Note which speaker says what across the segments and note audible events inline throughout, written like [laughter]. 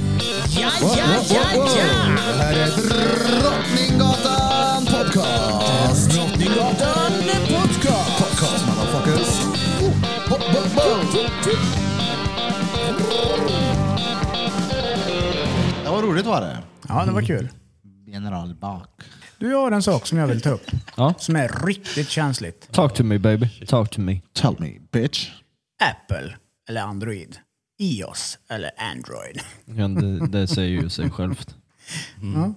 Speaker 1: Ja, ja, ja, ja!
Speaker 2: Det här är Drottninggatan Podcast.
Speaker 1: Drottninggatan podcast!
Speaker 2: Podcast motherfuckers. Oh, bo, bo, bo. Det var roligt var det.
Speaker 3: Ja, det var kul.
Speaker 2: General Bak.
Speaker 3: Du har en sak som jag vill ta upp.
Speaker 4: Ja.
Speaker 3: Som är riktigt känsligt.
Speaker 4: Talk to me baby. Talk to me.
Speaker 2: Tell me bitch.
Speaker 3: Apple eller Android. iOS eller Android.
Speaker 4: Ja, det, det säger ju sig självt.
Speaker 3: Ja.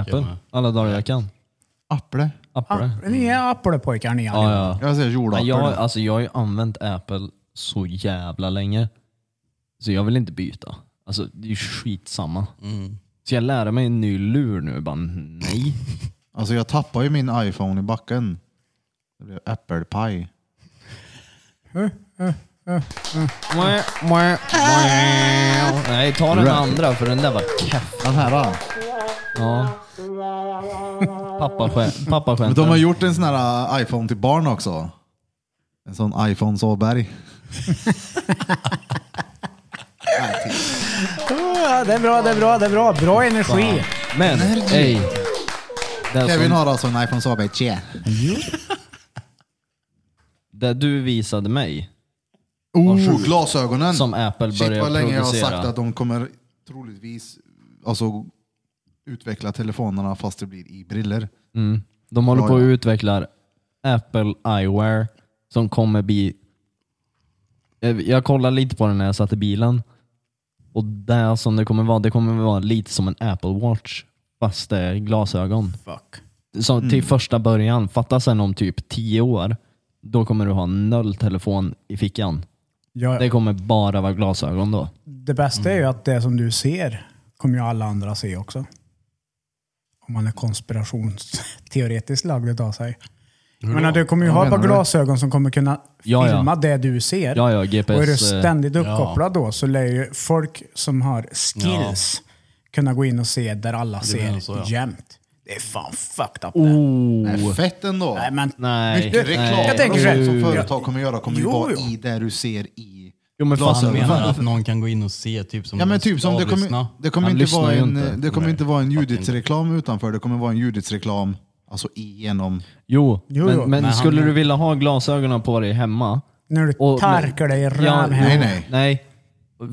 Speaker 4: Apple. Alla dagar jag kan.
Speaker 2: Apple.
Speaker 4: Apple.
Speaker 3: Ah, ni är Apple-pojkar ni
Speaker 4: Mm. Ja,
Speaker 3: allihopa.
Speaker 4: ja.
Speaker 2: Jag säger
Speaker 4: Men
Speaker 2: jordapple.
Speaker 4: jag, alltså, jag har ju använt Apple så jävla länge. Så jag vill inte byta. Alltså, det är ju skitsamma. Så jag lärde mig en ny lur nu. Bara, nej.
Speaker 2: Alltså jag tappade ju min iPhone i backen. Det blev äppelpaj.
Speaker 4: nej, ta den andra för den där var keff.
Speaker 2: Den här då.
Speaker 4: Ja. Pappa, skä- pappa
Speaker 2: Men de har
Speaker 4: skämtar.
Speaker 2: gjort en sån här äh, iPhone till barn också. En sån iPhone Såberg.
Speaker 3: Ah, det är bra, det är bra, det är bra. Bra energi.
Speaker 4: Men, ej. Den
Speaker 2: Kevin
Speaker 4: som,
Speaker 2: har alltså en iPhone Såberg 3.
Speaker 4: det du visade mig
Speaker 2: Oh, glasögonen.
Speaker 4: som Apple
Speaker 2: Shit
Speaker 4: började
Speaker 2: vad länge jag har
Speaker 4: producera.
Speaker 2: sagt att de kommer troligtvis alltså, utveckla telefonerna fast det blir i briller.
Speaker 4: De håller
Speaker 2: Ja,
Speaker 4: på att
Speaker 2: ja.
Speaker 4: utvecklar Apple Eyewear som kommer bli... Eh, Jag kollade lite på den när jag satt i bilen. Och det som det kommer vara, det kommer vara lite som en Apple Watch fast det är glasögon.
Speaker 3: Fuck.
Speaker 4: Som
Speaker 2: Mm.
Speaker 4: till första början, fatta sen om typ 10 år, då kommer du ha noll telefon i fickan.
Speaker 3: Ja,
Speaker 4: Det Mm. kommer bara vara glasögon då.
Speaker 3: det bästa är ju att det som du ser kommer ju alla andra se också. Om man är konspirationsteoretiskt lagd utav sig. Jag menar, du kommer ju ha ett par glasögon som kommer kunna
Speaker 4: Ja, ja.
Speaker 3: filma det du ser.
Speaker 4: Ja, ja, GPS.
Speaker 3: Och är du ständigt
Speaker 5: eh,
Speaker 3: uppkopplad då så lär ju folk som har skills kunna gå in och se där alla ser
Speaker 5: menar så, ja.
Speaker 3: jämt. Det är fan fucked up det.
Speaker 4: Oh.
Speaker 2: Nej, fett ändå.
Speaker 3: Nej, men,
Speaker 4: Nej.
Speaker 2: Mycket reklam
Speaker 4: nej.
Speaker 3: Jag tänker så här.
Speaker 2: som, som företag kommer göra kommer ju
Speaker 3: Jo,
Speaker 2: vara
Speaker 3: jo.
Speaker 2: i det du ser i.
Speaker 4: Jo, men
Speaker 5: Vad
Speaker 4: fasen,
Speaker 5: menar att någon kan gå in och se typ som
Speaker 2: Ja men typ som det kommer,
Speaker 5: avlyssna?
Speaker 2: det kommer,
Speaker 4: Han
Speaker 2: inte, vara
Speaker 4: lyssnar ju
Speaker 2: en,
Speaker 4: inte.
Speaker 2: det kommer
Speaker 5: Nej.
Speaker 2: inte vara en Judits-reklam utanför. Det kommer vara en Judits-reklam alltså igenom.
Speaker 4: Jo,
Speaker 3: Jo,
Speaker 4: men,
Speaker 3: jo.
Speaker 4: men
Speaker 5: Men
Speaker 4: skulle
Speaker 5: han-
Speaker 4: du vilja ha glasögonen på dig hemma?
Speaker 3: när du
Speaker 4: Och-
Speaker 3: tarkar dig i
Speaker 4: Ja,
Speaker 3: röven
Speaker 2: Nej
Speaker 3: här.
Speaker 2: nej.
Speaker 4: Nej,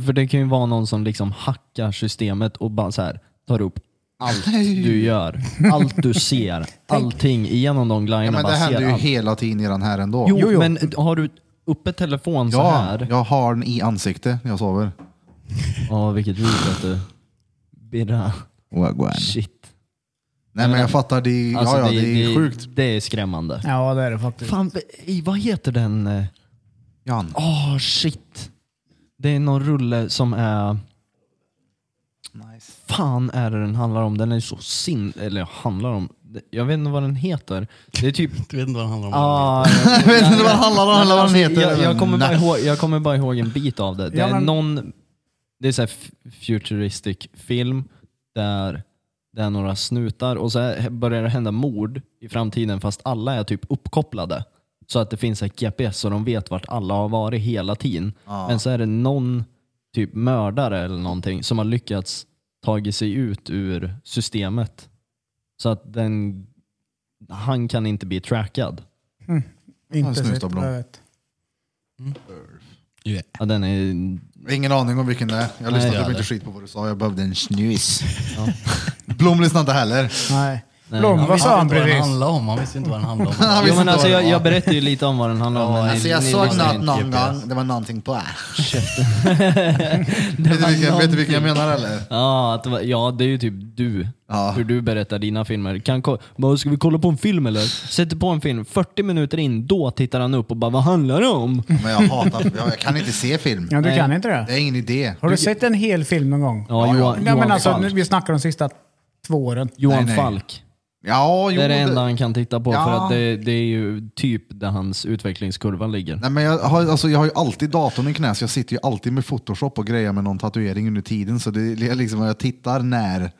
Speaker 4: för det kan ju vara någon som liksom hackar systemet och bara så här tar upp allt du gör, allt
Speaker 3: [laughs]
Speaker 4: du ser, allting igenom de
Speaker 2: Ja,
Speaker 4: glajjorna.
Speaker 2: men det
Speaker 4: bara
Speaker 2: händer
Speaker 4: ser
Speaker 2: ju
Speaker 4: allt.
Speaker 2: hela tiden i den här ändå.
Speaker 4: Jo,
Speaker 3: Jo, jo.
Speaker 4: men har du uppe telefon så
Speaker 2: ja,
Speaker 4: här?
Speaker 2: jag har den i ansiktet när jag sover.
Speaker 4: Ja, vilket ljud att du... Birra.
Speaker 2: Wagwan.
Speaker 4: Shit.
Speaker 2: Nej men jag fattar, det, är-
Speaker 4: Alltså,
Speaker 2: ja, ja, det är sjukt.
Speaker 4: Det är skrämmande.
Speaker 3: Ja, det är det faktiskt.
Speaker 4: Fan, i- vad heter den? eh,
Speaker 2: Jan.
Speaker 4: Åh, shit. Det är någon rulle som är...
Speaker 2: Nice.
Speaker 4: fan är det den handlar om? Den är så sin... Eller handlar om... Jag vet inte vad den heter. Det är typ...
Speaker 2: [laughs]
Speaker 5: Du vet inte vad det handlar om.
Speaker 4: Ah,
Speaker 2: Jag vet inte vad den handlar om eller vad den heter.
Speaker 4: alltså, jag, jag, kommer bara
Speaker 2: Nej.
Speaker 4: ihåg, jag kommer bara ihåg en bit av det. Det
Speaker 3: Ja,
Speaker 4: är
Speaker 3: men-
Speaker 4: någon... Det är så här f- futuristic film där det är några snutar och så här börjar det hända mord i framtiden fast alla är typ uppkopplade. Så att det finns ett GPS och de vet vart alla har varit hela tiden. Men så är det någon typ mördare eller någonting som har lyckats tagit sig ut ur systemet. Så att den, han kan inte bli trackad.
Speaker 2: en
Speaker 3: Inte sett,
Speaker 2: snusdobbla.
Speaker 3: jag vet.
Speaker 5: Yeah.
Speaker 4: Ja, den är
Speaker 2: Ingen aning om vilken det är. Jag lyssnade
Speaker 4: jag
Speaker 2: typ inte
Speaker 4: hade.
Speaker 2: skit på vad du sa. Jag behövde en snus. [laughs] Blom lyssnade inte heller.
Speaker 3: Nej. Blom, vad sa han
Speaker 5: inte vad den
Speaker 3: precis?
Speaker 5: handlade om. Han visste inte vad den
Speaker 2: [laughs]
Speaker 5: handlade om.
Speaker 2: Han
Speaker 4: Jo,
Speaker 2: visste
Speaker 4: men
Speaker 2: inte
Speaker 4: alltså,
Speaker 2: vad
Speaker 4: jag,
Speaker 2: det
Speaker 4: jag
Speaker 2: var.
Speaker 4: berättade ju lite om vad den handlar om. men
Speaker 2: Alltså,
Speaker 4: ni-
Speaker 2: jag
Speaker 4: ni
Speaker 2: såg
Speaker 4: lyssnade
Speaker 2: något
Speaker 4: inte
Speaker 2: någon
Speaker 4: på det.
Speaker 2: gång. Det var någonting på. [laughs]
Speaker 4: Det
Speaker 2: Vet du
Speaker 4: var
Speaker 2: vilken, vet du vilken jag
Speaker 4: någonting.
Speaker 2: menar eller?
Speaker 4: Ja, att det var, ja, det är ju typ du.
Speaker 2: Ja.
Speaker 4: Hur du berättar dina filmer. Kan, ko- vad, ska vi kolla på en film eller? Sätter på en film, 40 minuter in, då tittar han upp och bara vad handlar det om?
Speaker 2: Men jag hatar, jag, jag kan inte se film.
Speaker 3: Ja, du
Speaker 4: Nej.
Speaker 3: kan inte det?
Speaker 2: Det är ingen idé.
Speaker 3: Har du sett en hel film någon gång?
Speaker 4: Ja, Johan, Johan,
Speaker 3: Nej, men alltså, nu,
Speaker 4: Falk.
Speaker 3: vi snackar de sista två åren.
Speaker 4: Johan
Speaker 2: Nej, nej.
Speaker 4: Falk.
Speaker 2: Ja, jo,
Speaker 4: det är det
Speaker 2: det-
Speaker 4: enda han kan titta på för
Speaker 2: Ja.
Speaker 4: att det, det är ju typ där hans utvecklingskurva ligger.
Speaker 2: Nej, men jag, har, alltså, jag har ju alltid datorn i knä, så jag sitter ju alltid med photoshop och grejer med någon tatuering under tiden. Så det är liksom, jag tittar när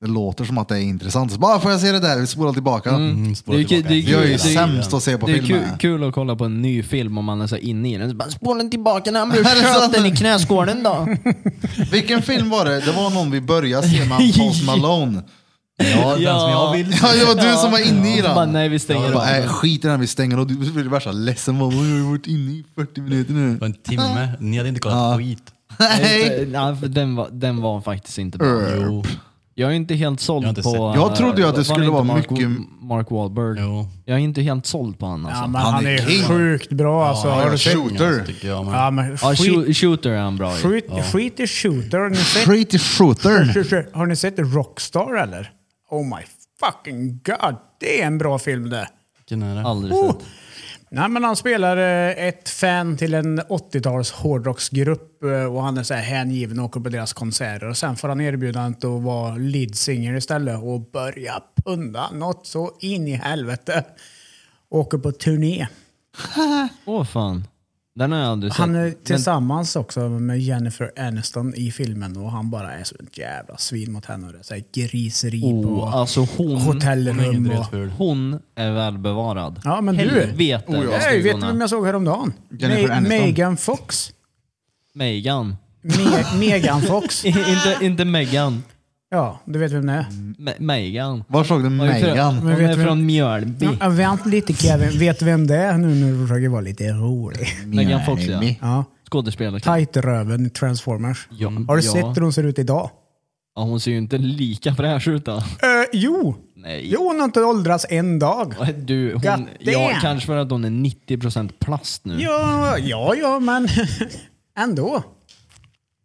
Speaker 2: Det låter som att det är intressant. Så bara, får jag se det där? Vi spolar tillbaka.
Speaker 5: Mm,
Speaker 4: Det är ju kul- det är
Speaker 2: Jag är ju
Speaker 4: Det-
Speaker 2: sämst att se på
Speaker 4: Det är kul,
Speaker 2: filmer.
Speaker 4: kul att kolla på en ny film om man är så inne i den. Så bara, Spola den tillbaka när
Speaker 2: [laughs]
Speaker 4: han blev
Speaker 2: Är det
Speaker 4: sköt
Speaker 2: sant?
Speaker 4: den i knäskålen då.
Speaker 2: Vilken film var det? Det var någon vi började se med Post Malone. [laughs]
Speaker 5: Ja, den som jag vill.
Speaker 2: Ja, det var du som var inne i
Speaker 4: Så [laughs] bara,
Speaker 2: [laughs] den.
Speaker 4: nej vi
Speaker 2: Jag
Speaker 4: stänger
Speaker 2: bara,
Speaker 4: av.
Speaker 2: äh, skit i den, vi stänger och du blir det värsta ledsen. Bara, Jag har varit inne i 40 minuter nu.
Speaker 5: Det var en timme. Ni hade inte kollat skit.
Speaker 2: Nej!
Speaker 4: Nej, för den, var, den var faktiskt inte bra.
Speaker 5: Jo,
Speaker 4: Jag är inte helt såld
Speaker 5: Jag har inte
Speaker 4: på... eh,
Speaker 5: sett den.
Speaker 2: Jag trodde ju att det
Speaker 4: var
Speaker 2: skulle
Speaker 4: inte
Speaker 2: vara
Speaker 4: Mark,
Speaker 2: mycket-
Speaker 4: Mark Wahlberg.
Speaker 5: jo.
Speaker 4: Jag är inte helt såld på honom
Speaker 3: Ja,
Speaker 4: alltså.
Speaker 3: men han,
Speaker 2: han är
Speaker 3: är,
Speaker 2: king.
Speaker 3: sjukt bra alltså. Har du sett?
Speaker 2: Shooter.
Speaker 5: Tycker jag. Men.
Speaker 3: Ja, men
Speaker 4: Ja,
Speaker 3: skit,
Speaker 4: shoo- shooter är han bra i.
Speaker 3: skit, skit i shooter. Har ni,
Speaker 2: [laughs]
Speaker 3: sett,
Speaker 2: Pretty shooter.
Speaker 3: har ni sett Rockstar eller? Oh my fucking god. Det är en bra film det.
Speaker 5: Vilken är det?
Speaker 4: Aldrig
Speaker 3: Oh.
Speaker 4: sett.
Speaker 3: Nej, men han spelar eh, ett fan till en 80-tals hårdrocksgrupp eh, och han är så här hängiven och åker på deras konserter. Och sen får han erbjudandet att vara lead singer istället och börja punda något så in i helvete. Åker på turné.
Speaker 4: Åh fan. Den har jag aldrig sett.
Speaker 3: Han är tillsammans också med Jennifer Aniston i filmen och han bara är så ett jävla svin mot henne. Och det är så här griseri på
Speaker 4: oh, alltså hon,
Speaker 3: hotellrum. Och...
Speaker 5: Dretful.
Speaker 4: hon är välbevarad.
Speaker 3: Ja, men du-
Speaker 4: Helvete vad
Speaker 3: Nej,
Speaker 4: snygg
Speaker 3: vet du
Speaker 4: hon
Speaker 3: vem
Speaker 4: är.
Speaker 3: jag såg häromdagen?
Speaker 2: Jennifer
Speaker 3: Me-
Speaker 2: Aniston.
Speaker 3: Megan Fox.
Speaker 4: Megan. [laughs]
Speaker 3: Me- Megan Fox.
Speaker 4: inte, inte Megan.
Speaker 3: Ja, du vet vem det är.
Speaker 4: Me- Megan.
Speaker 2: Var såg du
Speaker 4: Hon är från-
Speaker 2: Megan?
Speaker 4: Hon
Speaker 3: vet
Speaker 4: är
Speaker 3: vem-
Speaker 4: från Mjölby.
Speaker 3: Ja, ja, vänt lite Kevin, vet vem det är nu när du försöker vara lite rolig?
Speaker 4: Megan Fox ja.
Speaker 3: Ja.
Speaker 4: Skådespelerska.
Speaker 3: Tight-röven i Transformers.
Speaker 4: Ja,
Speaker 3: Har du
Speaker 4: ja.
Speaker 3: sett hur hon ser ut idag?
Speaker 4: Ja, hon ser ju inte lika fräsch ut då.
Speaker 3: Eh, jo!
Speaker 4: Nej.
Speaker 3: Jo, hon har inte åldrats en dag.
Speaker 4: Du,
Speaker 3: God
Speaker 4: hon, ja,
Speaker 3: damn.
Speaker 4: kanske för att hon är 90% plast nu.
Speaker 3: Mm. Ja, ja, ja men [laughs] ändå.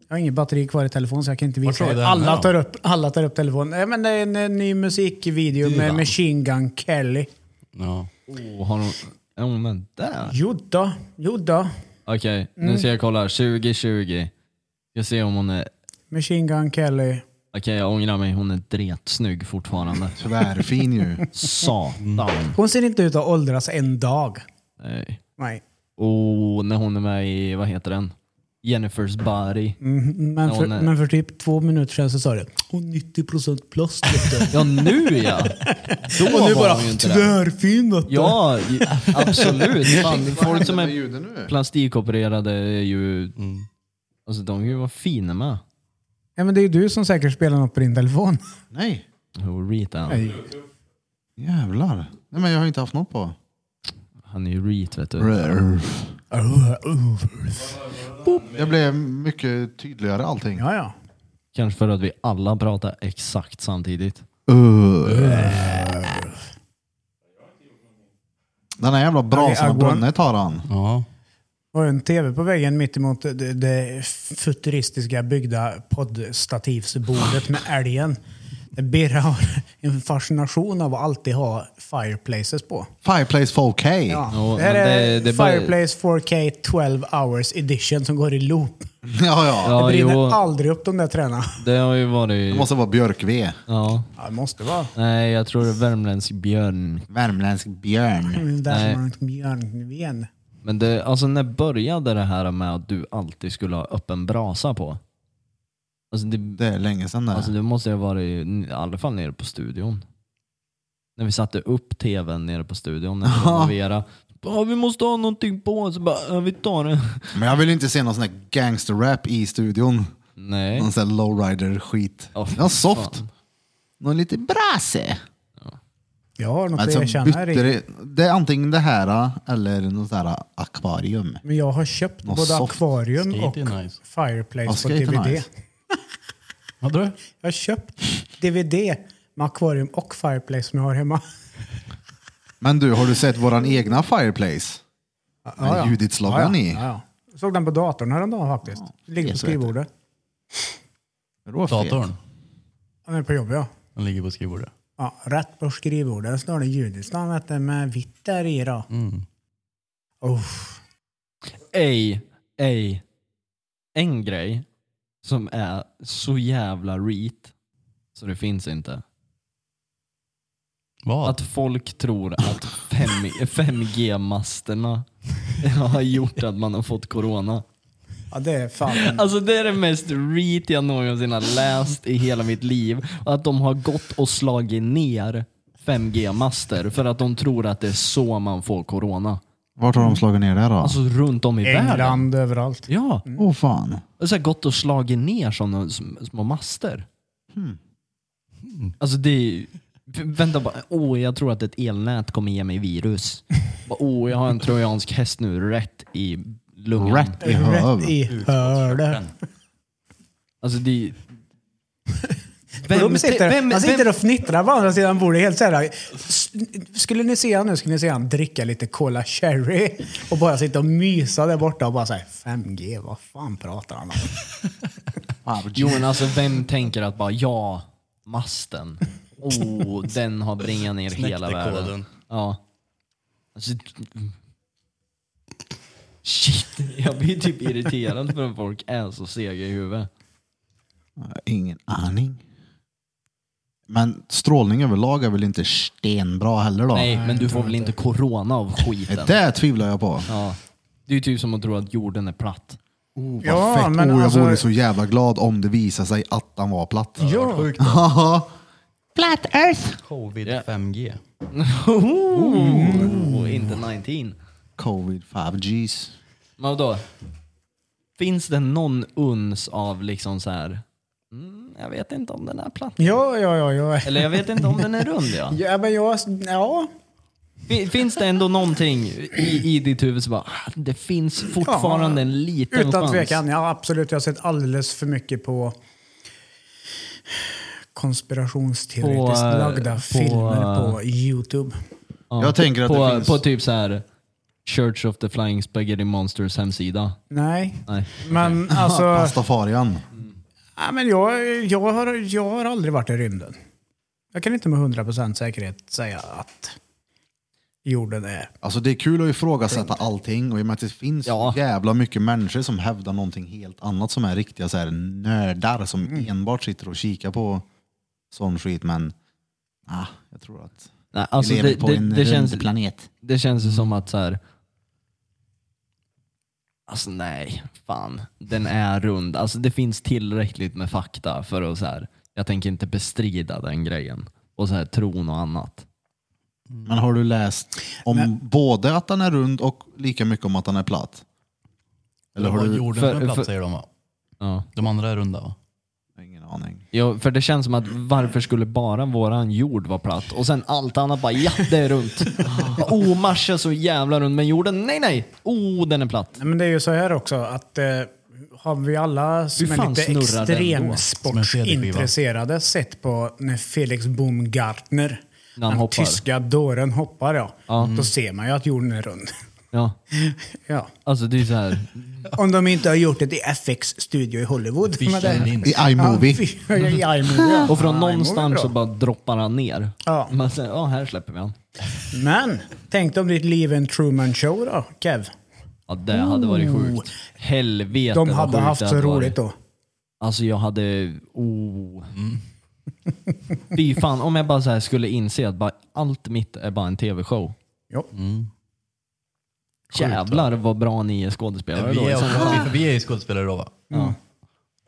Speaker 3: Jag har ingen batteri kvar i telefonen så jag kan inte visa
Speaker 5: tog
Speaker 3: er.
Speaker 5: den
Speaker 3: Alla
Speaker 5: då?
Speaker 3: tar, upp, alla tar upp telefonen. Eh, men det är en, eh, ny musikvideo med Machine Gun Kelly.
Speaker 5: Ja.
Speaker 4: Oh, har hon, är hon med där?
Speaker 3: Jodå, jodå.
Speaker 4: Okej,
Speaker 3: Mm.
Speaker 4: nu ska jag kolla. här. 2020. Jag ser om hon är...
Speaker 3: Machine Gun Kelly.
Speaker 4: Okej, jag ångrar mig. Hon är dretsnygg fortfarande.
Speaker 2: Tvärfin ju.
Speaker 4: Satan.
Speaker 3: Hon ser inte ut att åldras en dag.
Speaker 4: Nej.
Speaker 3: Nej.
Speaker 4: Oh, när hon är med i, vad heter den? Jennifers body.
Speaker 3: Mhm, Men
Speaker 4: Ja,
Speaker 3: för,
Speaker 4: nej.
Speaker 3: men för typ två minuter sedan så sa du Hon 90% plast. vet
Speaker 4: Ja, nu ja! Då
Speaker 3: du." Och nu
Speaker 4: var
Speaker 3: bara
Speaker 4: hon ju inte det.
Speaker 3: tvärfin. vet du."
Speaker 4: Ja, ju- absolut. [laughs]
Speaker 2: [laughs]
Speaker 4: Fan, folk som
Speaker 2: Med
Speaker 4: är
Speaker 2: ljuden nu?
Speaker 4: plastikopererade är ju... Alltså de kan ju vara fina med.
Speaker 3: Ja, men det är ju du som säkert spelar något på din telefon.
Speaker 2: Nej.
Speaker 4: Oh, Reet är han.
Speaker 3: Nej.
Speaker 2: Jävlar. Nej men jag har inte haft något på.
Speaker 4: Han är ju Reet vet du.
Speaker 2: Rörf. Jag blev mycket tydligare allting.
Speaker 3: [laughs] Ja, ja.
Speaker 4: Kanske för att vi alla pratar exakt samtidigt.
Speaker 2: Den här jävla brasan har brunnit har han.
Speaker 5: ja.
Speaker 3: Och en tv på väggen mittemot det, det futuristiska byggda poddstativsbordet med älgen. Birra har [laughs] en fascination av att alltid ha fireplaces på.
Speaker 2: Fireplace 4K.
Speaker 3: Ja.
Speaker 4: Ja,
Speaker 3: det här
Speaker 4: men
Speaker 3: är
Speaker 4: det- det bara-
Speaker 3: Fireplace 4K 12 hours edition som går i loop.
Speaker 2: [laughs] ja, ja.
Speaker 4: Ja,
Speaker 3: Det brinner
Speaker 4: jo,
Speaker 3: aldrig upp de där träna.
Speaker 4: det har ju
Speaker 2: Det
Speaker 4: varit...
Speaker 2: måste vara björkved.
Speaker 4: Ja.
Speaker 3: Ja, det måste vara.
Speaker 4: Nej, jag tror det är värmländsk björn.
Speaker 2: Värmländsk björn.
Speaker 4: Nej.
Speaker 3: Där man björnven.
Speaker 4: Men det, alltså när började det här med att du alltid skulle ha öppen brasa på? Alltså det,
Speaker 2: Det är länge sedan det.
Speaker 4: alltså det måste ju ha varit i alla fall nere på studion. När vi satte upp tvn nere på studion när vi renoverade. Ja, vi måste ha någonting på, så bara, ja, vi tar det.
Speaker 2: Men jag vill inte se någon sån där gangsterrap i studion.
Speaker 4: Nej.
Speaker 2: Någon sån här lowrider-skit.
Speaker 4: Åh, fy
Speaker 2: Någon Mm. soft.
Speaker 4: fan.
Speaker 2: Någon lite brase.
Speaker 3: Jag har något
Speaker 2: Alltså,
Speaker 3: att erkänna här i.
Speaker 2: bytte det, det är antingen det här eller något sånt här akvarium.
Speaker 3: Men jag har köpt
Speaker 2: Något
Speaker 3: både
Speaker 2: soft.
Speaker 3: akvarium
Speaker 5: Skate
Speaker 3: och
Speaker 5: är nice.
Speaker 3: Fireplace
Speaker 2: Ja,
Speaker 3: på
Speaker 2: skate är
Speaker 3: DVD.
Speaker 2: nice.
Speaker 5: Hade du?
Speaker 3: Jag har köpt DVD med akvarium och Fireplace som jag har hemma.
Speaker 2: Men du, har du sett våran egna Fireplace? Med Judiths loggan i.
Speaker 3: Ja, ja. Såg den på datorn häromdagen faktiskt. Ligger på
Speaker 2: Jesus vet det.
Speaker 3: skrivbordet.
Speaker 2: Det var fet.
Speaker 5: Datorn.
Speaker 3: Den är på jobbet ja.
Speaker 5: Den ligger på skrivbordet.
Speaker 3: ja rätt på skrivbordet står det Judiths namn vet du, med vitt där i då.
Speaker 5: Mm.
Speaker 3: Uff.
Speaker 4: Ej, ej. En grej som är så jävla reet så det finns inte.
Speaker 5: Vad?
Speaker 4: Att folk tror att [laughs] 5, 5G-masterna har gjort att man har fått corona.
Speaker 3: Ja, det är fan...
Speaker 4: Alltså det är det mest reet jag någonsin har läst i hela mitt liv. Att de har gått och slagit ner 5G-master för att de tror att det är så man får corona.
Speaker 2: Vart har de slagit ner det då? Åh
Speaker 4: Alltså runt om i världen.
Speaker 3: England överallt.
Speaker 4: Ja,
Speaker 2: oh, fan.
Speaker 4: så här gått och slagit ner sådana små master.
Speaker 3: Hmm.
Speaker 4: Alltså det är ju- v- Vänta bara, åh jag tror att ett elnät kommer ge mig virus. Bara, Åh, jag har en trojansk häst nu rätt i lungan.
Speaker 2: Rätt i
Speaker 3: Rätt
Speaker 2: höv.
Speaker 3: i hörde.
Speaker 4: Alltså det är ju-
Speaker 3: De sitter,
Speaker 4: vem-
Speaker 3: han
Speaker 4: vem-
Speaker 3: sitter och fnittrar på andra sidan bordet helt så här. S- Skulle ni se han nu skulle ni se han dricka lite Cola Cherry och bara sitta och mysa där borta och bara säga 5G, vad fan pratar han om?
Speaker 2: Oh,
Speaker 4: Jo men alltså vem tänker att bara ja, masten. Oh, den har bringat ner hela
Speaker 5: Knäckte koden.
Speaker 4: världen. Ja. Alltså, shit, jag blir typ irriterad för att folk är så sega i huvudet.
Speaker 2: Ingen aning. Men strålning överlag är väl inte stenbra heller då?
Speaker 4: Nej, men du får väl inte corona av skiten?
Speaker 2: Det tvivlar jag på.
Speaker 4: Ja. Det är ju typ som att tro att jorden är platt.
Speaker 2: Oh, vad
Speaker 3: Ja,
Speaker 2: fett.
Speaker 3: men
Speaker 2: oh, jag
Speaker 3: alltså-
Speaker 2: vore så jävla glad om det visade sig att han var platt.
Speaker 3: Ja.
Speaker 2: [laughs] Ja. Platt earth.
Speaker 5: Covid
Speaker 4: Ja.
Speaker 5: 5G.
Speaker 4: Oh, inte 19.
Speaker 2: Covid 5Gs.
Speaker 4: Men vadå? Finns det någon uns av liksom så här? Mm, jag vet inte om den är platt.
Speaker 3: Ja, ja, ja. ja.
Speaker 4: Eller jag vet inte om den är rund ja.
Speaker 3: Ja, men jag... Ja.
Speaker 4: Fin- Finns det ändå någonting i, i ditt huvud som bara, "Ah, det finns fortfarande en liten
Speaker 3: Utan
Speaker 4: chans?
Speaker 3: tvekan, ja absolut. Jag har sett alldeles för mycket på konspirationsteoretiskt
Speaker 4: På, eh,
Speaker 3: lagda
Speaker 4: på,
Speaker 3: filmer på Youtube.
Speaker 4: Ja,
Speaker 2: Jag tänker att
Speaker 4: på,
Speaker 2: det finns-
Speaker 4: På typ så här Church of the Flying Spaghetti Monsters hemsida.
Speaker 3: Nej,
Speaker 4: Nej.
Speaker 2: [laughs]
Speaker 3: men alltså...
Speaker 2: Pastafarian.
Speaker 3: Nej, men jag, jag, har, jag har aldrig varit i rymden. Jag kan inte med 100% säkerhet säga att jorden är...
Speaker 2: Alltså det är kul att ifrågasätta allting och i och med att det finns
Speaker 4: Ja.
Speaker 2: jävla mycket människor som hävdar någonting helt annat som är riktiga så här nördar som
Speaker 4: Mm.
Speaker 2: enbart sitter och kikar på sån skit men ah, jag tror att
Speaker 4: Nej, alltså
Speaker 2: vi lever
Speaker 4: det,
Speaker 2: på
Speaker 4: det,
Speaker 2: en
Speaker 4: det,
Speaker 2: rund
Speaker 4: känns,
Speaker 2: planet.
Speaker 4: det känns ju som att så här. Alltså nej, fan. Den är rund. Alltså det finns tillräckligt med fakta för att så här. jag tänker inte bestrida den grejen. Och så här tron och annat. Mm.
Speaker 2: Men har du läst om både att den är rund och lika mycket om att den är platt? Eller har du?
Speaker 5: Jorden
Speaker 4: för-
Speaker 5: är platt
Speaker 4: för-
Speaker 5: säger de va?
Speaker 4: Ja.
Speaker 5: De andra är runda va?
Speaker 2: Ingen aning.
Speaker 4: Ja, för det känns som att varför skulle bara våran jord vara platt? Och sen allt annat bara, ja det
Speaker 3: [laughs]
Speaker 4: är runt. Oh, Mars är så jävla rund, men jorden, nej nej! Oh, den är platt.
Speaker 3: Nej, men det är ju så här också att eh, har vi alla som
Speaker 4: fan
Speaker 3: är lite
Speaker 4: snurrar den då?
Speaker 3: extremsportsintresserade sett på när Felix Baumgartner,
Speaker 4: När han
Speaker 3: den
Speaker 4: hoppar. Mm.
Speaker 3: tyska dåren, hoppar ja. Då ser man ju att jorden är
Speaker 4: [laughs]
Speaker 3: rund.
Speaker 4: Ja,
Speaker 3: ja.
Speaker 4: alltså det är så här.
Speaker 3: Om de inte har gjort det i FX studio i Hollywood.
Speaker 5: Fish
Speaker 3: Men det-
Speaker 5: and Lynch.
Speaker 2: I iMovie.
Speaker 3: Ja, I iMovie. ja.
Speaker 4: Och från
Speaker 3: Ja, iMovie är
Speaker 4: någonstans så
Speaker 3: bra.
Speaker 4: bara droppar han ner.
Speaker 3: Ja.
Speaker 4: Man säger, ja här släpper vi han.
Speaker 3: Men, tänk dig om ditt liv är en Truman show då, Kev.
Speaker 4: Ja, det hade varit sjukt. Helvete
Speaker 3: Oh. De
Speaker 4: vad
Speaker 3: hade
Speaker 4: sjukt
Speaker 3: haft
Speaker 4: det
Speaker 3: så
Speaker 4: hade varit.
Speaker 3: roligt då. Mm.
Speaker 4: Alltså jag hade, oh.
Speaker 3: [laughs]
Speaker 4: Fy fan, om jag bara så här skulle inse att bara, allt mitt är bara en tv-show.
Speaker 3: Jo.
Speaker 4: Mm. Jävlar vad bra ni är skådespelare
Speaker 5: Vi
Speaker 4: då. liksom. i
Speaker 5: är,
Speaker 4: sådana fall.
Speaker 5: också, vi, vi är ju skådespelare då va?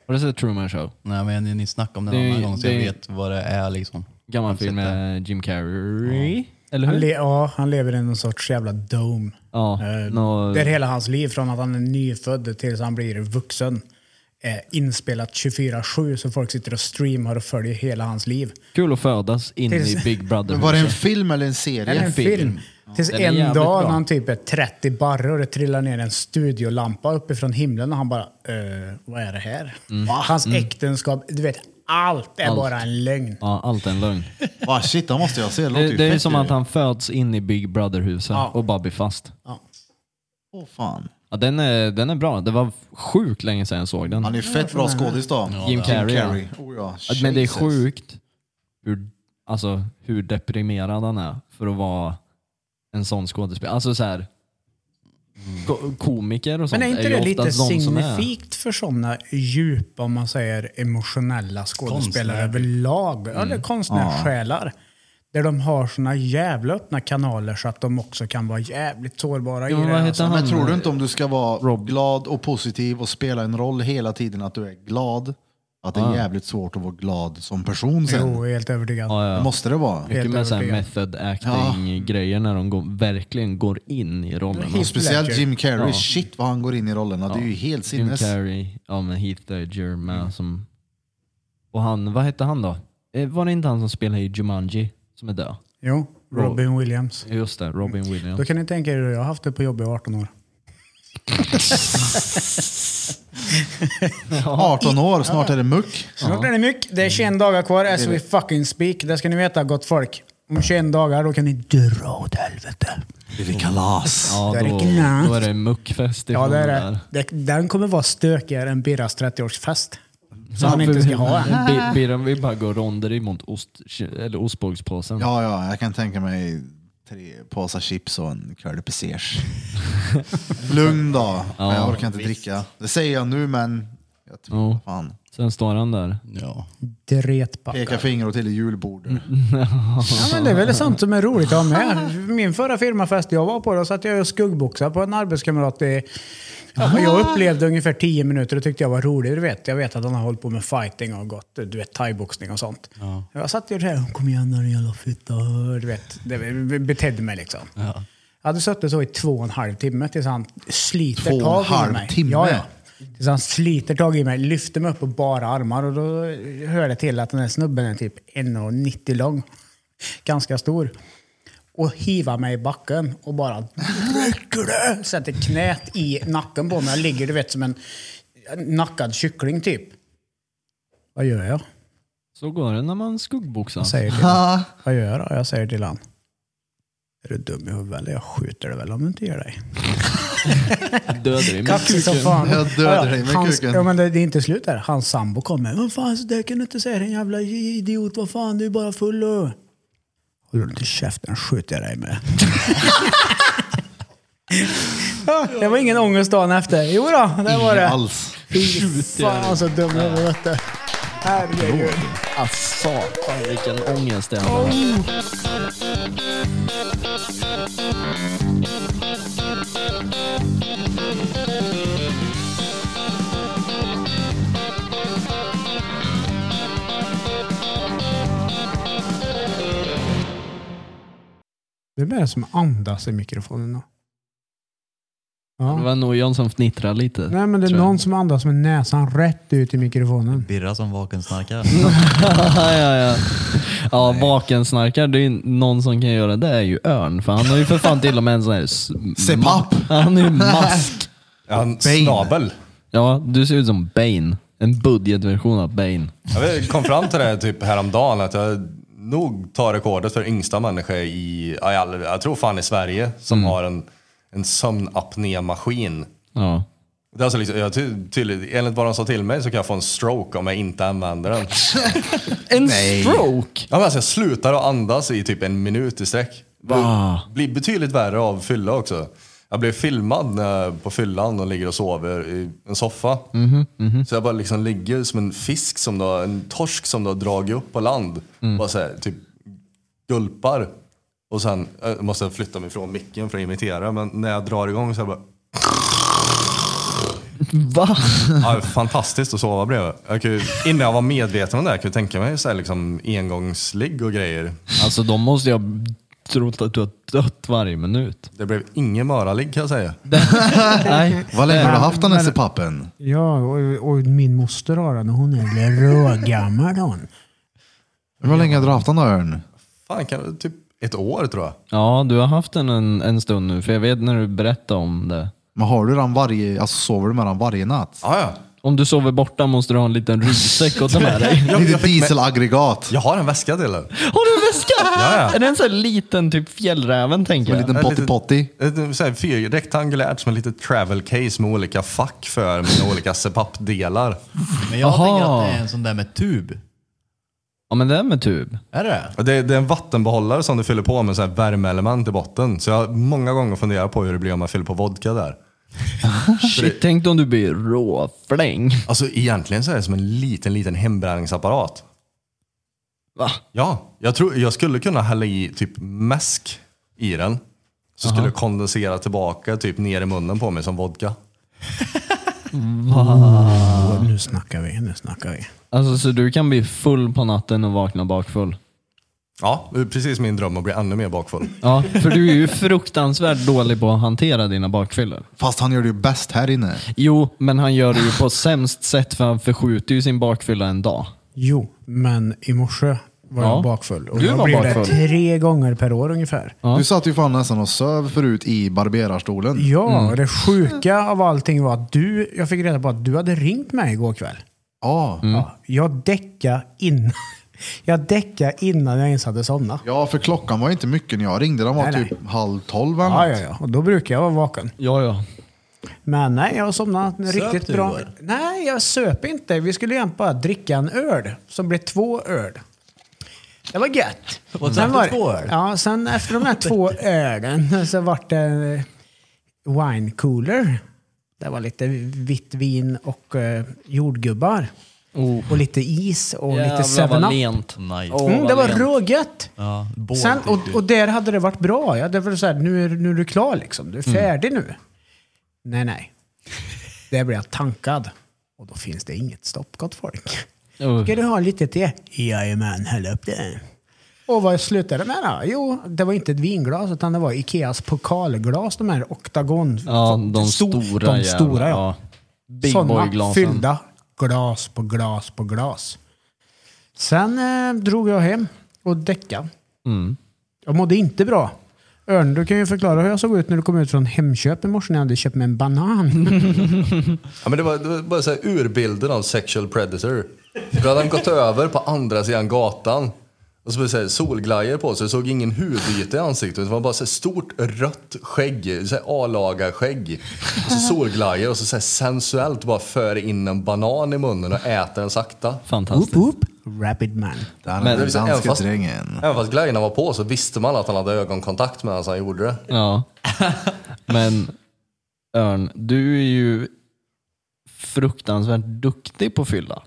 Speaker 4: Har du sett Truman Show?
Speaker 5: Nej men ni- ni snackade om det
Speaker 4: Det är-
Speaker 5: en annan gång så jag
Speaker 4: det är-
Speaker 5: vet vad det är liksom.
Speaker 4: Gammal film med Jim Carrey. Eller
Speaker 3: Han
Speaker 4: hur?
Speaker 3: le- ja, han lever i någon sorts jävla dome.
Speaker 4: Ja.
Speaker 3: Eh,
Speaker 4: nå-
Speaker 3: Där hela hans liv, från att han är nyfödd tills han blir vuxen, är inspelat 24-7 så folk sitter och streamar och följer hela hans liv.
Speaker 4: Kul att födas in i
Speaker 3: Tills-
Speaker 4: Big Brother.
Speaker 2: Men var det en film eller en
Speaker 3: Eller
Speaker 2: serie?
Speaker 3: en film. Tills
Speaker 4: Den är
Speaker 3: en dag
Speaker 4: jävligt bra.
Speaker 3: när han typ är 30 barre och det trillar ner en studiolampa uppifrån himlen och han bara eh, vad är det här? Hans äktenskap, du vet allt är
Speaker 4: Mm. Allt.
Speaker 3: bara en lögn.
Speaker 4: Ja, allt är en lögn.
Speaker 2: Va, Ah, shit, den måste jag se. låter
Speaker 4: Det,
Speaker 2: ju
Speaker 4: det är
Speaker 2: fett
Speaker 4: som
Speaker 2: ju.
Speaker 4: att han föds in i Big Brother-huset
Speaker 3: Ja.
Speaker 4: och bara blir fast.
Speaker 3: Ja.
Speaker 2: Åh, fan.
Speaker 4: Ja, den, är, den är bra. Det var sjukt länge sedan jag såg den.
Speaker 2: Han är fett bra skådis då.
Speaker 4: Mm. Jim Carrey, ja.
Speaker 2: Oh, ja.
Speaker 4: Men det är
Speaker 2: Jesus.
Speaker 4: sjukt hur, alltså, hur deprimerad han är för att vara en sån skådespelare. Alltså så här, ko- komiker och sånt
Speaker 3: Men är inte
Speaker 4: ju
Speaker 3: det lite
Speaker 4: oftast de som är-
Speaker 3: signifikt för sådana djupa, om man säger emotionella skådespelare
Speaker 5: Konstnär.
Speaker 4: Mm.
Speaker 3: överlag? Eller konstnärssjälar. Där de har såna jävla öppna kanaler så att de också kan vara jävligt sårbara
Speaker 4: Ja,
Speaker 3: i
Speaker 4: men
Speaker 3: det.
Speaker 4: vad
Speaker 3: alltså.
Speaker 4: heter han?
Speaker 2: Men tror du inte om du ska vara
Speaker 4: eh, Rob.
Speaker 2: glad och positiv och spela en roll hela tiden att du är glad, att det är jävligt svårt att vara glad som person sen?
Speaker 3: Jo, jag är helt övertygad.
Speaker 4: Ja, ja.
Speaker 2: Måste det vara?
Speaker 4: Mycket med såhär
Speaker 3: övertygad.
Speaker 4: method acting-grejer när de går, verkligen går in i rollen.
Speaker 3: Heath
Speaker 2: Speciellt
Speaker 3: Ledger.
Speaker 2: Jim Carrey, shit vad han går in i rollerna. Det är ju helt
Speaker 4: Jim
Speaker 2: sinnes.
Speaker 4: Carrey, ja men Heath Ledger med
Speaker 3: Mm.
Speaker 4: som... Och han, vad hette han då? Eh, Var det inte han som spelade i Jumanji som är död?
Speaker 3: Jo, Robin Williams.
Speaker 4: Just det, Robin Williams.
Speaker 3: Mm. Då kan ni tänka er hur jag har haft det på jobbet i 18 år.
Speaker 2: 18 år, snart är det muck.
Speaker 3: Snart är det mycket. Det är 21 dagar kvar as we fucking speak. Det ska ni veta gott folk. Om 21 dagar då kan ni dra åt helvete.
Speaker 2: Det är kalas.
Speaker 4: Ja,
Speaker 3: Där är
Speaker 4: då,
Speaker 3: glatt.
Speaker 4: då är det muckfest
Speaker 3: Ja,
Speaker 4: ifrån
Speaker 3: det är
Speaker 4: där.
Speaker 3: det. det. Den kommer vara stökigare än Birras 30-årsfest. Som han
Speaker 4: Ja,
Speaker 3: inte
Speaker 4: för-
Speaker 3: ska ha än.
Speaker 4: Bi- Birran vill bara gå ronder emot ost, eller ostbågspåsen.
Speaker 2: Ja, ja, jag kan tänka mig tre påsar chips och en curly
Speaker 4: [laughs]
Speaker 2: pesers. Lugn då.
Speaker 4: Ja,
Speaker 2: jag orkar inte dricka. Det säger jag nu, men jag tror
Speaker 4: Ja.
Speaker 2: fan.
Speaker 4: Sen står han där.
Speaker 5: Ja.
Speaker 3: Dretbackar.
Speaker 2: Peka finger och till i julbordet.
Speaker 4: Mm.
Speaker 3: Ja, men det är väl sånt som är roligt att ha med. Min förra firmafest jag var på, då satt jag och skuggboxade på en arbetskamrat i... Ja, men
Speaker 2: Ah.
Speaker 3: jag upplevde ungefär 10 minuter och tyckte jag var rolig. Du vet, jag vet att han har hållit på med fighting och gått, du vet, thaiboxning och sånt. Jag satt ju där, kom igen nu din jävla fitta. Du vet, det betedde mig liksom.
Speaker 5: Ja.
Speaker 3: Jag hade suttit så i två och en halv timme tills han sliter
Speaker 2: Två och en
Speaker 3: tag i mig.
Speaker 2: halv timme?
Speaker 3: Ja, ja. Tills han sliter tag i mig, lyfter mig upp på bara armar och då hör det till att den här snubben är typ 1,90 lång. Ganska stor. Och hivar mig i backen och bara rycker det! Sätter knät i nacken på mig. Jag ligger du vet som en nackad kyckling typ. Vad gör jag?
Speaker 4: Så går det när man skuggboxar.
Speaker 3: Jag säger till
Speaker 4: [laughs]
Speaker 3: honom. Vad gör jag då? Jag säger till honom. Är du dum i huvudet eller? Jag skjuter dig väl om du inte gör dig.
Speaker 4: Dödar i
Speaker 3: Kaxig Mm. som
Speaker 4: mucken.
Speaker 3: fan.
Speaker 2: Jag dödar dig med
Speaker 3: Hans,
Speaker 2: kuken.
Speaker 3: ja, men det, det är inte slut där. Hans sambo kommer. Vad fan, så där kan du inte säga din jävla idiot. Vad fan, du är bara full och... Håller du inte käften skjuter jag dig
Speaker 2: [laughs]
Speaker 3: med. Ja, det var ingen ångest dagen efter. Jo då, det var
Speaker 2: Inget
Speaker 3: det.
Speaker 2: alls.
Speaker 3: Fy fan så dum jag var. vet du. Herregud.
Speaker 4: Ah, satan vilken ångest det är.
Speaker 3: Vem är det som andas i mikrofonen då?
Speaker 4: Det
Speaker 3: Ja.
Speaker 4: var nog John som fnittrade lite.
Speaker 3: Nej men det är
Speaker 4: tror jag.
Speaker 3: någon som andas med näsan rätt ut i mikrofonen.
Speaker 5: Birra som vakensnarkar.
Speaker 4: [laughs] ja, ja, ja. ja vakensnarkar, det är ju någon som kan göra det är ju Örn. För han har ju för fan till och med en sån här... s-
Speaker 2: Sepap.
Speaker 4: ma- Han är ju mask.
Speaker 6: Han, snabel.
Speaker 4: Ja, du ser ut som Bane. En budgetversion av Bane.
Speaker 6: Jag vet, kom fram till det här typ häromdagen att jag nog tar rekordet för yngsta människa i, ja, i all- jag tror fan i Sverige, som har en, en sömnapnémaskin.
Speaker 4: Ja.
Speaker 6: Det är alltså liksom, jag ty, tydligt, enligt vad de sa till mig så kan jag få en stroke om jag inte använder den.
Speaker 4: En stroke!
Speaker 6: Ja, men alltså jag slutar att andas i typ en minut i sträck.
Speaker 4: Va?
Speaker 6: Det Blir betydligt värre av fylla också. Jag blev filmad när jag- på fyllan och ligger och sover i en soffa. Så jag bara liksom ligger som en fisk, som då, en torsk som då har dragit upp på land. Bara så här, typ gulpar. Och sen jag måste jag flytta mig från micken för att imitera. Men när jag drar igång så är jag bara...
Speaker 4: Va?
Speaker 6: Ja, fantastiskt att sova bredvid. Jag kan ju, innan jag var medveten om det här kan jag tänka mig så här liksom engångsligg och grejer.
Speaker 4: Alltså de måste jag ha trott att du har dött varje minut.
Speaker 6: Det blev ingen mörarligg kan jag säga.
Speaker 4: Nej.
Speaker 2: Vad länge har du haft den här sepappen?
Speaker 3: Ja, och, och min moster har den och hon är rågammal hon.
Speaker 2: Hur länge har du haft den då Örn?
Speaker 6: Fan, kan, typ ett år tror jag.
Speaker 4: Ja, du har haft den en, en stund nu, för jag vet när du berättade om det.
Speaker 2: Men har du den varje, alltså sover du med den varje natt?
Speaker 6: Ah, ja.
Speaker 4: Om du sover borta måste du ha en liten ryggsäck att ta med dig.
Speaker 6: jag,
Speaker 2: Lite
Speaker 6: jag, fick med,
Speaker 2: dieselaggregat.
Speaker 6: jag har en väska till den.
Speaker 4: Har du en väska?
Speaker 6: Ja, ja.
Speaker 4: Är det en sån här liten typ fjällräven tänker
Speaker 2: Med
Speaker 4: jag?
Speaker 2: en liten
Speaker 6: En liten-
Speaker 2: potty-potty.
Speaker 6: Ett, Så här, fyr, rektangulärt som en litet travel case med olika fack för mina olika CPAP-delar.
Speaker 5: [laughs] Men jag
Speaker 4: Aha.
Speaker 5: tänker att det är en sån där med tub.
Speaker 4: Ja men det är med tub.
Speaker 5: Är det det?
Speaker 6: Och Det, det är en vattenbehållare som du fyller på med så här värmeelement i botten. Så jag har många gånger funderat på hur det blir om jag fyller på vodka där.
Speaker 4: Shit, tänk om du blir råfläng.
Speaker 6: Alltså egentligen så är det som en liten, liten hembränningsapparat.
Speaker 4: Va?
Speaker 6: Ja, jag, tror, jag skulle kunna hälla i typ mäsk i den. Så skulle det kondensera tillbaka typ ner i munnen på mig som vodka.
Speaker 3: Nu snackar vi, nu snackar vi.
Speaker 4: Alltså så du kan bli full på natten och vakna bakfull?
Speaker 6: Ja, det är precis min dröm att bli ännu mer bakfull.
Speaker 4: Ja, för du är ju fruktansvärt dålig på att hantera dina bakfyllor.
Speaker 2: Fast han gör det ju bäst här inne.
Speaker 4: Jo, men han gör det ju [gasps] på sämst sätt för han förskjuter ju sin bakfylla en dag.
Speaker 3: Jo, men i morse var
Speaker 4: Ja.
Speaker 3: jag bakfull. Och
Speaker 4: Du
Speaker 3: jag
Speaker 4: var
Speaker 3: blir
Speaker 4: bakfull.
Speaker 3: det tre gånger per år ungefär.
Speaker 4: Ja. Mm.
Speaker 2: Du satt ju fan nästan och söv förut i barberarstolen.
Speaker 3: Ja, det sjuka av allting var att du, jag fick reda på att du hade ringt mig igår kväll.
Speaker 2: Ja.
Speaker 4: Mm.
Speaker 3: Ja, jag däckade innan. [laughs] Jag däckade innan jag ens hade somnat.
Speaker 2: ja, för klockan var inte mycket när jag ringde. Den var
Speaker 3: Nej, nej.
Speaker 2: typ halv tolv eller
Speaker 3: Ja,
Speaker 2: något.
Speaker 3: ja, ja. Och då brukar jag vara vaken.
Speaker 4: Ja, ja.
Speaker 3: Men nej, jag somnade
Speaker 5: Söp
Speaker 3: riktigt
Speaker 5: du
Speaker 3: bra.
Speaker 5: igår?
Speaker 3: Nej, jag söp inte. Vi skulle egentligen bara dricka en öl, som blev två öl. Det var gött.
Speaker 5: [laughs] Och
Speaker 3: Sen
Speaker 5: drack du
Speaker 3: var det-
Speaker 5: två öl?
Speaker 3: Ja, sen efter de här
Speaker 5: [laughs]
Speaker 3: två ölen så vart det eh, wine cooler. Det var lite vitt vin och eh, jordgubbar.
Speaker 4: Oh.
Speaker 3: Och lite is och
Speaker 4: Jävlar
Speaker 3: lite 7-Up.
Speaker 4: lent.
Speaker 5: Nice.
Speaker 4: Åh,
Speaker 3: Mm,
Speaker 4: vad
Speaker 3: det var
Speaker 4: lent.
Speaker 3: rågött.
Speaker 5: Ja, bål
Speaker 3: Sen,
Speaker 5: fick
Speaker 3: och,
Speaker 5: du.
Speaker 3: och där hade det varit bra. Ja. Det var så här, nu, är, nu är du klar liksom. Du är
Speaker 4: Mm.
Speaker 3: färdig nu. Nej, nej. Där blir jag tankad. Och då finns det inget stopp, gott folk.
Speaker 4: Oh.
Speaker 3: Ska du ha lite till? Jajamän, häll upp det. Och vad slutade det med då? Jo, det var inte ett vinglas utan det var Ikeas pokalglas, de här oktagon...
Speaker 4: Ja, de
Speaker 3: sto-
Speaker 4: stora
Speaker 3: De stora,
Speaker 4: jävla-
Speaker 3: ja.
Speaker 4: Big
Speaker 3: Sådana
Speaker 4: boy-glasen.
Speaker 3: fyllda glas på glas på glas. Sen eh, drog jag hem och däckade.
Speaker 4: Mm.
Speaker 3: Jag mådde inte bra. Örn, du kan ju förklara hur jag såg ut när du kom ut från Hemköp i morse när jag hade köpt mig en banan.
Speaker 6: Ja, men det, var, det var bara så här urbilden av sexual predator. Då hade han gått över på andra sidan gatan. Och så var det så här, solglajjor på sig, såg ingen huvyta i ansiktet. Det var bara så här, stort rött skägg, så här A-laga skägg. Och så solglajjor och så, så här, sensuellt bara för in en banan i munnen och äter den sakta.
Speaker 4: Fantastiskt.
Speaker 3: Rapid man.
Speaker 2: Där
Speaker 4: Men-
Speaker 2: är den
Speaker 6: Så även
Speaker 2: danska
Speaker 6: fast-
Speaker 2: drängen.
Speaker 6: Även fast glajjorna var på så visste man att han hade ögonkontakt med han gjorde det. [laughs]
Speaker 4: Ja. Men Örn, du är ju fruktansvärt duktig på fylla.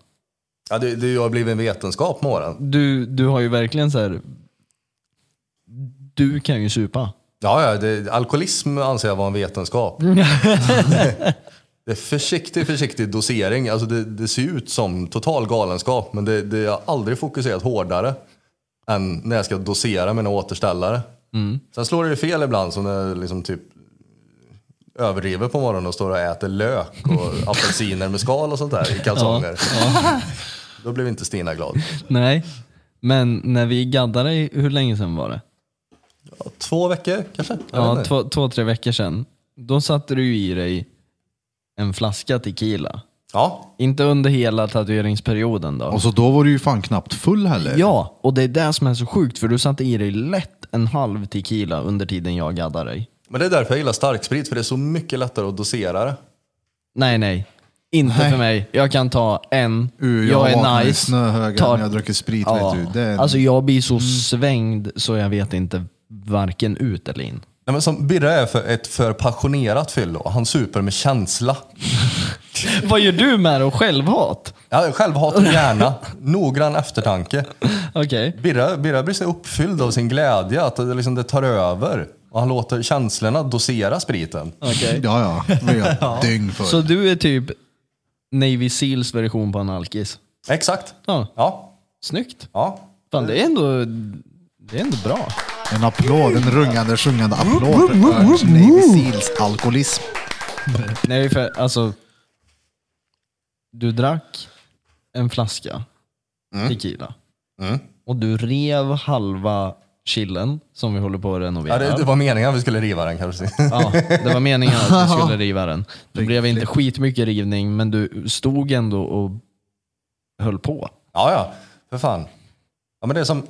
Speaker 6: Ja, det, det har blivit en vetenskap med åren.
Speaker 4: Du, du har ju verkligen så här. Du kan ju supa.
Speaker 6: Ja, ja det, alkoholism anser jag vara en vetenskap. det är försiktig, försiktig dosering. Alltså det, det ser ut som total galenskap, men det, det jag har aldrig fokuserat hårdare än när jag ska dosera mina återställare. Sen slår det ju fel ibland, som när jag liksom typ överdriver på morgonen och står och äter lök och apelsiner med skal och sånt där i kalsonger. Då blev inte Stina glad.
Speaker 4: [laughs] Nej. Men när vi gaddade, i- hur länge sedan var det?
Speaker 6: Ja, två veckor kanske? Jag vet
Speaker 4: Ja,
Speaker 6: inte.
Speaker 4: två, två, tre veckor sedan. Då satte du ju i dig en flaska tequila.
Speaker 6: ja,
Speaker 4: Inte under hela tatueringsperioden då.
Speaker 2: Och så då var du ju fan knappt full heller.
Speaker 4: Ja, och det är det som är så sjukt för du satte i dig lätt en halv tequila under tiden jag gaddade dig.
Speaker 6: Men det är därför jag gillar starksprit, för det är så mycket lättare att dosera det.
Speaker 4: Nej, nej. Inte för mig. Jag kan ta en.
Speaker 2: Uh, jag,
Speaker 4: jag,
Speaker 2: vaknar
Speaker 4: är
Speaker 2: i
Speaker 4: nice.
Speaker 2: snöhögar
Speaker 4: Tar-
Speaker 2: när jag dricker sprit.
Speaker 4: Ja.
Speaker 2: Vet du. Det är... Mm.
Speaker 4: Alltså jag blir så svängd så jag vet inte varken ut eller in.
Speaker 6: Nej, men som Birra är för ett för passionerat fyllo. Han super med känsla.
Speaker 4: Vad gör du med det? Självhat?
Speaker 6: Ja, självhat och hjärna. Noggrann eftertanke.
Speaker 4: Okej.
Speaker 6: Birra, Birra blir så uppfylld av sin glädje att det, liksom, det tar över. Och han låter känslorna dosera spriten.
Speaker 4: okej.
Speaker 2: Ja, ja. Det är jag dygn för.
Speaker 4: Så du är typ Navy Seals version på en alkis?
Speaker 6: Exakt.
Speaker 4: Ja.
Speaker 6: Ja.
Speaker 4: Snyggt.
Speaker 6: ja.
Speaker 4: Fan, det är ändå, det är ändå bra.
Speaker 2: En applåd, en rungande, sjungande applåd för Ernst Navy Seals alkoholism.
Speaker 4: Nej, för alltså. Du drack en flaska
Speaker 2: Mm.
Speaker 4: tequila. Och du rev halva chillen som vi håller på att renovera.
Speaker 6: ja det, det var meningen att vi skulle riva den kanske.
Speaker 4: Ja, det var meningen att du
Speaker 2: [laughs]
Speaker 4: skulle riva den. Det blev inte skitmycket rivning, men du stod ändå och höll på.
Speaker 6: Ja, ja. För fan. Ja, men det är som,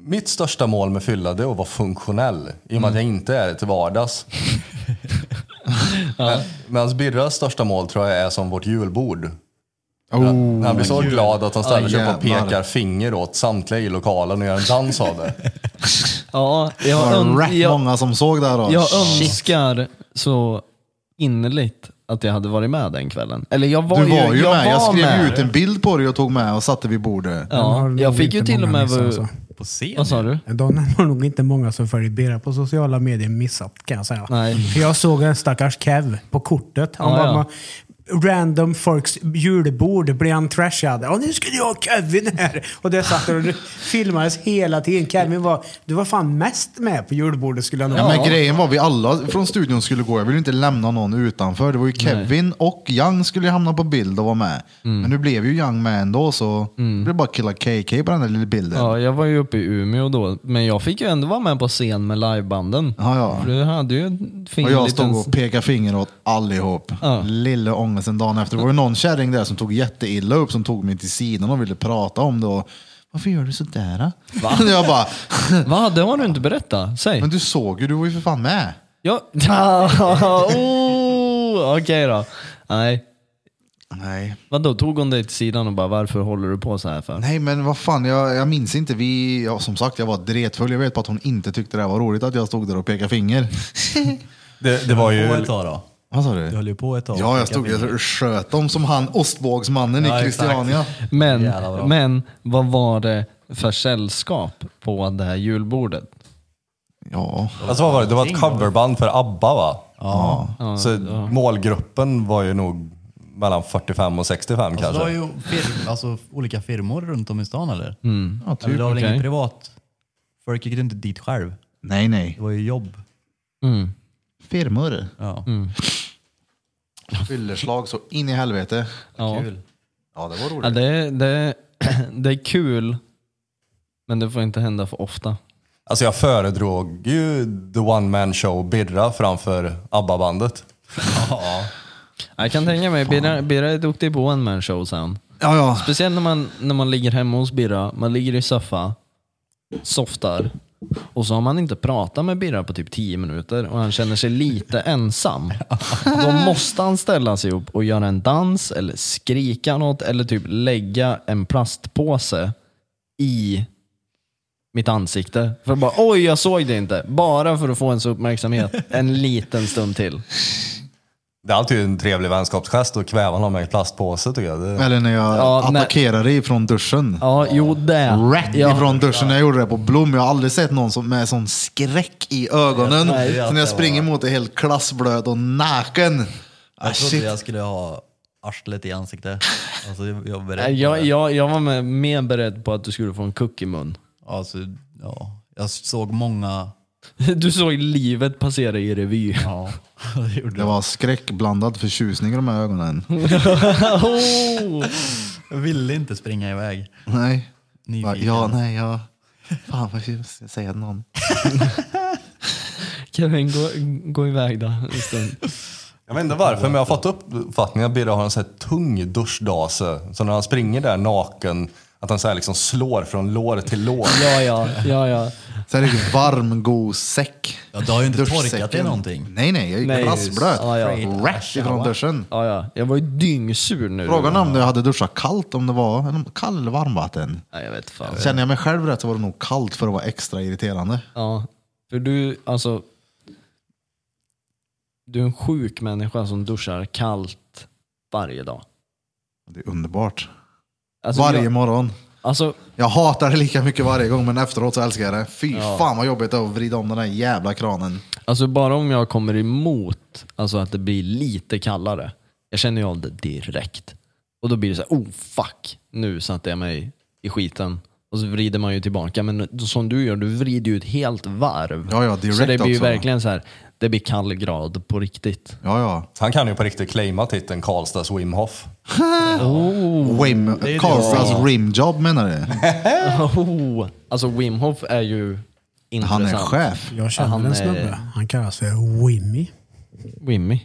Speaker 6: mitt största mål med fylla det är att vara funktionell. I och med att jag inte är det till [laughs] vardags. Men- Medan Birras största mål tror jag är som vårt julbord.
Speaker 2: Oh.
Speaker 6: han blir så glad att han ställer
Speaker 2: Ah,
Speaker 6: sig upp och
Speaker 2: jävlar.
Speaker 6: pekar finger åt samtliga i lokalen och gör en dans av det.
Speaker 4: Ja,
Speaker 2: Det
Speaker 4: jag,
Speaker 2: var
Speaker 4: öns-
Speaker 2: rätt
Speaker 4: jag,
Speaker 2: många som såg det här då.
Speaker 4: jag önskar så innerligt att jag hade varit med den kvällen. Eller jag var,
Speaker 2: Du var ju
Speaker 4: jag
Speaker 2: med. Jag
Speaker 4: var
Speaker 2: skrev ju
Speaker 4: med.
Speaker 2: ut en bild på dig och tog med och satte vid bordet.
Speaker 4: Ja, jag fick ju till och med...
Speaker 3: Alltså.
Speaker 5: På scen?
Speaker 4: Vad sa du?
Speaker 3: De har nog inte många som följer Bera på sociala medier missat kan jag säga.
Speaker 4: Nej.
Speaker 3: För jag såg en stackars Kev på kortet. Han
Speaker 4: Ja,
Speaker 3: var
Speaker 4: ja.
Speaker 3: med Random folks julbord blev han trashad. Åh, nu skulle jag ha Kevin här! Och det satt och filmades hela tiden. Kevin var, du var fan mest med på julbordet skulle jag nog
Speaker 2: Ja,
Speaker 3: säga.
Speaker 2: men grejen var vi alla från studion skulle gå. Jag ville ju inte lämna någon utanför. Det var ju Kevin och Young skulle ju hamna på bild och vara med.
Speaker 4: Mm.
Speaker 2: Men nu blev ju Young med ändå så det blev bara killa KK på den där lilla bilden.
Speaker 4: Ja, jag var ju uppe i Umeå då, men jag fick ju ändå vara med på scen med livebanden.
Speaker 2: Ja, ja.
Speaker 4: För du hade ju en fin
Speaker 2: Och jag
Speaker 4: liten...
Speaker 2: stod och pekade finger åt allihop.
Speaker 4: Ja.
Speaker 2: Lille ångesten dagen efter. Det var ju någon kärring där som tog jätteilla upp, som tog mig till sidan och ville prata om det. Och, Varför gör du sådär? då?" [laughs] jag bara,
Speaker 4: Va? Det har du inte berättat? Säg.
Speaker 2: men du såg ju, du var ju för fan med.
Speaker 4: Ja. [laughs] oh, Okej då. Nej.
Speaker 2: Nej.
Speaker 4: Vadå, tog hon dig till sidan och bara varför håller du på så här för?
Speaker 2: Nej men vad fan, jag, jag minns inte. Vi, ja, som sagt, jag var dretfull. Jag vet bara att hon inte tyckte det här var roligt att jag stod där och pekade finger.
Speaker 6: [laughs] Det, det var
Speaker 5: Du höll på
Speaker 6: ju...
Speaker 5: ett tag då?
Speaker 2: Vad sa du?
Speaker 5: Du höll ju på ett tag.
Speaker 2: Ja, jag stod jag sköt dem som han ostbågsmannen
Speaker 5: Ja,
Speaker 2: i
Speaker 5: exakt.
Speaker 2: Christiania.
Speaker 4: Men,
Speaker 5: Jävlar bra.
Speaker 4: men vad var det för sällskap på det här julbordet?
Speaker 2: Ja,
Speaker 6: Alltså vad var det? Det var ett coverband för ABBA va? Ja. Så målgruppen var ju nog mellan 45 och 65
Speaker 5: Alltså, det var
Speaker 6: kanske.
Speaker 5: ju fir- alltså, olika firmor runt om i stan eller?
Speaker 4: Mm.
Speaker 5: typ. eller det var väl
Speaker 4: okej.
Speaker 5: ingen privat? Folk gick inte dit själv.
Speaker 2: nej nej.
Speaker 5: Det var ju jobb.
Speaker 2: Firmor.
Speaker 5: Ja.
Speaker 4: Mm.
Speaker 2: Fyllerslag så in i helvete.
Speaker 4: Ja.
Speaker 2: Ja, det var roligt.
Speaker 4: Ja, det, det, [clears throat] det är kul, men det får inte hända för ofta.
Speaker 6: Alltså jag föredrog ju The One Man Show Birra framför ABBA-bandet.
Speaker 4: Jag kan tänka mig, Birra, Birra är duktig på one man show sen.
Speaker 2: Ja, ja.
Speaker 4: Speciellt när man, när man ligger hemma hos Birra, man ligger i soffa, softar och så har man inte pratat med Birra på typ 10 minuter och han känner
Speaker 2: [laughs]
Speaker 4: sig lite ensam. Då måste han ställa sig upp och göra en dans eller skrika något eller typ lägga en plastpåse i mitt ansikte. För att bara oj, jag såg det inte. Bara för att få ens uppmärksamhet en liten stund till.
Speaker 6: Det är alltid en trevlig vänskapsgest att kväva någon med en plastpåse tycker jag. Det,
Speaker 2: Eller när jag
Speaker 4: Ja, nej.
Speaker 2: attackerade ifrån duschen.
Speaker 4: Ja, jo det.
Speaker 2: Rätt
Speaker 4: Ja.
Speaker 2: ifrån duschen när jag gjorde det på Blom. Jag har aldrig sett någon som, med sån skräck i ögonen. Så när jag springer mot det helt klassblöt och naken. Ah,
Speaker 5: Jag trodde
Speaker 2: shit.
Speaker 5: jag skulle ha arslet i ansiktet. Alltså, jag, jag berättade.
Speaker 4: Nej, Äh, Jag, jag, jag var med, mer beredd på att du skulle få en kuck i mun. [laughs]
Speaker 5: Alltså, ja. jag såg många...
Speaker 4: Du såg livet passera i revy.
Speaker 5: [laughs] Ja, det gjorde
Speaker 2: Det var skräckblandad förtjusning i de här ögonen.
Speaker 4: Oh!
Speaker 5: Jag ville inte springa iväg.
Speaker 2: Nej. Bara,
Speaker 5: Nyfiken.
Speaker 2: Ja, nej, jag... Fan vad tjusigt att säga någon.
Speaker 4: [laughs] Kevin, gå, gå iväg då en stund.
Speaker 6: jag vet inte varför men jag har fått uppfattningen att Birra har en sån här tung duschdase. Så när han springer där naken, att han så här liksom slår från lår till lår.
Speaker 4: [laughs] Ja, ja, ja, ja.
Speaker 2: Så här är det varm, god säck.
Speaker 5: Ja, du har ju inte
Speaker 2: Duschsäcken.
Speaker 5: torkat dig någonting.
Speaker 2: Nej, nej. Jag
Speaker 4: Nej.
Speaker 2: är glassblöt.
Speaker 4: Ja, ja.
Speaker 2: Rätt ifrån duschen.
Speaker 4: ja, ja. Jag var ju dyngsur nu.
Speaker 2: Frågan är om jag hade duschat kallt, om det var kall eller varmvatten.
Speaker 4: Nej, jag vet fan.
Speaker 2: Känner jag mig själv rätt så var det nog kallt för att vara extra irriterande.
Speaker 4: Ja. För du, alltså. Du är en sjuk människa som duschar kallt varje dag.
Speaker 2: Det är underbart.
Speaker 4: Alltså,
Speaker 2: varje
Speaker 4: jag,
Speaker 2: morgon.
Speaker 4: alltså,
Speaker 2: Jag hatar det lika mycket varje gång, men efteråt så älskar jag det. Fy fan vad jobbigt det är att vrida om den där jävla kranen.
Speaker 4: Alltså bara om jag kommer emot alltså att det blir lite kallare. Jag känner ju av det direkt. Och då blir det så här, oh fuck, nu satte jag mig i skiten. Och så vrider man ju tillbaka. Men då- som du gör, du vrider ju ett helt varv.
Speaker 2: Ja, ja, direkt
Speaker 4: så det blir ju
Speaker 2: också.
Speaker 4: verkligen så här, det blir kall grad på riktigt.
Speaker 2: Ja, ja.
Speaker 6: Han kan ju på riktigt claima titeln Karlstads Wim Hof.
Speaker 2: Oh, Wim, Karlstads rimjob menar
Speaker 4: [laughs]
Speaker 2: du?
Speaker 4: Oh, alltså Wim Hof är ju
Speaker 2: Han
Speaker 4: intressant.
Speaker 2: är chef.
Speaker 3: Jag känner
Speaker 4: Han
Speaker 3: en
Speaker 4: är-
Speaker 3: snubbe. Han kallas för Wimmy. [laughs]
Speaker 4: Wimmy.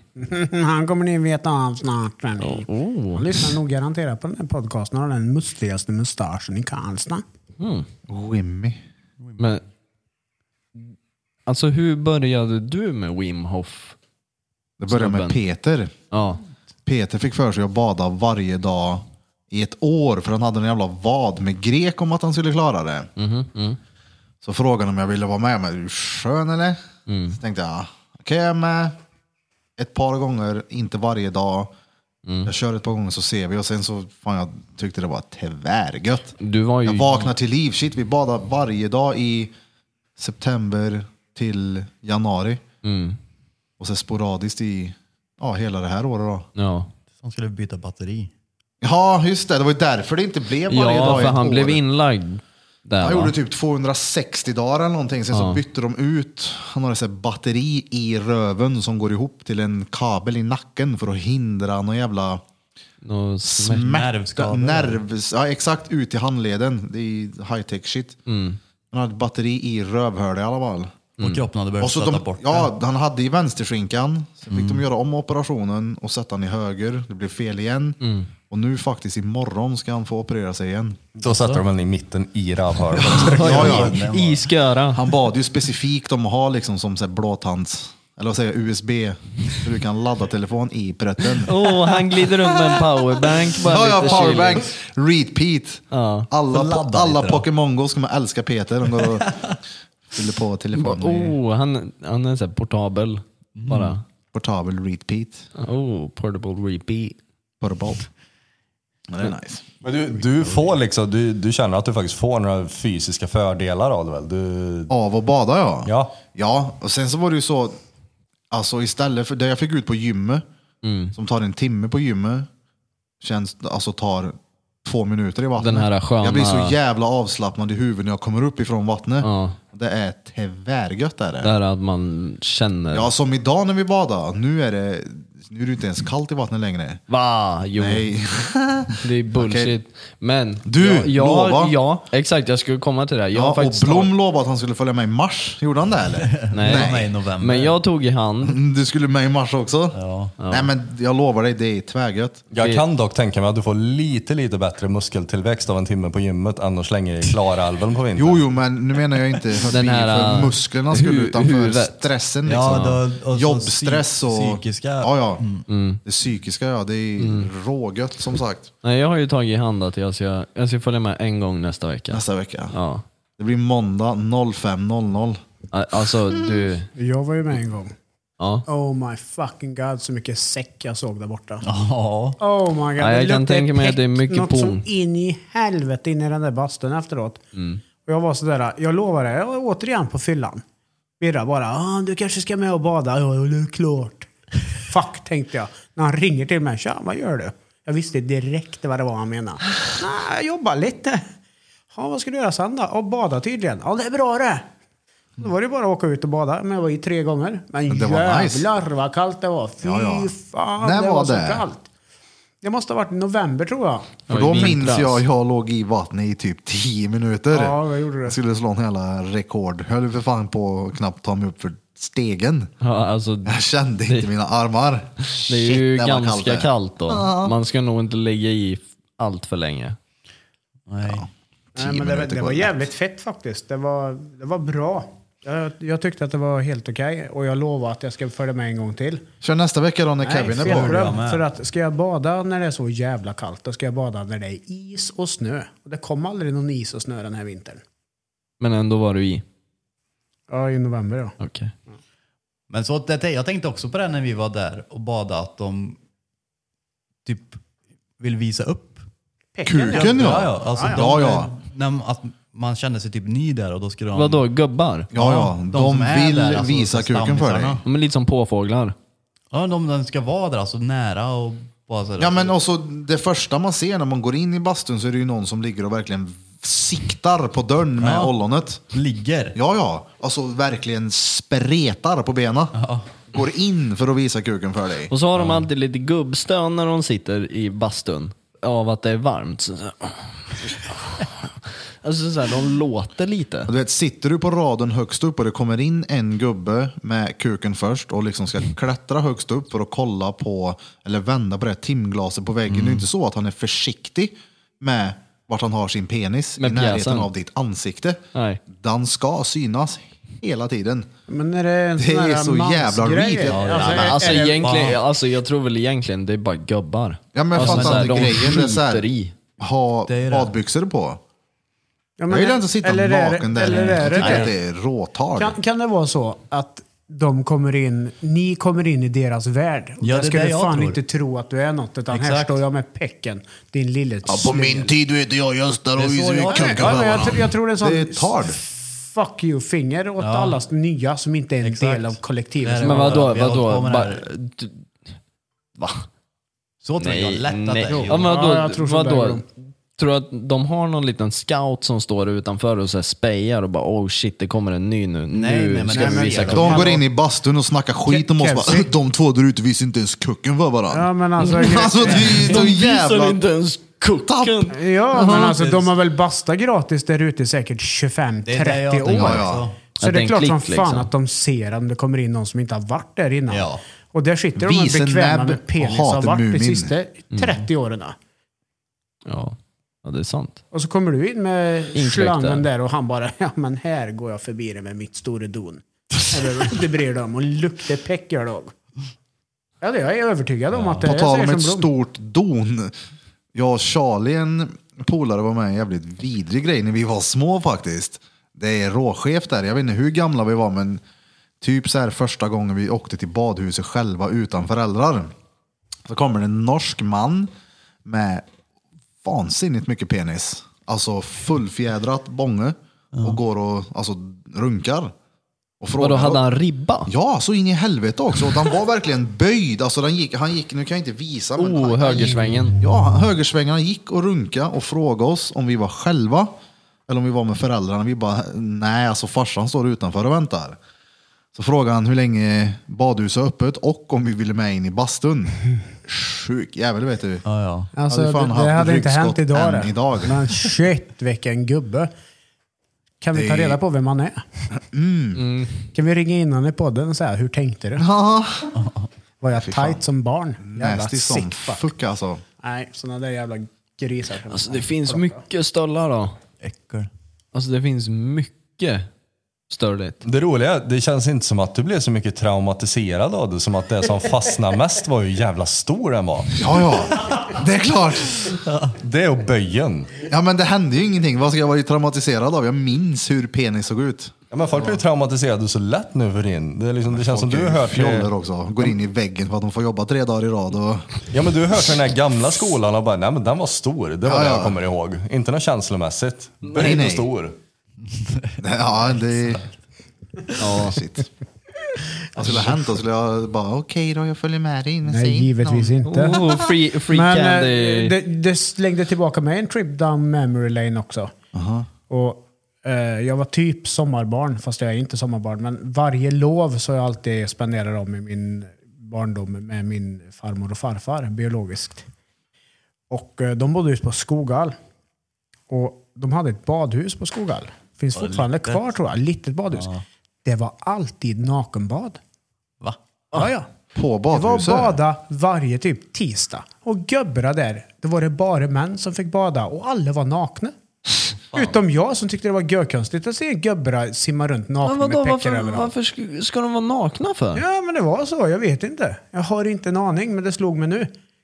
Speaker 3: Han kommer ni veta av snart. men ni-
Speaker 4: oh.
Speaker 3: Han lyssnar nog garanterat på den här podcasten. Han har den mustigaste mustaschen i Karlstad.
Speaker 2: Wimmy.
Speaker 4: Men, alltså hur började du med Wim Hof?
Speaker 2: Det började med
Speaker 4: Snubben.
Speaker 2: Peter.
Speaker 4: Ja.
Speaker 2: Peter fick för sig att bada varje dag i ett år för han hade en jävla vad med grek om att han skulle klara det. Så frågade han om jag ville vara med. Men, är du skön eller? Så tänkte jag, okej jag är med. ett par gånger, inte varje dag. Jag kör ett par gånger så ser vi och sen så fan jag tyckte det var tvärgött.
Speaker 4: Du var ju...
Speaker 2: Jag vaknar till liv. Shit, vi badar varje dag i september till januari. Och sen sporadiskt i ja, hela det här året då.
Speaker 4: Ja.
Speaker 5: Som skulle byta batteri.
Speaker 2: Ja, just det. Det var ju därför det inte blev varje
Speaker 4: ja,
Speaker 2: dag i
Speaker 4: för
Speaker 2: ett
Speaker 4: han
Speaker 2: år.
Speaker 4: blev inlagd där
Speaker 2: Han
Speaker 4: va?
Speaker 2: gjorde typ 260 dagar eller någonting. Sen så bytte de ut. Han har ett sånt här batteri i röven som går ihop till en kabel i nacken för att hindra någon jävla
Speaker 4: Någon smär-
Speaker 2: smärta.
Speaker 5: nervskada.
Speaker 2: Nerv, ja, exakt, ut i handleden. Det är high tech shit.
Speaker 4: Mm.
Speaker 2: Han hade ett batteri i rövhölet i alla fall.
Speaker 5: Och kroppen hade börjat
Speaker 2: Och så
Speaker 5: stöta
Speaker 2: de,
Speaker 5: bort den.
Speaker 2: ja, han hade i vänsterskinkan, sen fick
Speaker 4: Mm.
Speaker 2: de göra om operationen och sätta han i höger. Det blev fel igen.
Speaker 4: Mm.
Speaker 2: Och nu faktiskt imorgon ska han få operera sig igen.
Speaker 6: Då satte de den i mitten i rövhålet.
Speaker 2: Ja, ja.
Speaker 4: [laughs] I sköra.
Speaker 2: Han bad ju specifikt om att ha liksom som så här blåtands, eller vad säger jag, USB, så du kan ladda telefon i prötten.
Speaker 4: Åh, han glider runt med en powerbank bara
Speaker 2: Ja, ja,
Speaker 4: lite
Speaker 2: powerbank,
Speaker 4: chilling.
Speaker 2: repeat.
Speaker 4: Ja.
Speaker 2: Alla,
Speaker 5: Så ladda
Speaker 2: po-
Speaker 5: lite
Speaker 2: alla
Speaker 5: då.
Speaker 2: Pokémon Go ska man älska Peter. De [laughs] går och fyller på telefonen i
Speaker 4: Oh, han, han är såhär portabel.
Speaker 2: Mm.
Speaker 4: Bara.
Speaker 2: portabel repeat.
Speaker 4: Oh, portable repeat.
Speaker 2: Portable. Men det är nice.
Speaker 6: [laughs] Men du, du, får liksom, du, du känner att du faktiskt får några fysiska fördelar av det väl? Du,
Speaker 2: Av och bada ja.
Speaker 6: Ja.
Speaker 2: Ja, och sen så var det ju så, alltså istället för det jag fick ut på gymmet,
Speaker 4: Mm.
Speaker 2: som tar en timme på gymmet, känns, alltså tar två minuter i vattnet.
Speaker 4: Den här sköna-
Speaker 2: Jag blir så jävla avslappnad i huvudet när jag kommer upp ifrån vattnet.
Speaker 4: Ja.
Speaker 2: Det är tvärgött är det.
Speaker 4: Där att man känner.
Speaker 2: Ja, som idag när vi badade. Nu är det, nu är det inte ens kallt i vattnet längre.
Speaker 4: Va? Jo,
Speaker 2: Nej.
Speaker 4: det är bullshit. Men.
Speaker 2: Du,
Speaker 4: jag, jag,
Speaker 2: lova.
Speaker 4: Ja, exakt. Jag skulle komma till det. här. Jag har
Speaker 2: Ja, och
Speaker 4: faktiskt
Speaker 2: Blom
Speaker 4: tagit-
Speaker 2: lovade att han skulle följa med i mars. Gjorde han det eller?
Speaker 4: [laughs] Nej.
Speaker 5: Han var i november.
Speaker 4: Men jag tog i hand.
Speaker 2: Mm, Du skulle med i mars också?
Speaker 5: Ja.
Speaker 2: Nej men jag lovar dig, det är tvärgött.
Speaker 6: jag kan dock tänka mig att du får lite, lite bättre muskeltillväxt av en timme på gymmet än att slänga dig i Klarälven på vintern.
Speaker 2: Jo, jo, men nu menar jag inte för,
Speaker 4: Den här, äh,
Speaker 2: för musklerna
Speaker 4: hu-
Speaker 2: skulle utan för
Speaker 4: huvudet.
Speaker 2: stressen. Liksom.
Speaker 5: Ja, då- och så
Speaker 2: Jobbstress
Speaker 5: psy-
Speaker 2: och...
Speaker 5: psykiska.
Speaker 2: Ja, ja.
Speaker 3: Mm.
Speaker 4: Mm.
Speaker 2: Det psykiska, ja. Det är rågött som sagt.
Speaker 4: Nej, jag har ju tagit i hand att jag ska, jag ska följa med en gång nästa vecka.
Speaker 2: Nästa vecka.
Speaker 4: Ja.
Speaker 2: Det blir måndag 05.00.
Speaker 4: A- Alltså
Speaker 2: Mm.
Speaker 4: du,
Speaker 3: Jag var ju med en gång.
Speaker 4: ja.
Speaker 3: Oh my fucking god så mycket säck jag såg där borta.
Speaker 5: Ja.
Speaker 3: Oh my god.
Speaker 4: Ja, jag
Speaker 3: det
Speaker 4: kan
Speaker 3: luktade
Speaker 4: tänka mig att det är
Speaker 3: peck,
Speaker 4: mycket
Speaker 3: Något som
Speaker 4: pung.
Speaker 3: in i helvete in i den där bastun efteråt.
Speaker 4: Mm.
Speaker 3: Och jag var sådär, jag lovar det, jag var återigen på fyllan. Birra bara, ah, du kanske ska med och bada? Ja, det är klart. Fuck, tänkte jag. När han ringer till mig, tja, vad gör du? Jag visste direkt vad det var han menade. Nej, jag jobbar lite. Ja, vad ska du göra sen då? Och bada tydligen. Ja, det är bra det. Då var det bara att åka ut och bada, men jag var i tre gånger. Men,
Speaker 2: Men det var
Speaker 3: jävlar
Speaker 2: nice.
Speaker 3: vad kallt det var. Fy
Speaker 2: Ja, ja.
Speaker 3: fan,
Speaker 2: När
Speaker 3: det var,
Speaker 2: var
Speaker 3: så
Speaker 2: det?
Speaker 3: kallt. Det måste ha varit i november tror jag.
Speaker 2: För
Speaker 4: Ja, i
Speaker 2: då
Speaker 4: vintras.
Speaker 2: minns jag jag låg i vattnet i typ 10 minuter.
Speaker 3: Ja, jag gjorde det.
Speaker 2: Jag skulle slå en hela rekord. Höll ju för fan på att knappt ta mig upp för stegen.
Speaker 4: ja alltså,
Speaker 2: Jag kände inte mina armar.
Speaker 4: Det är ju
Speaker 2: Ah, Shit, det var
Speaker 4: ganska
Speaker 2: det.
Speaker 4: kallt, då. Man ska nog inte ligga i f- allt för länge.
Speaker 5: Nej.
Speaker 3: Nej,
Speaker 2: 10
Speaker 3: men det,
Speaker 2: minuter
Speaker 3: det var
Speaker 2: går lätt.
Speaker 3: jävligt fett faktiskt. Det var, det var bra. Jag, jag tyckte att det var helt okej och jag lovar att jag ska följa med en gång till.
Speaker 2: Kör nästa vecka då när Kevin är
Speaker 3: fel
Speaker 2: på.
Speaker 3: glöm,
Speaker 5: Jag med.
Speaker 3: För att ska jag bada när det är så jävla kallt, då ska jag bada när det är is och snö. Och det kom aldrig någon is och snö den här vintern.
Speaker 4: Men ändå var du i.
Speaker 3: Ja, i november ja.
Speaker 4: Okej.
Speaker 5: Men så, att det- jag tänkte också på det när vi var där och badade, att de typ vill visa upp.
Speaker 2: Kuken ja.
Speaker 5: ja. ja, alltså
Speaker 2: ja.
Speaker 5: de-
Speaker 2: Ja, ja.
Speaker 5: När, att man kände sig typ ny där och då skulle de...
Speaker 4: Vadå, gubbar?
Speaker 2: Ja, ja.
Speaker 5: de
Speaker 2: De,
Speaker 5: som är
Speaker 2: vill
Speaker 5: där, alltså,
Speaker 2: visa kuken för dig.
Speaker 5: stammisarna.
Speaker 4: De är lite som påfåglar.
Speaker 5: Ja, de, de ska vara där, alltså nära och bara så här-
Speaker 2: Ja, men också det första man ser när man går in i bastun så är det ju någon som ligger och verkligen siktar på dörren med
Speaker 5: Ja.
Speaker 2: ollonet.
Speaker 5: Ligger.
Speaker 2: Ja, ja. Alltså verkligen spretar på benen. Går in för att visa kuken för dig.
Speaker 4: Och så har de alltid lite gubbstön när de sitter i bastun. Av att det är varmt. Så, [laughs] så här. Alltså så här, de låter lite.
Speaker 2: Och Du vet, sitter du på raden högst upp och det kommer in en gubbe med kuken först och liksom ska klättra högst upp för att kolla på, eller vända på det här timglaset på väggen.
Speaker 4: Mm.
Speaker 2: Det är inte så att han är försiktig med vart han har sin penis
Speaker 4: Med
Speaker 2: i närheten
Speaker 4: pjäsen.
Speaker 2: av ditt ansikte.
Speaker 4: Nej.
Speaker 2: Den ska synas hela tiden.
Speaker 3: Men är det en
Speaker 2: Det
Speaker 3: sån här
Speaker 2: är så jävla
Speaker 3: mansgrej?
Speaker 2: weird. Ja, ja.
Speaker 4: Ja, men
Speaker 3: är-
Speaker 4: alltså,
Speaker 3: är det-
Speaker 4: egentligen, alltså jag tror väl egentligen det är bara gubbar.
Speaker 2: Ja, men jag
Speaker 4: alltså,
Speaker 2: fattar inte
Speaker 4: de
Speaker 2: grejen. Det är så
Speaker 4: skiter i.
Speaker 2: här, ha
Speaker 5: Det är det.
Speaker 2: badbyxor på.
Speaker 3: Ja, men
Speaker 2: Jag gillar
Speaker 3: är-
Speaker 2: inte att sitta
Speaker 3: eller är det-
Speaker 2: naken där.
Speaker 3: Eller är
Speaker 2: Jag
Speaker 3: det
Speaker 2: tycker att
Speaker 3: det?
Speaker 2: det är råtar.
Speaker 3: Kan, kan det vara så att de kommer in, ni kommer in i deras värld. Och
Speaker 5: Ja,
Speaker 3: där
Speaker 5: det är
Speaker 3: ska
Speaker 5: det
Speaker 3: du
Speaker 5: jag
Speaker 3: fan
Speaker 5: tror.
Speaker 3: inte tro att du är något. Utan här
Speaker 5: Exakt.
Speaker 3: står jag med pecken, din lille
Speaker 2: Ja, på min tid vet jag Gösta och
Speaker 5: så
Speaker 2: vi
Speaker 5: jag-
Speaker 2: kunkar
Speaker 3: Ja, men jag,
Speaker 2: varandra.
Speaker 3: tr- jag tror det är en sån
Speaker 2: Det är tard.
Speaker 3: fuck you-finger åt alla nya som inte är en
Speaker 5: Exakt.
Speaker 3: del av
Speaker 5: Det
Speaker 3: kollektivet.
Speaker 5: är
Speaker 3: Som
Speaker 5: det.
Speaker 4: Men
Speaker 3: bara-
Speaker 4: vadå?
Speaker 5: Vi har hållit
Speaker 4: vadå?
Speaker 5: på med det
Speaker 4: Bara,
Speaker 5: här.
Speaker 4: d- va?
Speaker 5: Så tror jag lätt att det är.
Speaker 4: Ja, men vadå,
Speaker 3: Ja, jag tror så där,
Speaker 4: vadå?
Speaker 3: ja.
Speaker 4: Tror du att de har någon liten scout som står utanför och så här spejar och bara oh shit det kommer en ny nu.
Speaker 5: Nej,
Speaker 4: nu
Speaker 5: nej, men
Speaker 4: ska
Speaker 5: nej,
Speaker 4: vi
Speaker 5: men-
Speaker 4: visa
Speaker 5: de-
Speaker 4: kuppen."
Speaker 2: De går in i bastun och snackar skit om oss. Bara,
Speaker 3: Kevsi.
Speaker 2: [laughs] De två där ute visar inte ens kucken för
Speaker 3: Ja,
Speaker 2: varandra.
Speaker 3: men alltså,
Speaker 2: [laughs] Alltså det är så jävla...
Speaker 4: ens kucken.
Speaker 3: Ja, men alltså de har väl bastat gratis där ute i säkert 25-30
Speaker 5: Det är det jag
Speaker 3: år.
Speaker 5: tänker
Speaker 2: Ja, ja.
Speaker 5: också.
Speaker 3: Så det
Speaker 4: Ja, det är
Speaker 3: är
Speaker 4: en
Speaker 3: klart som
Speaker 4: klick,
Speaker 3: fan
Speaker 4: liksom.
Speaker 3: att de ser om det kommer in någon som inte har varit där innan.
Speaker 5: Ja.
Speaker 3: Och där sitter de
Speaker 2: Vise
Speaker 3: här bekväma
Speaker 2: näbb
Speaker 3: med penis
Speaker 2: och
Speaker 3: har
Speaker 2: hatar
Speaker 3: varit de
Speaker 2: Mumin.
Speaker 3: sista 30 åren.
Speaker 4: Ja. ja, det är sant.
Speaker 3: Och så kommer du in med
Speaker 4: där.
Speaker 3: slangen där och han bara, ja men här går jag förbi det med mitt store don. Eller det bryr dig om. Och lukter peck gör det av. Ja, det jag är övertygad om att det
Speaker 2: På
Speaker 3: är
Speaker 2: tal om ett
Speaker 3: stort...
Speaker 2: stort don. Jag och Charlie, en polare, var med i en jävligt vidrig grej när vi var små faktiskt. Det är råchef där, jag vet inte hur gamla vi var men typ så här första gången vi åkte till badhuset själva utan föräldrar. Så kommer det en norsk man med vansinnigt mycket penis. Alltså fullfjädrat bånge och går och alltså, runkar. Och
Speaker 4: Vadå,
Speaker 2: frågar-
Speaker 4: hade han ribba?
Speaker 2: Ja, så in i helvete också. Och han var verkligen böjd. Alltså, han, gick, han gick, nu kan jag inte visa. Men
Speaker 4: Oh,
Speaker 2: han,
Speaker 4: högersvängen.
Speaker 2: Ja, han- högersvängarna gick och runka och frågade oss om vi var själva eller om vi var med föräldrarna. Vi bara, nej, alltså farsan står utanför och väntar. Så frågade han hur länge badhuset är öppet och om vi ville med in i bastun. Sjuk jävel vet du.
Speaker 5: Ja, ja.
Speaker 3: Alltså,
Speaker 2: Hade
Speaker 3: det,
Speaker 2: fan
Speaker 3: det
Speaker 2: haft
Speaker 3: hade inte
Speaker 2: ryggskott
Speaker 3: hänt idag.
Speaker 2: än
Speaker 3: det.
Speaker 2: idag.
Speaker 3: Men shit vilken gubbe. Kan vi
Speaker 2: Det- Mm.
Speaker 3: ta reda på vem han är?
Speaker 4: Mm.
Speaker 3: Kan vi ringa in honom i podden och säga, hur tänkte du?
Speaker 2: Ja,
Speaker 3: Var jag
Speaker 2: fan.
Speaker 3: tight som barn? Jävla
Speaker 2: nasty som
Speaker 3: sick fuck.
Speaker 2: fuck alltså.
Speaker 3: Nej, sådana där jävla grisar. som-
Speaker 4: Alltså det finns mycket stöllar då.
Speaker 5: Äckel.
Speaker 4: Alltså det finns mycket störligt.
Speaker 6: Det roliga är, det känns inte som att du blev så mycket traumatiserad av det. Som att det som fastnade mest var hur jävla stor den var.
Speaker 2: Ja, ja. Det är klart.
Speaker 6: Det och böjen.
Speaker 2: Ja, men det hände ju ingenting. Vad ska jag vara traumatiserad av? Jag minns hur penis såg ut.
Speaker 6: Ja, men folk blir ju traumatiserade så lätt nu för din. Det, är liksom, det känns som
Speaker 2: Folk
Speaker 6: du
Speaker 2: är
Speaker 6: har
Speaker 2: ju
Speaker 6: hört
Speaker 2: fjoller också. Går in i väggen för att de får jobba tre dagar i rad. Och... [laughs]
Speaker 6: Ja men du har hört den här gamla skolan och bara, nej men den var stor. Det var
Speaker 2: Ja,
Speaker 6: det
Speaker 2: ja.
Speaker 6: jag kommer ihåg. Inte något känslomässigt.
Speaker 2: Nej,
Speaker 6: Böjd
Speaker 2: nej.
Speaker 6: och stor.
Speaker 2: Ja, det... Ja, shit. Vad skulle ha hänt då? Skulle jag bara, okej då, jag följer med dig in.
Speaker 3: Nej, givetvis inte.
Speaker 4: Oh, free, free
Speaker 3: Men eh,
Speaker 4: candy.
Speaker 3: det, det slängde tillbaka mig en trip down memory lane också. Och, eh, jag var typ sommarbarn, fast jag är inte sommarbarn. Men varje lov så har jag alltid spenderat om i min barndom med min farmor och farfar biologiskt. Och eh, de bodde just på Skogal. Och de hade ett badhus på Skogal. Finns fortfarande kvar tror jag. Litet badhus. Det var alltid nakenbad.
Speaker 5: Va?
Speaker 3: Ja, ja.
Speaker 2: På
Speaker 3: Det var
Speaker 2: badhuset?
Speaker 3: bada varje typ tisdag. Och göbbra där, då var det bara män som fick bada och alla var nakna. Utom jag som tyckte det var görkonstigt att se göbbra simma runt
Speaker 4: Men
Speaker 3: nakna
Speaker 4: vadå,
Speaker 3: med peckar
Speaker 4: varför,
Speaker 3: överallt.
Speaker 4: varför ska, ska de vara nakna för?
Speaker 3: Ja, men det var så. Jag vet inte. Jag har inte en aning, men det slog mig nu.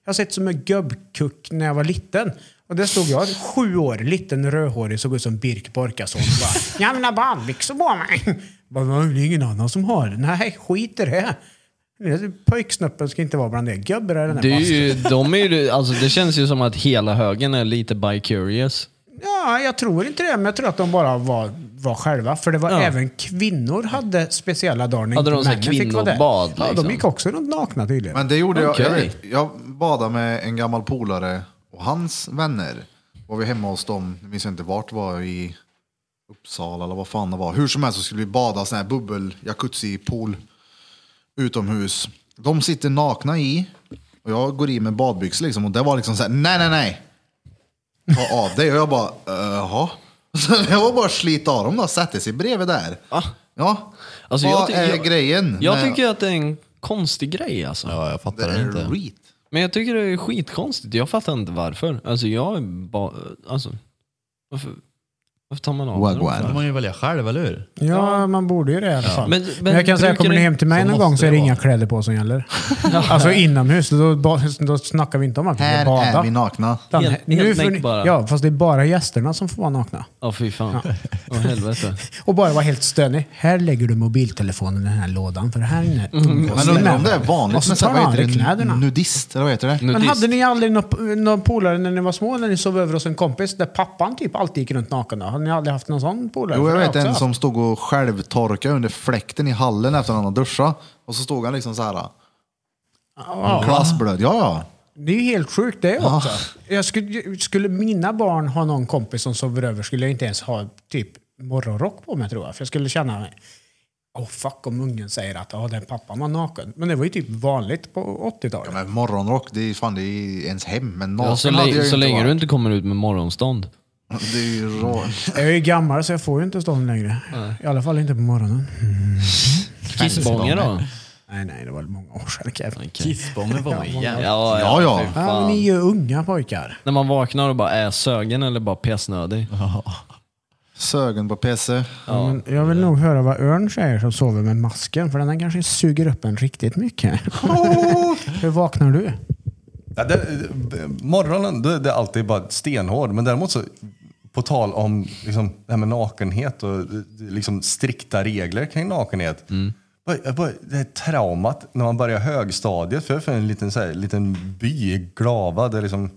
Speaker 3: Jag har sett som en gubbkuck när jag var liten. Och där stod jag, sju år, liten rödhårig, såg ut som Birk Borkason. och bara, Jag vill ha badbyxor liksom på mig. [laughs] Bara, "Men det är ingen annan som har. Nej, skit i det. Pojksnuppen ska inte vara bland det. Gubbar är den där
Speaker 4: Det, är
Speaker 3: basten.
Speaker 4: ju, de är ju, alltså, det känns ju som att hela högen är lite bi-curious.
Speaker 3: Ja, jag tror inte det, men jag tror att de bara var, var själva. För det var
Speaker 4: Ja.
Speaker 3: även kvinnor hade speciella dagar när
Speaker 4: Hade de
Speaker 3: inte
Speaker 4: så här
Speaker 3: männen fick vara där.
Speaker 4: kvinnobad,
Speaker 3: Ja,
Speaker 4: liksom?
Speaker 3: de gick också runt nakna tydligen.
Speaker 2: Men det gjorde jag. Jag,
Speaker 4: Okej.
Speaker 2: vet, jag badade med en gammal polare och hans vänner. Var vi hemma hos dem, jag minns inte vart, var i Uppsala eller vad fan det var. Hur som helst så skulle vi bada sån här bubbel, jacuzzi, pool utomhus. De sitter nakna i och jag går i med badbyxor liksom och det var liksom så här: nej nej nej. Ta av dig och jag bara, jaha. [laughs] Så jag var bara slita av dem då, sätter sig bredvid där.
Speaker 4: Va?
Speaker 2: Ja.
Speaker 4: Alltså,
Speaker 2: vad
Speaker 4: jag ty-
Speaker 2: är
Speaker 4: jag-
Speaker 2: grejen?
Speaker 4: Jag
Speaker 2: med-
Speaker 4: tycker att det är en konstig grej alltså.
Speaker 5: Ja, jag
Speaker 2: det
Speaker 5: fattar det
Speaker 2: är
Speaker 5: inte.
Speaker 2: reet.
Speaker 4: Men jag tycker det är skitkonstigt. Jag fattar inte varför. Alltså jag är bara... Alltså, varför, Varför tar man av den?
Speaker 5: Då får
Speaker 2: Wagwan.
Speaker 5: man ju välja själv, eller hur?
Speaker 3: Ja, man borde ju det i alla fall.
Speaker 4: Men-
Speaker 3: Men,
Speaker 4: men
Speaker 3: jag kan säga,
Speaker 4: brukar
Speaker 3: kommer ni
Speaker 4: det-
Speaker 3: hem till mig
Speaker 5: så
Speaker 3: någon
Speaker 5: måste
Speaker 3: gång så är det
Speaker 5: det
Speaker 3: inga
Speaker 5: vara.
Speaker 3: kläder på som
Speaker 4: [laughs]
Speaker 3: gäller. alltså inomhus, då, ba- då snackar vi inte om att vi
Speaker 2: Här
Speaker 3: ska
Speaker 2: är vi
Speaker 3: bada.
Speaker 2: nakna.
Speaker 3: Utan
Speaker 4: Helt-
Speaker 3: nu
Speaker 4: helt
Speaker 3: får
Speaker 4: näck
Speaker 3: ni-
Speaker 4: bara.
Speaker 3: Ja, fast det är bara gästerna som får vara nakna.
Speaker 4: Ja, fy fan.
Speaker 2: [laughs]
Speaker 4: Åh helvete.
Speaker 3: Och bara vara helt stönig. Här lägger du mobiltelefonen i den här lådan, för här inne
Speaker 4: Mm.
Speaker 3: umgås
Speaker 2: Men undrar om
Speaker 3: med.
Speaker 2: det är
Speaker 3: Och
Speaker 2: vanligt
Speaker 3: så
Speaker 2: med så
Speaker 3: tar
Speaker 2: här, vad
Speaker 3: man av
Speaker 2: heter
Speaker 3: dig
Speaker 2: det,
Speaker 3: kläderna.
Speaker 2: nudist? Eller vad heter det?
Speaker 4: Nu-
Speaker 3: Men
Speaker 4: Nudist.
Speaker 3: hade ni aldrig någon, någon polare när ni var små, när ni sov över hos en kompis, där pappan typ alltid gick runt naken? Då? Hade ni aldrig haft någon sån polare?
Speaker 2: Jo,
Speaker 3: För
Speaker 2: jag
Speaker 3: det
Speaker 2: vet
Speaker 3: har jag
Speaker 2: en
Speaker 3: också
Speaker 2: som stod och självtorkade under fläkten i hallen efter att han hade duschat. Och så stod han liksom så här.
Speaker 3: haft. Ja.
Speaker 2: Klassblöd. Ja, ja.
Speaker 3: Det är ju helt sjukt det också. Jag skulle, skulle mina barn ha någon kompis som sover över skulle jag inte ens ha typ morgonrock på mig tror jag. För jag skulle känna, åh fuck om ungen säger att oh, den pappan var naken. Men det var ju typ vanligt på 80-talet.
Speaker 2: Men morgonrock, det är fan det är ju ens hem. Men naken
Speaker 4: Ja, så
Speaker 2: hade jag
Speaker 4: lä-
Speaker 2: ju
Speaker 4: så
Speaker 2: inte
Speaker 4: länge du
Speaker 2: varit.
Speaker 4: inte kommer ut med morgonstånd.
Speaker 2: Det är ju rå...
Speaker 3: Jag är ju gammal så jag får ju inte stånd längre. I alla fall inte på morgonen.
Speaker 4: Kissbånge då?
Speaker 3: Nej, nej, det var många år sedan Kevin.
Speaker 5: Kissbomben var ju
Speaker 4: [laughs]
Speaker 5: jävligt...
Speaker 4: Ja,
Speaker 2: Ja, ja.
Speaker 3: Ja,
Speaker 4: fy
Speaker 3: men
Speaker 4: fan.
Speaker 3: ni är ju unga pojkar.
Speaker 4: När man vaknar och bara är sögen eller bara pissnödig.
Speaker 2: Sögen på PC.
Speaker 3: Ja, men jag vill nog höra vad Örn säger som sover med masken, för den här kanske suger upp en riktigt mycket. Hur vaknar du?
Speaker 6: Ja, det, morgonen det, det är alltid bara stenhård, men däremot så på tal om liksom, det här med nakenhet och eh, liksom, strikta regler kring nakenhet. Bara- jag bara- Det är traumat när man börjar högstadiet. För jag är från en liten, så här, liten by, i Glava, där liksom,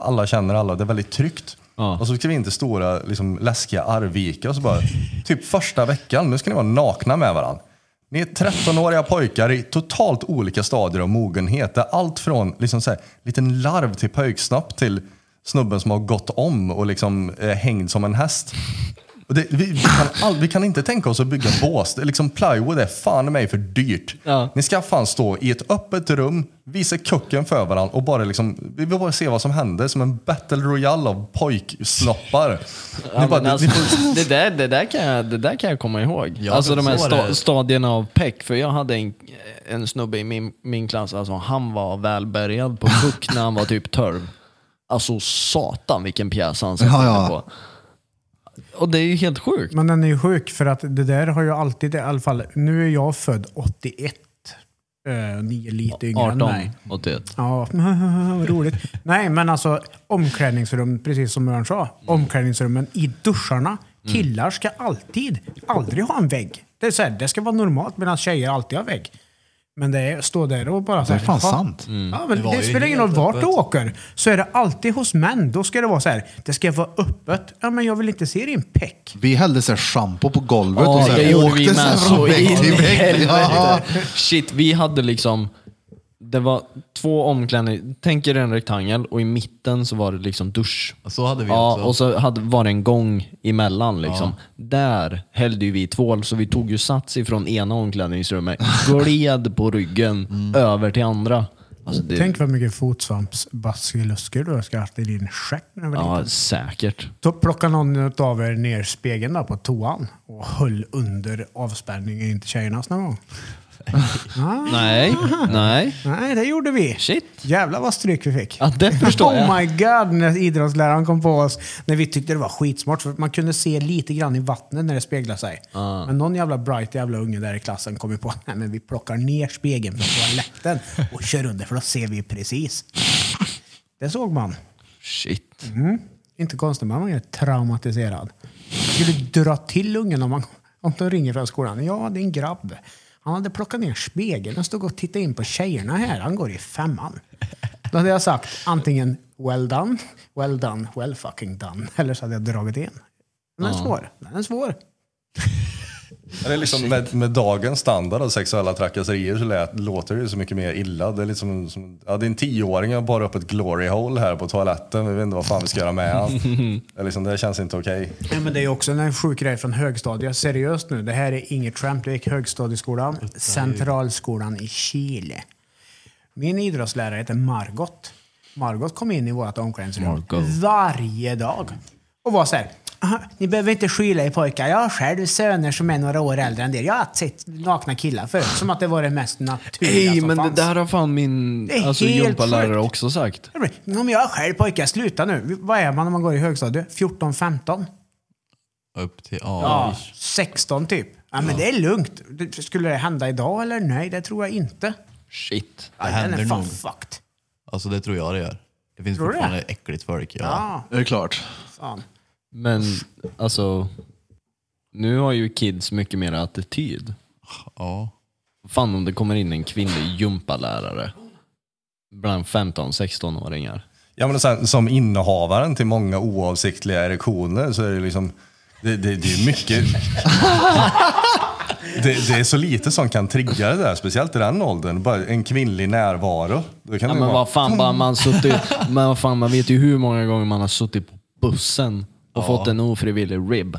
Speaker 6: alla känner alla. Det är väldigt tryggt.
Speaker 4: Ja.
Speaker 6: Och så ska vi inte stora liksom, läskiga Arvika. Och så bara, typ första veckan, nu ska ni vara nakna med varandra. Ni är 13-åriga pojkar i totalt olika stadier av mogenhet. Det är allt från liksom så här, liten larv till pöjksnopp till snubben som har gått om och liksom är hängd som en häst. Och det, vi, vi, kan all, vi kan inte tänka oss att bygga bås. Det är Liksom plywood är fan i mig för dyrt.
Speaker 4: Ja.
Speaker 6: Ni ska fan stå i ett öppet rum, visa kucken för varandra och bara liksom, vi vill bara se vad som händer. Som en battle royale av pojksnoppar. Ni
Speaker 4: Ja, men
Speaker 6: bara, ni-
Speaker 4: alltså,
Speaker 6: ni-
Speaker 4: det, där, det, där kan jag, det där kan jag komma ihåg.
Speaker 5: Ja,
Speaker 4: alltså de här
Speaker 5: så är
Speaker 4: sta,
Speaker 5: det.
Speaker 4: stadierna av peck. För jag hade en, en snubbe i min, min klass, alltså, han var
Speaker 2: [laughs]
Speaker 4: välbärgad på puck när han var typ 12. Alltså satan vilken pjäs han satte
Speaker 2: Ja, ja.
Speaker 4: på. Och det är ju helt sjukt.
Speaker 3: Men den är ju sjuk för att det där har ju alltid, i alla fall, nu är jag född 81. Uh, ni är lite yngre än
Speaker 4: 18,
Speaker 3: mig.
Speaker 4: 81.
Speaker 3: Ja, [laughs] vad roligt. Nej, men alltså omklädningsrum, precis som Örn sa.
Speaker 5: Mm.
Speaker 3: Omklädningsrummen i duscharna. Killar ska alltid, aldrig ha en vägg. Det, är så här, det ska vara normalt medan tjejer alltid har vägg. Men det är, stå där och bara... så
Speaker 2: Det är
Speaker 3: här,
Speaker 2: fan
Speaker 3: "Ha." Mm.
Speaker 2: sant.
Speaker 3: Ja, men
Speaker 5: Mm. Det var
Speaker 3: det,
Speaker 5: ju
Speaker 3: spelar ingen roll
Speaker 5: helt
Speaker 3: vart du
Speaker 5: öppet.
Speaker 3: åker. Så är det alltid hos män. Då ska det vara så här. Det ska vara öppet. Ja, men jag vill inte se din peck.
Speaker 2: Vi hällde så här shampoo på golvet
Speaker 4: Ja,
Speaker 2: och så
Speaker 4: det
Speaker 2: här,
Speaker 4: gjorde vi
Speaker 2: åkte så här
Speaker 4: med så
Speaker 2: från
Speaker 4: in
Speaker 2: vägg
Speaker 4: i
Speaker 2: till vägg. Ja.
Speaker 4: helvete. Shit, vi hade liksom, det var två omklädningar, tänk er en rektangel och i mitten så var det liksom dusch.
Speaker 5: Och Så hade vi
Speaker 4: Ja,
Speaker 5: också.
Speaker 4: och så hade, var det en gång emellan. Liksom. Där hällde ju vi tvål, så vi tog ju sats ifrån ena omklädningsrummet, gled på ryggen över till andra. Alltså det,
Speaker 3: Mm. Tänk vad mycket fotsvampsbasilusker du ska ha haft i din stjärt när du var liten.
Speaker 4: ja, säkert.
Speaker 3: Då plockade någon av er ner spegeln där på toan och höll under avspärrningen in till tjejernas någon
Speaker 4: [laughs]
Speaker 3: gång. Ah,
Speaker 4: Nej, nej.
Speaker 3: Nej, det gjorde vi.
Speaker 4: Shit.
Speaker 3: Jävlar vad stryk vi fick.
Speaker 4: Ja, det [laughs]
Speaker 3: [laughs]
Speaker 4: förstår
Speaker 3: oh
Speaker 4: jag.
Speaker 3: my god, när idrottsläraren kom på oss. När vi tyckte det var skitsmart. För man kunde se lite grann i vattnet när det speglade sig.
Speaker 4: Ah.
Speaker 3: Men någon jävla bright jävla unge där i klassen kom ju på att vi plockar ner spegeln från toaletten och kör under för då ser vi precis. Det såg man.
Speaker 4: Shit.
Speaker 3: Inte konstigt, man är traumatiserad. Skulle dra till ungen om, man, om de ringer från skolan. Ja, det är en grabb. Han hade plockat ner spegeln och stod och tittade in på tjejerna här. Han går i femman. Då hade jag sagt antingen well done, well done, well fucking done. Eller så hade jag dragit in. Den är svår. Den är svår.
Speaker 6: Det är liksom med, med dagens standard av sexuella trakasserier så lät, låter det ju så mycket mer illa. Det är liksom, som, ja, det är en tioåring och bara upp ett glory hole här på toaletten. Vi vet inte vad fan vi ska göra med
Speaker 4: [laughs]
Speaker 6: han. Det, är liksom, det känns inte okej.
Speaker 3: Nej, men det är också en sjuk grej från högstadiet. Seriöst nu, det här är inget tramp. Jag gick högstadieskolan, Centralskolan i Chile. Min idrottslärare heter Margot. Margot kom in i vårt omklädningsrum
Speaker 4: Margot.
Speaker 3: varje dag och var så här. "Aha, Ni behöver inte skylla er pojkar. Jag har själv söner som är några år äldre än er. Jag har sett nakna killar förut, som att det var det mest naturliga
Speaker 4: Ej,
Speaker 3: som
Speaker 4: men det
Speaker 3: fanns.
Speaker 4: där har fan min
Speaker 3: Det är
Speaker 4: alltså,
Speaker 3: helt
Speaker 4: gympalärare
Speaker 3: sjukt.
Speaker 4: också sagt.
Speaker 3: Ja, men jag har själv pojkar, sluta nu. Vad är man när man går i högstadiet? 14-15?
Speaker 5: Upp till A.
Speaker 3: Ja, 16 typ. Ja, men det är lugnt. Det- Skulle det hända idag eller? Nej, det tror jag inte.
Speaker 4: Shit.
Speaker 3: Ja, den
Speaker 5: händer
Speaker 3: är fan
Speaker 5: nog.
Speaker 3: fucked.
Speaker 5: Alltså det tror jag det gör. Det finns
Speaker 3: Tror du
Speaker 5: fortfarande äckligt folk. Ja.
Speaker 3: Ja,
Speaker 2: Det är klart.
Speaker 3: fan.
Speaker 4: Men alltså, nu har ju kids mycket mer attityd.
Speaker 5: Ja.
Speaker 4: Fan om det kommer in en kvinnlig gympalärare bland 15-16-åringar.
Speaker 6: Ja, men och sen, som innehavaren till många oavsiktliga erektioner så är det liksom... Det, det, det är mycket... [laughs] Det, det är så lite som kan trigga det där, speciellt i den åldern. Bara en kvinnlig närvaro. Då kan
Speaker 4: Ja,
Speaker 6: det
Speaker 4: men
Speaker 6: ju vara-
Speaker 4: vad fan, bara man, suttit, [laughs] men vad fan, man vet ju hur många gånger man har suttit på bussen och fått en ofrivillig rib.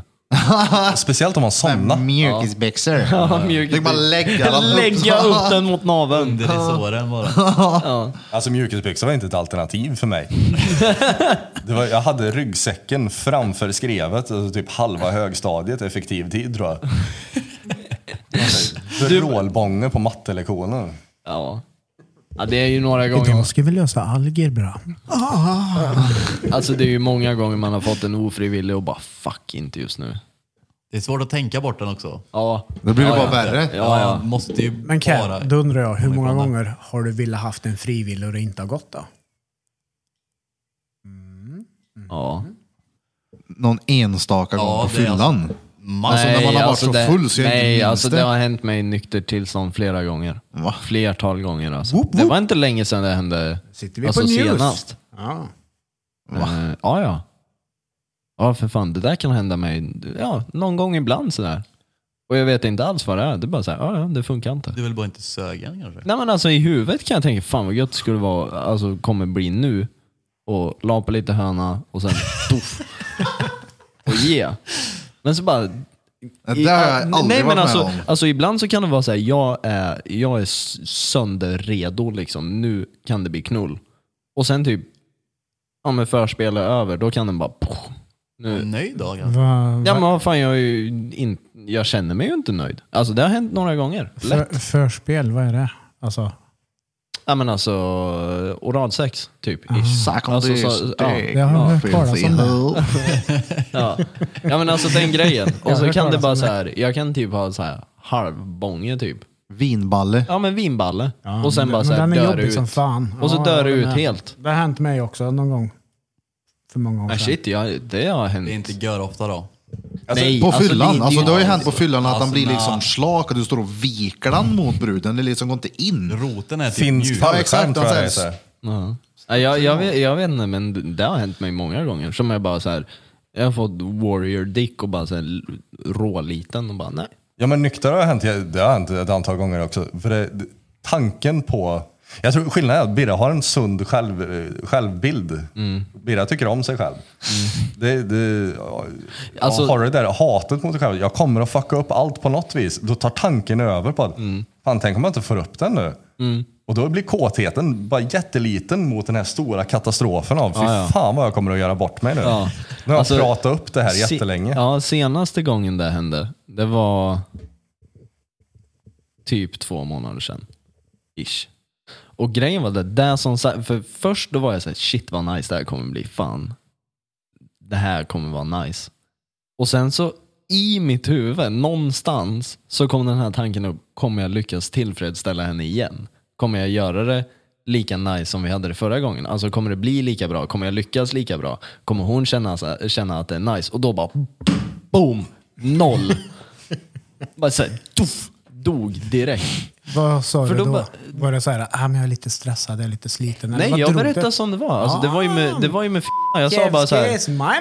Speaker 6: Speciellt om man somnar.
Speaker 2: Mjölkisbyxor. Det är bara lägga den upp.
Speaker 4: [laughs] Lägga upp den mot naveln.
Speaker 5: Under i såren bara.
Speaker 6: Alltså mjukisbyxor var inte ett alternativ
Speaker 4: [laughs]
Speaker 6: för mig. Det var, jag hade ryggsäcken framför skrevet, alltså typ halva högstadiet effektiv tid tror jag.
Speaker 4: [laughs]
Speaker 6: Vrålbånge på mattelektioner.
Speaker 4: Ja. ja, det är ju några gånger
Speaker 3: ska vi lösa alger bra.
Speaker 4: Alltså det är ju många gånger man har fått en ofrivillig och bara fuck inte just nu.
Speaker 5: Det är svårt att tänka bort den också.
Speaker 4: Ja.
Speaker 2: Då blir det
Speaker 4: ja,
Speaker 2: bara
Speaker 4: ja.
Speaker 2: värre.
Speaker 4: Ja, ja.
Speaker 5: Man måste ju
Speaker 3: Men
Speaker 5: bara...
Speaker 3: Ken, då undrar jag, hur
Speaker 5: Kommer
Speaker 3: många
Speaker 5: ifrån det.
Speaker 3: gånger har du velat haft en frivillig och det inte har gått då?
Speaker 4: ja.
Speaker 2: Någon enstaka gång
Speaker 5: Ja,
Speaker 2: på
Speaker 5: det är
Speaker 2: fyllan. Alltså, när man har varit så
Speaker 4: det,
Speaker 2: full så är det inte
Speaker 4: Nej,
Speaker 2: minst
Speaker 4: alltså det
Speaker 2: det.
Speaker 4: har hänt mig i nyktert tillstånd flera gånger.
Speaker 2: Va?
Speaker 4: Flertal gånger alltså.
Speaker 2: Whoop,
Speaker 4: Det
Speaker 2: whoop.
Speaker 4: var inte länge sedan det hände.
Speaker 3: Sitter vi
Speaker 4: alltså
Speaker 3: på news?
Speaker 4: senast.
Speaker 3: Ja.
Speaker 4: Eh, ja, ja. Ja, för fan. Det där kan hända mig ja, någon gång ibland sådär. Och jag vet inte alls vad det är. Det är bara såhär, ja, ja, det funkar inte.
Speaker 5: Du vill bara inte sögen kanske?
Speaker 4: Nej men alltså i huvudet kan jag tänka, fan vad gött det skulle vara, alltså kommer bli nu. Och la på lite höna och sen [laughs] poff. Och ge. Men så bara...
Speaker 2: Det där har jag
Speaker 4: i-
Speaker 2: aldrig varit med
Speaker 4: alltså,
Speaker 2: om.
Speaker 4: Alltså ibland så kan det vara så här, jag är, jag är s- sönderredo liksom. Nu kan det bli knull. Och sen typ, ja men förspel är över, då kan den bara poff. Nu,
Speaker 2: Mm.
Speaker 5: Nöjd då kanske?
Speaker 4: Ja men vad fan, jag, är ju in, jag känner mig ju inte nöjd. Alltså det har hänt några gånger. Lätt.
Speaker 3: förspel, vad är det? Alltså,
Speaker 4: Ja men alltså oralsex typ. Ish.
Speaker 2: Ah, Suck on
Speaker 4: Alltså,
Speaker 2: this
Speaker 4: så- ja.
Speaker 2: dick.
Speaker 3: Det har jag hört
Speaker 2: Fills
Speaker 3: talas om
Speaker 2: in
Speaker 3: det.
Speaker 2: hole.
Speaker 4: Ja. ja men alltså
Speaker 2: [laughs]
Speaker 4: den grejen. Och så
Speaker 3: det
Speaker 4: kan det
Speaker 3: klarar
Speaker 4: bara
Speaker 3: sig.
Speaker 4: så här, jag kan typ ha så här halvbånge typ.
Speaker 2: Vinballe.
Speaker 4: Ja men vinballe. och
Speaker 3: men
Speaker 4: sen bara
Speaker 3: den-
Speaker 4: så här
Speaker 3: men den är
Speaker 4: dör
Speaker 3: jobbig
Speaker 4: ut.
Speaker 3: som fan.
Speaker 4: Och så
Speaker 3: Ja,
Speaker 4: dör
Speaker 3: jag
Speaker 4: det
Speaker 3: håller
Speaker 4: ut
Speaker 3: med.
Speaker 4: helt.
Speaker 3: Det har hänt mig också någon gång. För många år
Speaker 4: Men
Speaker 3: sedan.
Speaker 4: shit, jag, det har hänt.
Speaker 5: Det är inte gör ofta då.
Speaker 6: Alltså,
Speaker 4: Nej,
Speaker 2: På
Speaker 4: alltså,
Speaker 2: fyllan?
Speaker 4: det-
Speaker 2: Alltså,
Speaker 4: det-
Speaker 2: det, har ju hänt på fyllan att
Speaker 5: Alltså,
Speaker 2: han blir
Speaker 5: när-
Speaker 2: liksom slak och du står och viker den mot bruden. Det liksom går inte in.
Speaker 5: Roten är typ
Speaker 6: Finsk
Speaker 5: mjuk.
Speaker 2: Ja, exakt.
Speaker 6: fallskärm tror jag det
Speaker 2: Alltså,
Speaker 6: heter.
Speaker 4: Ja. Nej, Jag, jag, vet, jag vet inte men det har hänt mig många gånger. Som jag bara så här, jag har fått warrior dick och bara så här råliten och bara nej.
Speaker 6: Ja men nykter har hänt, det har hänt ett antal gånger också. För det, tanken på... Jag tror skillnaden är att Birra har en sund själv, eh, självbild.
Speaker 4: Mm.
Speaker 6: Birra tycker om sig själv. Det, det, ja,
Speaker 4: Alltså-
Speaker 6: har det där hatet mot sig själv. Jag kommer att fucka upp allt på något vis. Då tar tanken över på att,
Speaker 4: Mm.
Speaker 6: fan tänk om jag inte får upp den nu. Och då blir kåtheten bara jätteliten mot den här stora katastrofen av, fy fan vad jag kommer att göra bort mig nu.
Speaker 4: Ja.
Speaker 6: Nu har
Speaker 4: Alltså,
Speaker 6: jag pratat upp det här jättelänge.
Speaker 4: Se, ja, senaste gången det hände, det var typ två månader sedan. Ish. Och grejen var det, där som sa- för först då var jag såhär, shit vad nice det här kommer bli, fan. Det här kommer vara nice. Och sen så i mitt huvud, någonstans, så kom den här tanken upp, kommer jag lyckas tillfredsställa henne igen? Kommer jag göra det lika nice som vi hade det förra gången? Alltså kommer det bli lika bra? Kommer jag lyckas lika bra? Kommer hon känna, så här- känna att det är nice? Och då bara boom,
Speaker 3: [laughs]
Speaker 4: noll. bara så här, tuff, dog direkt.
Speaker 3: Vad sa
Speaker 4: För
Speaker 3: du
Speaker 4: då
Speaker 3: då?
Speaker 4: bara-
Speaker 3: Var det så här, ah, men jag är lite stressad, jag är lite sliten. eller
Speaker 4: Nej,
Speaker 3: vad
Speaker 4: jag
Speaker 3: drog
Speaker 4: berättade
Speaker 3: det?
Speaker 4: som det var. Alltså, det var ju med, det var ju med f- Jag sa
Speaker 3: Yes,
Speaker 4: bara så här,
Speaker 3: yes, my man!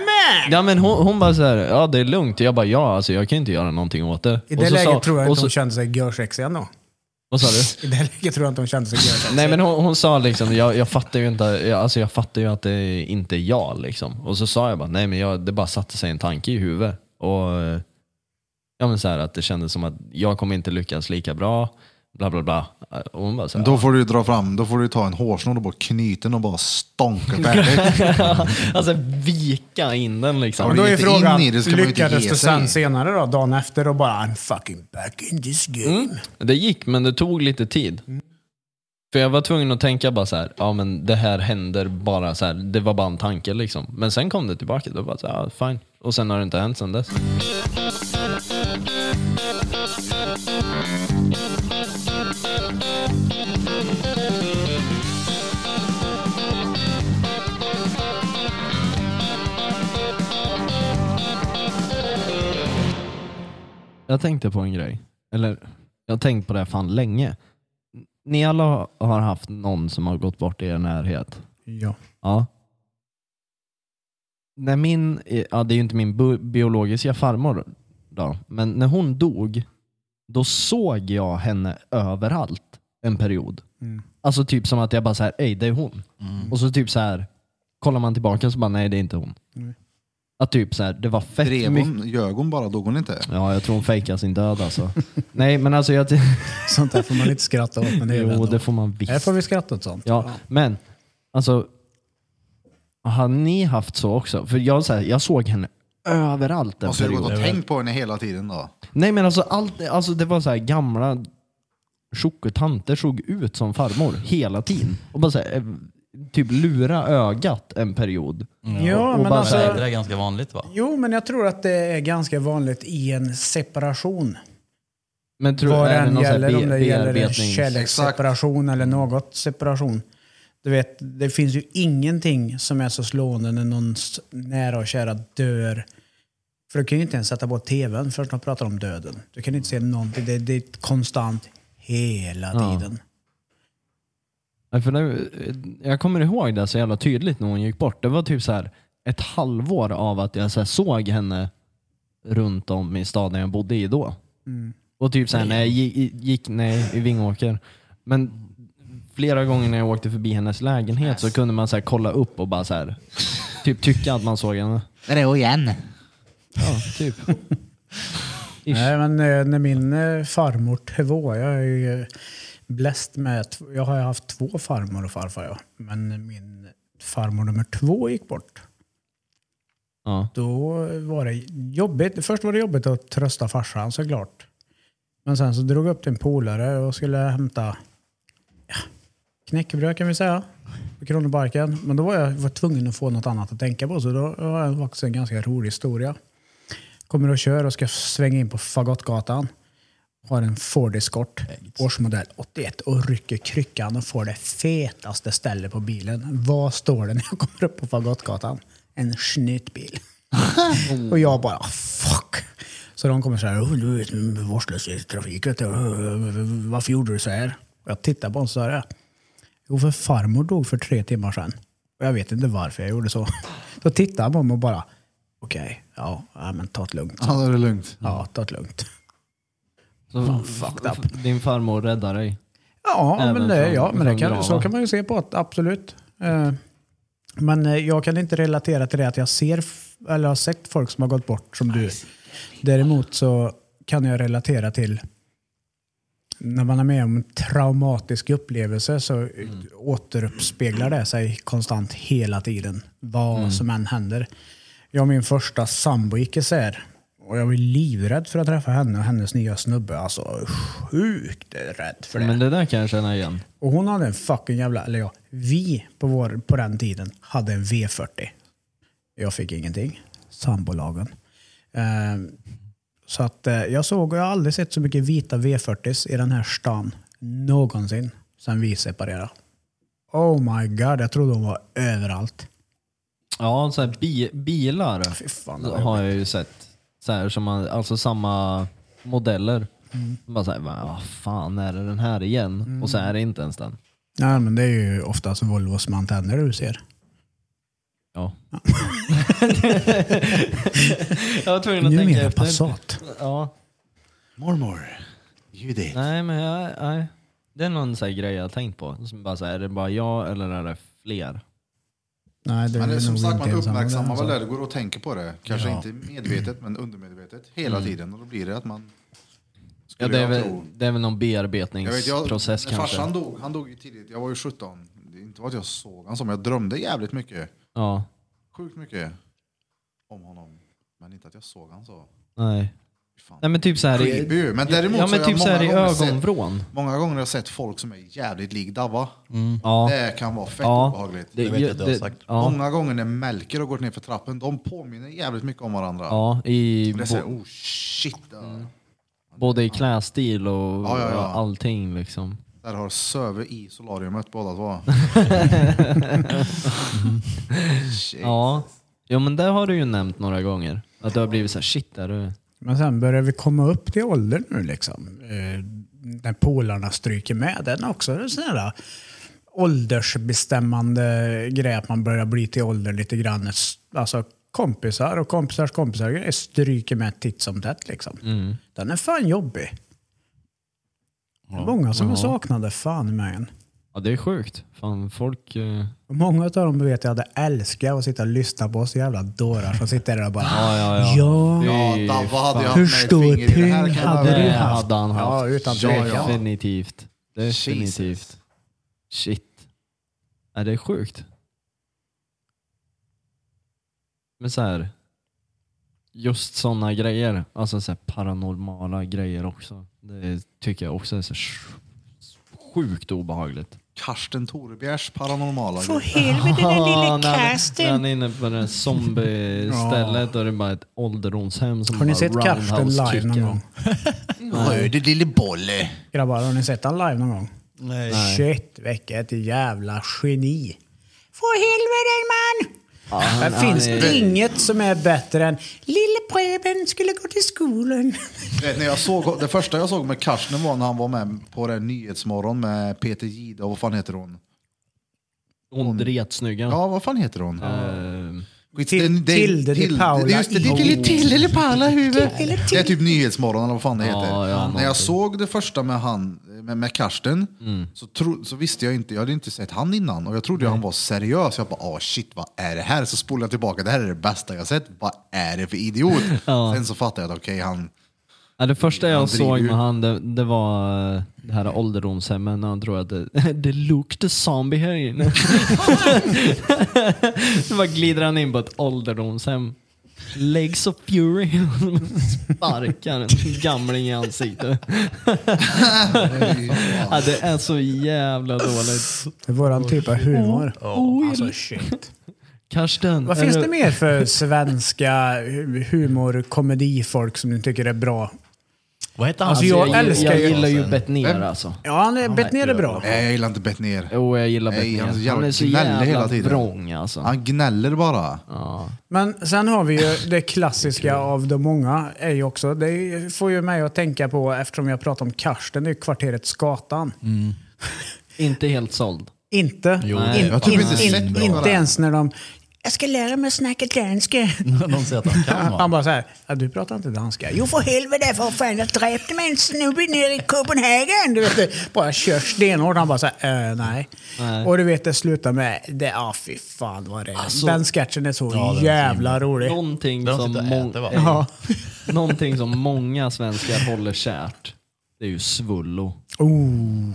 Speaker 4: Ja men hon, hon bara såhär, ja det är lugnt. Jag bara ja, alltså jag kan inte göra någonting åt det.
Speaker 3: I
Speaker 4: Och
Speaker 3: det
Speaker 4: så sa-
Speaker 3: läget tror jag
Speaker 4: och
Speaker 3: inte
Speaker 4: så,
Speaker 3: hon kände sig görsexig ändå.
Speaker 4: Vad sa du?
Speaker 3: I det [laughs] läget tror jag inte hon kände sig görsexig.
Speaker 4: Nej men hon, hon sa liksom, jag, jag fattar ju inte, jag, alltså jag fattar ju att det inte är jag liksom. Och så sa jag bara, nej men jag, det bara satte sig en tanke i huvudet. Och eh, ja men så här att det kändes som att jag kommer inte lyckas lika bra, bla bla bla. Och hon bara så här,
Speaker 2: Då får du ju dra fram, då får du ju ta en hårsnodd och bara knyta den och bara stånka
Speaker 4: [laughs]
Speaker 2: färdigt.
Speaker 4: [laughs] alltså vika in den liksom.
Speaker 3: Men då är
Speaker 2: Gett in
Speaker 3: frågan,
Speaker 2: i det ska man ju inte
Speaker 3: lyckades
Speaker 2: ge
Speaker 3: det sen
Speaker 2: sig.
Speaker 3: senare då, dagen efter
Speaker 4: Mm.
Speaker 3: och bara I'm fucking back in this game. Mm.
Speaker 4: Det gick, men det tog lite tid. För jag var tvungen att tänka bara så här, ja men det här händer bara så här, det var bara en tanke liksom. Men sen kom det tillbaka, då bara så här, ja, fine. Och sen har det inte hänt sen dess. Jag tänkte på en grej. Eller, jag har tänkt på det här fan länge. Ni alla har haft någon som har gått bort i er närhet?
Speaker 3: Ja.
Speaker 4: Ja. När min, ja det är ju inte min bu- biologiska farmor då, men när hon dog, då såg jag henne överallt en period. Alltså typ som att jag bara såhär, ej det är hon.
Speaker 2: Mm.
Speaker 4: Och så typ så här kollar man tillbaka så bara, nej det är inte hon. Att typ så här, det var fett
Speaker 2: Drev
Speaker 4: mycket.
Speaker 2: hon? Ljög hon bara? Dog hon inte?
Speaker 4: Ja, jag tror hon fejkar sin död alltså. [laughs] nej men
Speaker 3: [laughs]
Speaker 4: alltså, jag,
Speaker 3: Sånt där får man inte skratta åt. Men det är väl
Speaker 4: jo
Speaker 3: ändå-
Speaker 4: det får man visst.
Speaker 3: Här får vi skratta åt sånt.
Speaker 4: Ja, men alltså. Har ni haft så också? För jag, så här, jag såg henne överallt en
Speaker 2: Måste ju ha
Speaker 4: period.
Speaker 2: gått och tänkt på henne hela tiden då.
Speaker 4: Nej men alltså, allt, alltså det var så här gamla tjocktanter såg ut som farmor hela tiden. Och bara så här, eh, typ lura ögat en period.
Speaker 3: Ja,
Speaker 4: Och
Speaker 3: men
Speaker 4: bara
Speaker 5: Alltså, det
Speaker 3: alltså,
Speaker 4: så
Speaker 5: där är ganska vanligt va?
Speaker 3: jo, men jag tror att det är ganska vanligt i en separation.
Speaker 4: Men tror
Speaker 3: Vad
Speaker 4: är det
Speaker 3: den
Speaker 4: någon så här
Speaker 3: gäller, om
Speaker 4: be-
Speaker 3: det gäller en
Speaker 4: bearbetnings- Mm.
Speaker 3: kärleksseparation eller något separation. Du vet, det finns ju ingenting som är så slående när någons nära och kära dör. För du kan ju inte ens sätta på tvn förrän de pratar om döden. Du kan inte se någonting. Det, det är konstant hela
Speaker 4: Ja.
Speaker 3: tiden.
Speaker 4: Nej, för det, jag kommer ihåg det så jävla tydligt när hon gick bort. Det var typ så här ett halvår av att jag så här såg henne runt om i staden jag bodde i då. Och typ så här, när jag gick, gick nej, i Vingåker. Men flera gånger när jag åkte förbi hennes lägenhet så kunde man så här kolla upp och bara så här, typ tycka att man såg henne.
Speaker 2: Där är hon igen.
Speaker 4: Ja, typ. Ish.
Speaker 3: Nej, men eh, när min eh, farmor två, jag är ju eh, bläst med, tv- jag har ju haft två farmor och farfar ja. Men min farmor nummer två gick bort.
Speaker 4: Ja.
Speaker 3: Då var det jobbigt. Först var det jobbigt att trösta farsan såklart. Men sen så drog jag upp till en polare och skulle hämta ja, knäckebröd kan vi säga. På Kronoparken. Men då var jag var tvungen att få något annat att tänka på. Så då har jag faktiskt en ganska rolig historia. Kommer och kör och ska svänga in på Fagottgatan. Har en Ford Escort, årsmodell 81 och rycker kryckan och får det fetaste stället på bilen. Vad står det när jag kommer upp på Fagottgatan? En snytbil. Och jag bara fuck. Så de kommer så här, "Oh, du är vårdslös i trafiken. Varför gjorde du så här? Och jag tittar på honom och så här, jo för farmor dog för tre timmar sedan. Och jag vet inte varför jag gjorde så. Då tittar han på mig och bara, okej, ja, ja, men ta det lugnt.
Speaker 2: Ja, då är det lugnt.
Speaker 3: Ja, ta det lugnt.
Speaker 4: Så,
Speaker 3: fucked up.
Speaker 4: Din farmor räddar dig.
Speaker 3: Ja,
Speaker 4: Även
Speaker 3: men, det,
Speaker 4: från-
Speaker 3: ja, men det
Speaker 4: från grava.
Speaker 3: kan, så kan man ju se på det, absolut. Eh, Men eh, jag kan inte relatera till det att jag ser f- eller har sett folk som har gått bort som du. Däremot så kan jag relatera till när man är med om en traumatisk upplevelse så
Speaker 4: Mm.
Speaker 3: eh, återuppspeglar det sig konstant hela tiden. Vad
Speaker 4: Mm.
Speaker 3: som än händer. Jag och min första sambo gick isär. Och jag var livrädd för att träffa henne och hennes nya snubbe. Alltså sjukt rädd för det.
Speaker 4: Men det där kan jag känna igen.
Speaker 3: Och hon hade en fucking jävla, eller ja, vi på, vår, på den tiden hade en V40. Jag fick ingenting. Sambolagen. Ehm, så att eh, jag såg, och jag har aldrig sett så mycket vita V40s i den här stan någonsin sen vi separerade. Oh my god, jag trodde hon var överallt.
Speaker 4: Ja, så här, bi- bilar.
Speaker 3: Fy fan, det
Speaker 4: Då
Speaker 3: var
Speaker 4: har jag ju sett. Så här, som man, alltså samma modeller.
Speaker 5: Mm.
Speaker 4: Bara såhär, vad fan är det den här igen? Och så är det inte ens den.
Speaker 3: Nej, men det är ju oftast Volvos med antenner du ser.
Speaker 4: Ja. jag var tvungen att tänka
Speaker 3: Numera
Speaker 4: efter.
Speaker 3: Passat.
Speaker 4: Ja.
Speaker 2: Mormor. Judit.
Speaker 4: Nej, men jag, nej. Det är någon så här grej jag har tänkt på. Som bara så här, är det bara jag eller är det fler?
Speaker 3: Nej, det är
Speaker 2: Men det är
Speaker 3: nog
Speaker 2: som sagt,
Speaker 3: inte
Speaker 2: man
Speaker 3: ensam.
Speaker 2: uppmärksammar väl det. Det går och tänker på det. Kanske inte medvetet, men undermedvetet. Hela
Speaker 3: Mm.
Speaker 2: tiden. Och då blir det att man...
Speaker 4: Ja,
Speaker 2: Skulle
Speaker 4: det, är
Speaker 2: jag
Speaker 4: väl,
Speaker 2: tro.
Speaker 4: det är väl någon
Speaker 2: Jag vet, jag,
Speaker 4: bearbetningsprocess
Speaker 2: när
Speaker 4: kanske.
Speaker 2: farsan dog, han dog ju tidigt. Jag var ju 17. Det är inte vad jag såg han som, jag drömde jävligt mycket.
Speaker 4: Ja,
Speaker 2: Sjukt mycket om honom. Men inte att jag såg han så.
Speaker 4: nej.
Speaker 2: Fan.
Speaker 4: Nej men typ såhär
Speaker 2: Creepy ju, men däremot
Speaker 4: ja,
Speaker 2: så
Speaker 4: men
Speaker 2: har jag
Speaker 4: typ så här i
Speaker 2: många gånger
Speaker 4: ögonvrån.
Speaker 2: Sett, många gånger har jag sett folk som är jävligt lik Dabba.
Speaker 4: Ja.
Speaker 2: Det kan vara fett
Speaker 4: Ja.
Speaker 2: obehagligt.
Speaker 5: Det vet jag att du har sagt.
Speaker 4: Ja,
Speaker 2: Många gånger när Melker har gått ner för trappen, de påminner jävligt mycket om varandra.
Speaker 4: ja i,
Speaker 2: Det är
Speaker 4: bo-
Speaker 2: såhär, oh shit. där-
Speaker 4: både i klädstil och
Speaker 2: Ja, ja, ja.
Speaker 4: allting liksom.
Speaker 2: Där har Söve i solariumet båda två. shit.
Speaker 4: Ja. Jo men det har du ju nämnt några gånger. Att du har blivit såhär, shit där du.
Speaker 3: Men sen börjar vi komma upp till åldern nu liksom. Eh, när polarna stryker med. Den är också en sån här eh, åldersbestämmande grej. Att man börjar bli till åldern lite grann. Alltså kompisar och kompisars kompisar grejer stryker med titt som tätt liksom.
Speaker 4: Mm.
Speaker 3: Den är fan jobbig. Det är många som är saknade, fan i mig.
Speaker 4: Ja det är sjukt. Fan folk... eh,
Speaker 3: Och Många av dem vet jag hade älskat att sitta och lyssna på oss jävla dårar som sitter där och bara
Speaker 4: Ja, ja, ja.
Speaker 3: ja.
Speaker 2: Ja,
Speaker 4: Fy
Speaker 2: Dabba hade ju
Speaker 4: fan.
Speaker 2: haft
Speaker 3: Hur
Speaker 2: med ett
Speaker 3: stor
Speaker 2: finger i det här.
Speaker 3: tyngd
Speaker 2: kan jag
Speaker 3: hade
Speaker 2: väl-
Speaker 4: Det
Speaker 3: du haft?
Speaker 4: hade han haft.
Speaker 3: Ja, utan
Speaker 2: Ja,
Speaker 3: tvekan.
Speaker 2: ja.
Speaker 4: Definitivt. Definitivt. Shit. Är det är sjukt? Men så här. Just sådana grejer, alltså så här paranormala grejer också. Det tycker jag också är så sj- sjukt obehagligt.
Speaker 2: Karsten Torebjärs paranormala
Speaker 7: Få
Speaker 2: grej.
Speaker 7: helvete den lille
Speaker 4: När
Speaker 7: casten.
Speaker 4: han är inne på det här zombie-stället och det är bara ett ålderdomshem som
Speaker 3: Har ni
Speaker 4: bara
Speaker 3: sett Karsten live någon
Speaker 4: roundhouse-kickar.
Speaker 3: gång?
Speaker 2: Hör du lille bolle?
Speaker 3: Grabbar, har ni sett han live någon gång?
Speaker 5: Nej.
Speaker 3: Shit, vilket jävla geni.
Speaker 7: Få helvete man.
Speaker 4: han-
Speaker 3: det finns
Speaker 4: han är-
Speaker 3: inget som är bättre än
Speaker 7: Lille Preben skulle gå till skolan.
Speaker 2: Du vet, när jag såg, det första jag såg med Karsten var när han var med på den Nyhetsmorgon med Peter Gide och vad fan heter hon?
Speaker 4: Hon dretsnygga.
Speaker 2: Ja, vad fan heter hon?
Speaker 4: Ehm,
Speaker 2: Skit-
Speaker 3: Til-
Speaker 2: den- den-
Speaker 3: Tilde di Paula
Speaker 2: Just det, det är
Speaker 3: i-
Speaker 2: lite Tilde di Paula huvud. Det är typ Nyhetsmorgon eller vad fan det
Speaker 4: Ja,
Speaker 2: heter.
Speaker 4: ja,
Speaker 2: När
Speaker 4: någonting. Mm.
Speaker 2: jag såg det första med, han, med, med Karsten så, tro, så visste jag inte, jag hade inte sett han innan och jag trodde han var seriös. Jag bara, ah shit vad är det här? Så spolade jag tillbaka, det här är det bästa jag sett. Vad är det för
Speaker 4: [laughs]
Speaker 2: idiot? Sen så fattade jag att okej, han...
Speaker 4: Ja, det första jag
Speaker 2: Han driver
Speaker 4: såg
Speaker 2: ju.
Speaker 4: med han, det, det var eh, det här ålderdomshemmet när han tror att det, [laughs] det luktar zombie här [laughs] inne. så bara glider han in på ett ålderdomshem. Legs of Fury. [laughs] Sparkar en gamling i ansiktet. ja, det är så jävla dåligt.
Speaker 3: det är våran typ av humor. Alltså shit.
Speaker 4: Karsten.
Speaker 3: Vad
Speaker 4: är
Speaker 3: finns
Speaker 4: du-
Speaker 3: det mer för svenska hu- humorkomedifolk som ni tycker är bra?
Speaker 5: Vad heter han?
Speaker 3: Alltså, jag
Speaker 4: Jag, jag,
Speaker 3: älskar
Speaker 4: jag
Speaker 3: ju-
Speaker 4: gillar ju
Speaker 5: Sen-
Speaker 4: Bettner alltså.
Speaker 3: Ja, han är Bettner är bra.
Speaker 2: Nej, jag gillar inte Bettner.
Speaker 4: Jo, jag gillar
Speaker 2: Nej, han är så
Speaker 4: Bettner.
Speaker 2: jävla
Speaker 4: Han är så
Speaker 2: gnällig
Speaker 4: jävla
Speaker 2: hela tiden.
Speaker 4: vrång alltså.
Speaker 2: Han gnäller bara.
Speaker 4: Ja.
Speaker 3: Men sen har vi ju det klassiska av de många. är ju också, Det får ju mig att tänka på, eftersom jag pratar om Karsten, det är ju kvarteret Skatan.
Speaker 4: Inte helt såld.
Speaker 3: Inte,
Speaker 5: Jo,
Speaker 3: in,
Speaker 5: nej, jag
Speaker 2: typ
Speaker 3: in,
Speaker 2: inte sett
Speaker 3: in,
Speaker 2: några.
Speaker 3: inte ens när de...
Speaker 7: Jag ska lära mig att snacka danska.
Speaker 5: [laughs] Någon säger att han
Speaker 3: [laughs]
Speaker 5: kan
Speaker 3: Han
Speaker 5: va?
Speaker 3: bara så här, "Ja, du pratar inte danska. Jo,
Speaker 7: Jo för helvete för fan, jag dräpte mig en snubbe nere i Copenhagen.
Speaker 3: du vet, det bara kör stenhårt. Han bara så här, "Eh, nej.
Speaker 4: Nej.
Speaker 3: Och du vet, det slutar med, det, ah, fy fan vad det är.
Speaker 4: Alltså-
Speaker 3: den sketchen är så
Speaker 5: Ja, den är
Speaker 3: jävla rolig.
Speaker 4: Någonting
Speaker 5: Där de
Speaker 4: som,
Speaker 5: sitter och
Speaker 4: mång-
Speaker 5: äter, va?
Speaker 4: eh,
Speaker 3: Ja.
Speaker 4: [laughs] någonting som många svenskar håller kärt, det är ju svullo.
Speaker 3: Oh.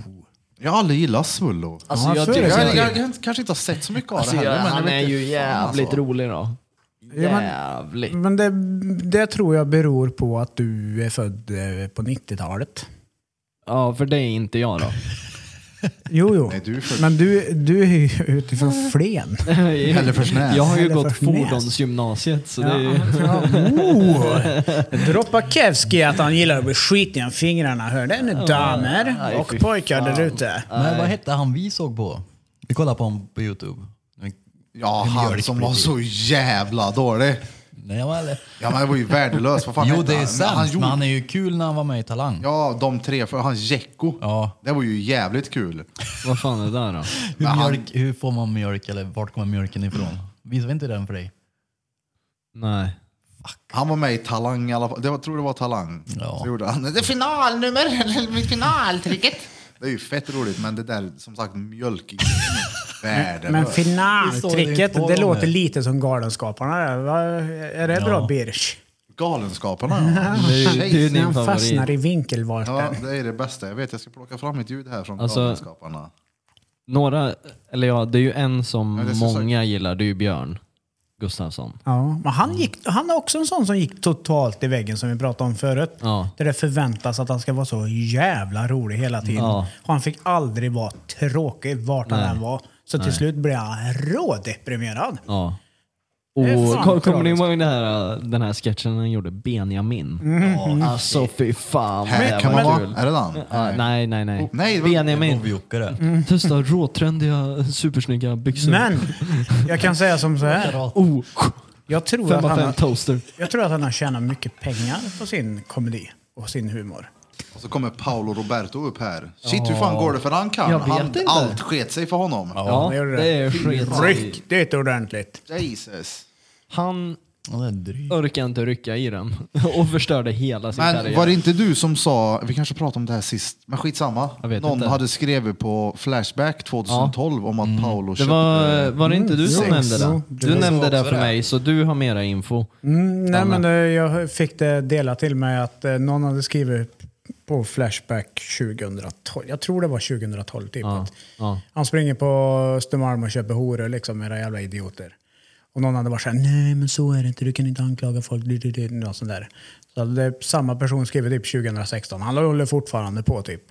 Speaker 2: Jag har aldrig gillat Svullo.
Speaker 4: Alltså, jag
Speaker 3: så är
Speaker 4: tycker-
Speaker 3: det.
Speaker 2: Jag, jag, jag kanske inte har sett så mycket av
Speaker 4: Alltså,
Speaker 2: det heller.
Speaker 4: jag,
Speaker 2: men
Speaker 4: han
Speaker 2: jag
Speaker 4: är
Speaker 2: vet
Speaker 4: ju
Speaker 2: inte fan,
Speaker 4: jävligt
Speaker 2: alltså.
Speaker 4: rolig då.
Speaker 3: men-
Speaker 4: Jävligt.
Speaker 3: Men det, det tror jag beror på att du är född eh, på 90-talet.
Speaker 4: Ja, för det är inte jag då.
Speaker 3: Jo, jo.
Speaker 2: Nej, du är född-
Speaker 3: Men du, du är ju utifrån
Speaker 4: [laughs]
Speaker 3: Flen.
Speaker 2: [laughs] Eller för snäll.
Speaker 4: Jag har ju
Speaker 3: Eller
Speaker 4: gått
Speaker 3: för snäll.
Speaker 4: fordonsgymnasiet så det är ju...
Speaker 3: Ja, oh. Droppakevski att han gillar att bli skit i fingrarna. Hör det nu damer
Speaker 4: nej,
Speaker 3: och
Speaker 4: fy
Speaker 3: pojkar
Speaker 4: fan.
Speaker 3: där ute.
Speaker 5: Men vad hette han vi såg på? Vi kollade på honom på Youtube.
Speaker 2: Ja,
Speaker 5: En
Speaker 2: han
Speaker 5: mjölkpolitik.
Speaker 2: som var så jävla dålig.
Speaker 5: Nej, men, eller?
Speaker 2: Ja, men det var ju värdelös. Vad fan
Speaker 5: Jo,
Speaker 2: hette
Speaker 5: det är
Speaker 2: han?
Speaker 5: sant,
Speaker 2: han
Speaker 5: men
Speaker 2: gjorde-
Speaker 5: han är ju kul när han var med i Talang.
Speaker 2: Ja, de tre. För han Jecko.
Speaker 5: Ja.
Speaker 2: Det var ju jävligt kul.
Speaker 4: Vad fan är det där då?
Speaker 5: Hur,
Speaker 2: Men han-
Speaker 5: mjölk, hur får man mjölk eller vart kommer mjölken ifrån? Visar vi inte den för dig?
Speaker 4: Nej.
Speaker 2: Han var med i Talang i alla fall. Det var, tror det var Talang.
Speaker 5: Ja.
Speaker 2: Så gjorde han det är finalnummer, [laughs] eller mitt finaltricket. Det är ju fett roligt, men det där som sagt
Speaker 5: [laughs]
Speaker 2: mjölk. Värdelöst.
Speaker 3: Men
Speaker 5: Det
Speaker 3: finaltricket,
Speaker 5: står
Speaker 3: det
Speaker 5: det
Speaker 3: låter
Speaker 5: på
Speaker 3: lite som Galenskaparna. där. Va- Är det bra Birch?
Speaker 2: Galenskaparna.
Speaker 5: [laughs]
Speaker 2: ja.
Speaker 4: Det är ju- det är ju
Speaker 2: Shit.
Speaker 3: När
Speaker 4: din
Speaker 3: han fastnar
Speaker 4: favorit.
Speaker 3: i vinkelvarten.
Speaker 2: Ja, det är det bästa jag vet. Jag ska plocka fram ett ljud här från
Speaker 4: Alltså-
Speaker 2: Galenskaparna.
Speaker 4: Några, eller ja, det är ju en
Speaker 2: Ja,
Speaker 4: som
Speaker 2: det är så
Speaker 4: många gillar, det är ju Björn. Gustafsson.
Speaker 3: Ja, men han, gick, han är också en sån som gick totalt i väggen som vi pratade om förut.
Speaker 4: Ja.
Speaker 3: Där det förväntas att han ska vara så jävla rolig hela tiden.
Speaker 4: Ja.
Speaker 3: Och han fick aldrig vara tråkig vart han
Speaker 4: Nej.
Speaker 3: än var. Så till slut blev han rådeprimerad.
Speaker 4: Ja.
Speaker 3: är
Speaker 4: Och
Speaker 3: fan
Speaker 4: kom- kommer ni
Speaker 3: tragiskt.
Speaker 4: ihåg det här, äh, den här sketchen han gjorde? Benjamin. Alltså fy fan vad
Speaker 2: Mm. Här
Speaker 4: det
Speaker 2: kan
Speaker 4: var
Speaker 2: man vara.
Speaker 4: kul.
Speaker 2: Är det den?
Speaker 4: Ja, nej, nej, nej.
Speaker 2: Oh, nej, Mm. det var-
Speaker 4: Benjamin.
Speaker 5: Hovjockare.
Speaker 4: Testa råträndiga, supersnygga byxor.
Speaker 3: Men jag kan säga som så här.
Speaker 4: Oh,
Speaker 3: Jag tror, att
Speaker 4: 5 av
Speaker 3: han
Speaker 4: 5
Speaker 3: har,
Speaker 4: toaster.
Speaker 3: jag tror att han har tjänat mycket pengar på sin komedi och sin humor.
Speaker 2: Och så kommer Paolo Roberto upp här. Shit, hur fan går det för han kan?
Speaker 4: Jag vet
Speaker 2: Han,
Speaker 4: inte.
Speaker 2: Allt sket sig för honom.
Speaker 4: Ja,
Speaker 3: det gjorde det.
Speaker 4: det är skit.
Speaker 3: Riktigt ordentligt.
Speaker 2: Jesus.
Speaker 4: Han
Speaker 5: Han är dryg.
Speaker 4: orkade inte rycka i den [laughs] och förstörde hela sin
Speaker 2: Men
Speaker 4: karriär.
Speaker 2: var det inte du som sa, vi kanske pratade om det här sist, men skitsamma.
Speaker 4: Jag vet
Speaker 2: Någon
Speaker 4: inte.
Speaker 2: hade skrivit på Flashback 2012 om att Paolo
Speaker 4: Det
Speaker 2: köpte...
Speaker 4: var, var det inte du som
Speaker 2: Mm,
Speaker 4: nämnde
Speaker 2: sex.
Speaker 4: det?
Speaker 3: Jo,
Speaker 4: Du nämnde det för mig, så du har mera info.
Speaker 3: Mm, nej, men eh, jag fick det delat till mig att eh, någon hade skrivit på Flashback 2012. Jag tror det var 2012 typ.
Speaker 4: Ja,
Speaker 3: att
Speaker 4: ja.
Speaker 3: Han springer på Sturmalm och köper horor liksom med era jävla idioter. Och någon hade varit såhär, nej men så är det inte, du kan inte anklaga folk. Du, du, du, något sånt där. Så hade det, samma person skrev typ 2016, han håller fortfarande på typ.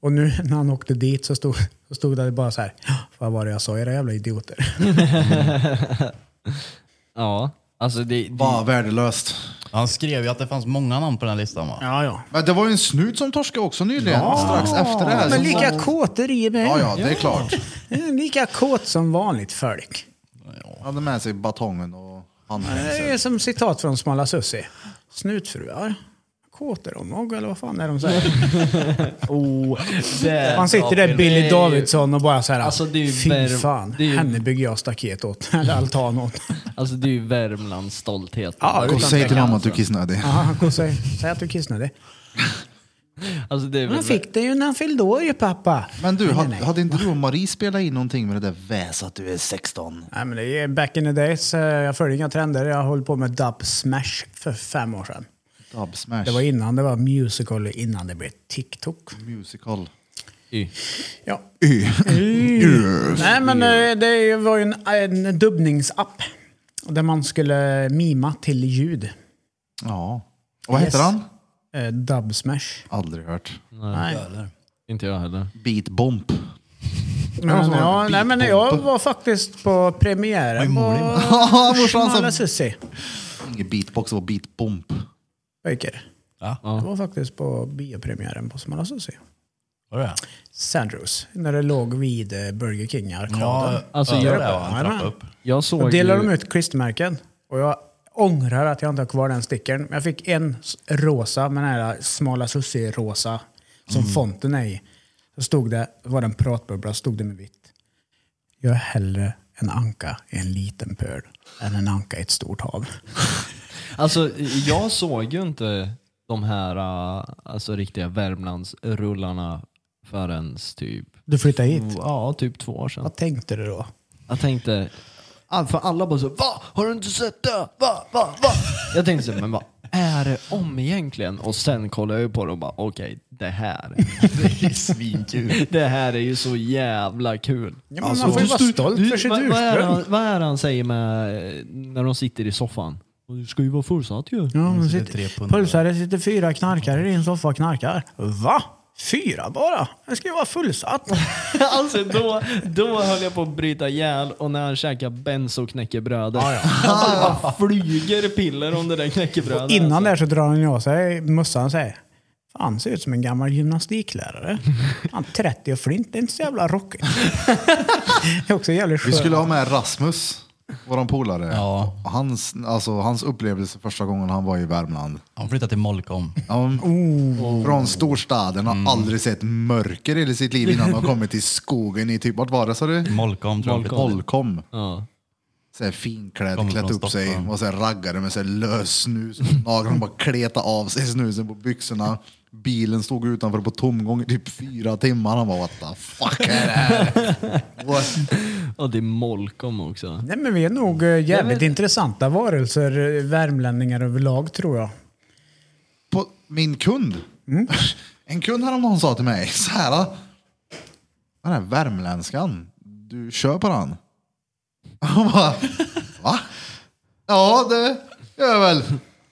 Speaker 3: Och nu [laughs] när han åkte dit så stod, så stod det bara så här, "Ja, vad var det jag sa, era jävla idioter.
Speaker 4: Ja, alltså det... det
Speaker 2: Bara värdelöst.
Speaker 5: Han skrev ju att det fanns många namn på den här listan va?
Speaker 3: Ja, ja.
Speaker 2: Men det var ju en snut som torskade också nyligen, strax efter det här.
Speaker 3: Men
Speaker 2: som
Speaker 3: lika
Speaker 2: var-
Speaker 3: kåter i mig.
Speaker 2: Ja, ja, det är klart.
Speaker 3: Eh, Lika kåt som vanligt folk.
Speaker 2: Han hade med sig batongen och
Speaker 3: Det
Speaker 2: handfängsel.
Speaker 3: är som citat från Smala Sussi. Snutfruar. Kåter om och eller vad fan är de säger?
Speaker 4: [laughs] oh, det
Speaker 3: Man sitter där
Speaker 4: Det är
Speaker 3: Billy
Speaker 4: ju-
Speaker 3: Davidsson och bara så här.
Speaker 4: Alltså, det är ju
Speaker 3: Fy
Speaker 4: ver-
Speaker 3: fan,
Speaker 4: det är ju-
Speaker 3: henne bygger jag staket åt. [laughs] Eller altan åt.
Speaker 4: Alltså det är ju Värmlands stolthet.
Speaker 3: Ja,
Speaker 2: Gå och
Speaker 3: utan
Speaker 2: säg till
Speaker 3: tvekan.
Speaker 2: mamma att du är kissnödig.
Speaker 3: Ja, gå och säg, säg att du är kissnödig.
Speaker 4: Alltså det är väl
Speaker 3: Han fick det ju när han fyllde år ju pappa.
Speaker 2: Men du,
Speaker 3: nej,
Speaker 2: hade,
Speaker 3: nej.
Speaker 2: hade inte du och Marie spelat in någonting med det där väs att du är 16?
Speaker 3: Nej, men det är back in the days. eh, Jag följde inga trender. Jag höll på med dub smash för fem år sedan.
Speaker 2: Dub smash.
Speaker 3: Det var innan det var musical, innan det blev TikTok.
Speaker 2: musical.
Speaker 4: Y.
Speaker 3: Ja. Nej, men eh, det var ju en, en dubbningsapp där man skulle mima till ljud.
Speaker 2: Ja. Och vad heter
Speaker 3: Yes.
Speaker 2: han?
Speaker 3: Eh, Dub smash.
Speaker 2: Aldrig hört.
Speaker 3: Nej.
Speaker 4: Inte jag heller.
Speaker 2: Beat Bomp.
Speaker 3: Men, ja, nej, men jag
Speaker 2: beatbomb.
Speaker 3: var faktiskt på premiären [laughs] på
Speaker 2: Ja, morsan
Speaker 3: Smala
Speaker 2: sa
Speaker 3: Sussi.
Speaker 2: Ingen beatbox, det var Beat Bomp.
Speaker 3: Pojkar.
Speaker 5: Ja.
Speaker 3: Jag var faktiskt på biopremiären på Smala Sussi.
Speaker 5: Var det det?
Speaker 3: Sandrews. När det låg vid eh, Burger King i arkaden.
Speaker 4: Alltså,
Speaker 5: över
Speaker 4: jag-
Speaker 5: där var en
Speaker 3: Ja,
Speaker 5: trappa
Speaker 3: men.
Speaker 5: upp.
Speaker 4: Jag
Speaker 3: Då
Speaker 4: såg
Speaker 3: delar
Speaker 4: ju...
Speaker 3: de ut klistermärken. Och jag ångrar att jag inte har kvar den stickern. Men jag fick en s- rosa med den här smala sussi-rosa som fonten är i. Så stod det, var det en pratbubbla, stod det med vitt. Jag är hellre en anka i en liten pöl än en anka i ett stort hav.
Speaker 4: Alltså, jag såg ju inte de här äh, alltså, riktiga Värmlandsrullarna förrän typ,
Speaker 3: Du flyttade hit.
Speaker 4: ja, typ två år sedan.
Speaker 3: Mm. Vad tänkte du då?
Speaker 4: Jag tänkte, all- för alla bara så va? Har du inte sett det? Va? Va? Va? Jag tänkte så, men vad är det om egentligen? Och sen kollade jag ju på det och bara okej, det här.
Speaker 5: Det är svinkul.
Speaker 4: Det här är ju så jävla kul. Alltså,
Speaker 3: Ja, men man får ju vara stolt för sitt
Speaker 4: vad, vad, är det
Speaker 3: ursprung.
Speaker 4: han, vad är det han säger med, eh, när de sitter i soffan? Och Du ska ju vara fullsatt ju.
Speaker 3: Ja, men
Speaker 5: Mm, sitter tre
Speaker 3: sitter,
Speaker 5: pundare.
Speaker 3: pulsare sitter fyra knarkare i en soffa och knarkar. Va? Fyra bara? Det ska ju vara fullsatt.
Speaker 4: [laughs] Alltså då, då höll jag på att bryta ihjäl och när han käkar benzo knäckebrödet.
Speaker 3: Ah,
Speaker 4: [laughs] Alltså det bara flyger piller om det där knäckebrödet.
Speaker 3: Innan där så drar han ju av sig mössan och säger Fan, ser ut som en gammal [laughs] gymnastiklärare. Han 30 och flint, det är inte så jävla rockigt. [laughs] Det är också jävligt
Speaker 2: Vi
Speaker 3: skönt.
Speaker 2: skulle ha med Rasmus, våran polare.
Speaker 5: Ja.
Speaker 2: Hans, alltså, hans upplevelse första gången han var i Värmland.
Speaker 5: Han flyttade till Molkom.
Speaker 2: Han,
Speaker 3: Oh.
Speaker 2: Från storstaden,
Speaker 3: Mm.
Speaker 2: har aldrig sett mörker i hela sitt liv innan han kommit till skogen i typ, vart var det sa du?
Speaker 5: Molkom tror jag. Molkom.
Speaker 2: Molkom.
Speaker 4: Ja.
Speaker 2: Såhär finklädd,
Speaker 5: Kommer
Speaker 2: klätt
Speaker 5: från
Speaker 2: upp sig,
Speaker 5: Stockholm.
Speaker 2: var såhär raggare med såhär lös snus naglarna bara kleta av sig snusen på byxorna. Bilen stod utanför på tomgång i typ fyra timmar. Han bara what the fuck är det
Speaker 5: [laughs]
Speaker 2: här? What?
Speaker 4: Och det är Molkom också.
Speaker 3: Nej, men vi är nog eh, jävligt
Speaker 4: vet-
Speaker 3: intressanta varelser, eh, värmlänningar överlag tror jag.
Speaker 2: På min kund?
Speaker 4: Mm.
Speaker 2: [laughs] En kund häromdagen sa till mig så här. [laughs] Den här värmländskan, du kör på den. Han bara, Va? Ja, det gör jag väl.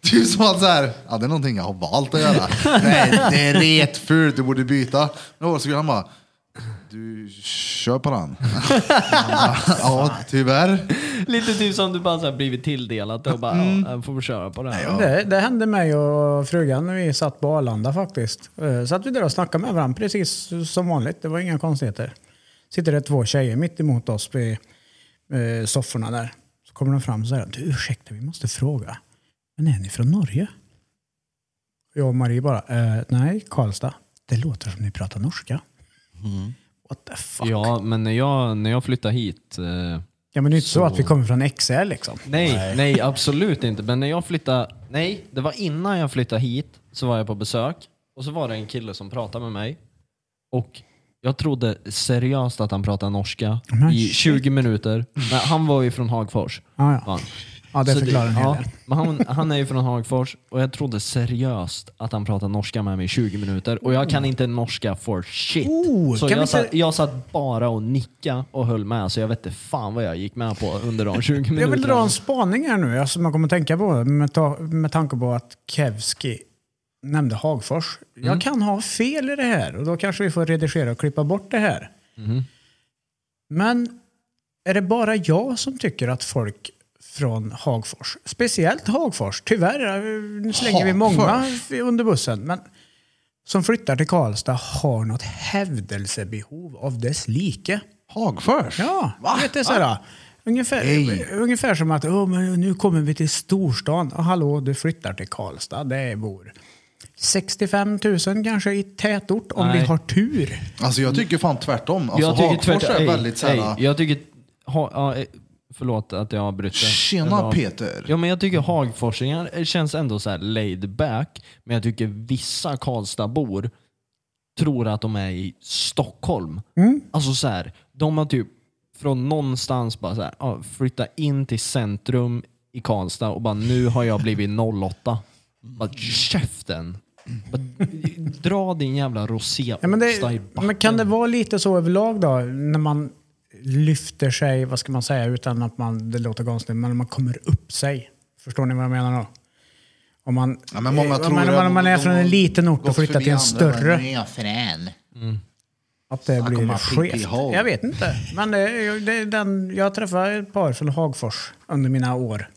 Speaker 2: Typ som att så här, ja, det är någonting jag har valt att göra. [laughs] Nej, det är retfult, du borde byta. Några år så skulle han bara, du kör på den. [laughs] ja, tyvärr.
Speaker 4: Lite typ som du bara så här blivit tilldelat och bara,
Speaker 3: Mm.
Speaker 4: ja, jag får köra på det här.
Speaker 3: Det, det hände mig och frugan när vi satt på Arlanda faktiskt. Eh, Satt vi där och snackade med varandra precis som vanligt. Det var inga konstigheter. Sitter det två tjejer mitt emot oss i eh, sofforna där. Så kommer de fram och säger du ursäkta vi måste fråga. Men är ni från Norge? Jag och Marie bara, eh, nej Karlstad. Det låter som ni pratar norska.
Speaker 5: Mm.
Speaker 3: What the fuck? Ja,
Speaker 4: Ja, men när jag, när jag flyttade hit eh,
Speaker 3: men det är inte så. att vi kommer från XL liksom.
Speaker 4: Nej, nej, absolut inte. Men när jag flyttade, nej, det var innan jag flyttade hit så var jag på besök och så var det en kille som pratade med mig och jag trodde seriöst att han pratade norska
Speaker 3: Men
Speaker 4: i
Speaker 3: shit.
Speaker 4: 20 minuter. Men han var ju från Hagfors.
Speaker 3: Ja, ja.
Speaker 4: var han.
Speaker 3: Ja, det
Speaker 4: Så
Speaker 3: förklarar en hel
Speaker 4: ja,
Speaker 3: del.
Speaker 4: men han, han är ju från Hagfors och jag trodde seriöst att han pratade norska med mig i 20 minuter och jag kan inte norska for shit.
Speaker 3: Oh, kan
Speaker 4: så jag,
Speaker 3: vi inte-
Speaker 4: satt, jag satt bara och nickade och höll med så jag vet inte fan vad jag gick med på under de 20 minuterna.
Speaker 3: Jag vill dra en spaning här nu, alltså man kommer att tänka på med, ta, med tanke på att Kevski nämnde Hagfors. Jag kan ha fel i det här och då kanske vi får redigera och klippa bort det här. Men är det bara jag som tycker att folk från Hagfors, speciellt Hagfors, tyvärr, eh, nu slänger vi många under bussen, men som flyttar till Karlstad har något hävdelsebehov av dess like.
Speaker 2: Hagfors?
Speaker 3: Ja, vet du, så här, ungefär,
Speaker 2: Nej.
Speaker 3: ungefär som att "Åh, men nu kommer vi till storstan. Oh, hallå, du flyttar till Karlstad. Det bor 65 000 kanske i tätort om
Speaker 4: Nej.
Speaker 3: vi har tur.
Speaker 2: Alltså jag tycker fan tvärtom. Alltså,
Speaker 4: jag tycker
Speaker 2: Hagfors
Speaker 4: tvärtom.
Speaker 2: är
Speaker 4: Ey,
Speaker 2: väldigt så här,
Speaker 4: ey, Jag tycker... Ha, ja, eh, förlåt att jag avbryter.
Speaker 2: Tjena,
Speaker 4: Det var-
Speaker 2: Peter.
Speaker 4: Ja, men jag tycker Hagforsingar eh, känns ändå så här laid back. Men jag tycker vissa Karlstadbor tror att de är i Stockholm.
Speaker 2: Mm.
Speaker 4: Alltså så här, de har typ från någonstans bara så här, ja, flytta in till centrum i Karlstad och bara nu har jag
Speaker 2: [laughs]
Speaker 4: blivit 08. Bara käften. Bara, dra din jävla roséosta
Speaker 3: Ja, men,
Speaker 4: i
Speaker 3: det,
Speaker 4: backen.
Speaker 3: men kan det vara lite så överlag då, när man lyfter sig, vad ska man säga, utan att man, det låter konstigt, men man kommer upp sig. Förstår ni vad jag menar då? Om man,
Speaker 2: Ja, men många
Speaker 3: om
Speaker 2: tror
Speaker 3: Eh, man,
Speaker 2: det,
Speaker 3: om man, om man är
Speaker 2: de
Speaker 3: från en
Speaker 2: har
Speaker 3: liten ort och
Speaker 2: gått
Speaker 3: flyttar
Speaker 2: förbi
Speaker 3: till en
Speaker 2: andra, men
Speaker 3: större.
Speaker 2: nu är jag frän.
Speaker 3: Att det
Speaker 2: om
Speaker 3: blir
Speaker 2: man skiter i
Speaker 3: skevt.
Speaker 2: Hagfors.
Speaker 3: Jag vet inte. Men det, är- det, är den, jag träffade ett par från Hagfors under mina år.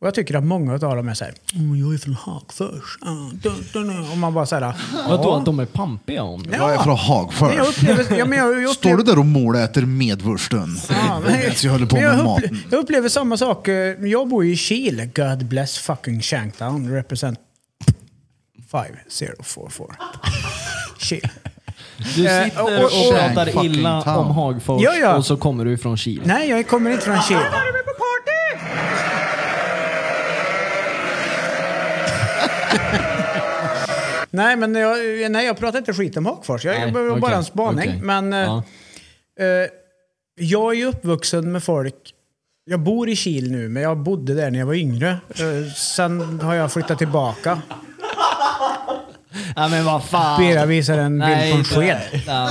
Speaker 3: Och jag tycker att många av dem är såhär, "Mm, jag är från Hagfors. Ah, dun, dun, dun." Och man bara såhär,
Speaker 4: Vadå att de är pampiga om det?
Speaker 2: Jag är från
Speaker 3: Men jag
Speaker 2: Hagfors.
Speaker 3: upplever, ja, men jag, jag
Speaker 2: Står du
Speaker 3: upplever,
Speaker 2: där och måläter medvursten?
Speaker 3: Ja, men-
Speaker 2: Medan jag håller på
Speaker 3: men jag
Speaker 2: med
Speaker 3: upple-
Speaker 2: maten.
Speaker 3: Jag upplever samma sak. eh, Jag bor ju i Kil. God bless fucking Shanktown. Represent 5044. Kil.
Speaker 4: Du
Speaker 3: Eh,
Speaker 4: sitter
Speaker 3: och-
Speaker 4: och,
Speaker 3: och- och-
Speaker 4: pratar
Speaker 2: Fucking
Speaker 4: illa
Speaker 2: town.
Speaker 4: om Hagfors
Speaker 3: Ja, ja.
Speaker 4: och så kommer du från Kil.
Speaker 3: Nej, jag kommer inte från Kil. [laughs] Nej, men jag, nej, jag pratar inte skit om Hagfors. Jag, jag
Speaker 4: Nej,
Speaker 3: behöver
Speaker 4: okej,
Speaker 3: bara en spaning.
Speaker 4: okej.
Speaker 3: Men eh,
Speaker 4: Ja.
Speaker 3: eh, jag är ju uppvuxen med folk. Jag bor i Kil nu, men jag bodde där när jag var yngre. Eh, sen har jag flyttat tillbaka.
Speaker 4: Nej men vad fan.
Speaker 3: Bera visar en bild på en
Speaker 4: inte-
Speaker 3: sked.
Speaker 4: Ja,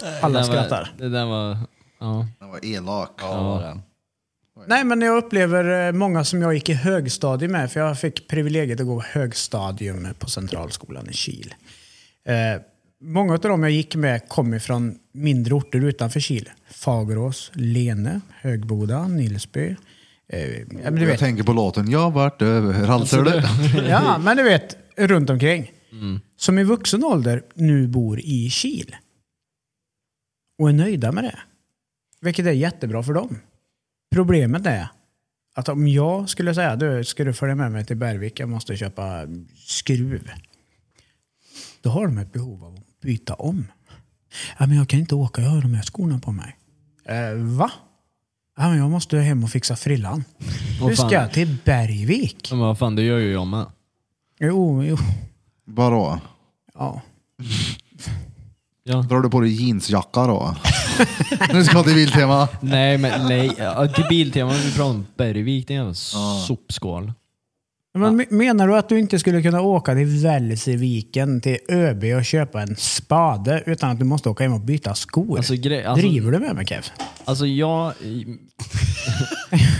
Speaker 4: det
Speaker 3: Alla
Speaker 4: där var-
Speaker 3: skrattar.
Speaker 4: Det där var... Ja.
Speaker 2: Den var elak.
Speaker 5: Ja.
Speaker 3: Nej, men jag upplever eh, många som jag gick i högstadiet med, för jag fick privilegiet att gå högstadium på Centralskolan i Kil. Eh, många av dem jag gick med kom ifrån mindre orter utanför Kil. Fagerås, Lene, Högboda, Nilsby. Eh, ja, men du
Speaker 2: Jag
Speaker 3: vet.
Speaker 2: tänker på låten Jag vart överallt. ser du?
Speaker 4: Alltså,
Speaker 3: Ja, men du vet, runt omkring. Som i vuxen ålder nu bor i Kil. Och är nöjda med det. Vilket är jättebra för dem. Problemet är att om jag skulle säga du, ska du följa med mig till Bergvik, jag måste köpa skruv. Då har de ett behov av att byta om. Ja, men jag kan inte åka, jag har de här skorna på mig. Eh, va? Ja, men jag måste hem och fixa frillan.
Speaker 4: Åh,
Speaker 3: Du ska
Speaker 4: fan.
Speaker 3: till Bergvik.
Speaker 4: Men vad fan, det gör ju jag med.
Speaker 3: Jo, jo.
Speaker 2: [laughs] Vadå?
Speaker 3: Ja.
Speaker 4: Ja.
Speaker 2: Drar du på dig jeansjacka då? nu ska till Biltema.
Speaker 4: Nej men nej. Ja, till Biltema, vi pratar om Bergvik, det är en jävla sopskål.
Speaker 3: Men me- Menar du att du inte skulle kunna åka till Välseviken, till ÖB och köpa en spade utan att du måste åka hem och byta skor?
Speaker 4: Alltså, grej- alltså-
Speaker 3: Driver du med mig Kev?
Speaker 4: Alltså jag...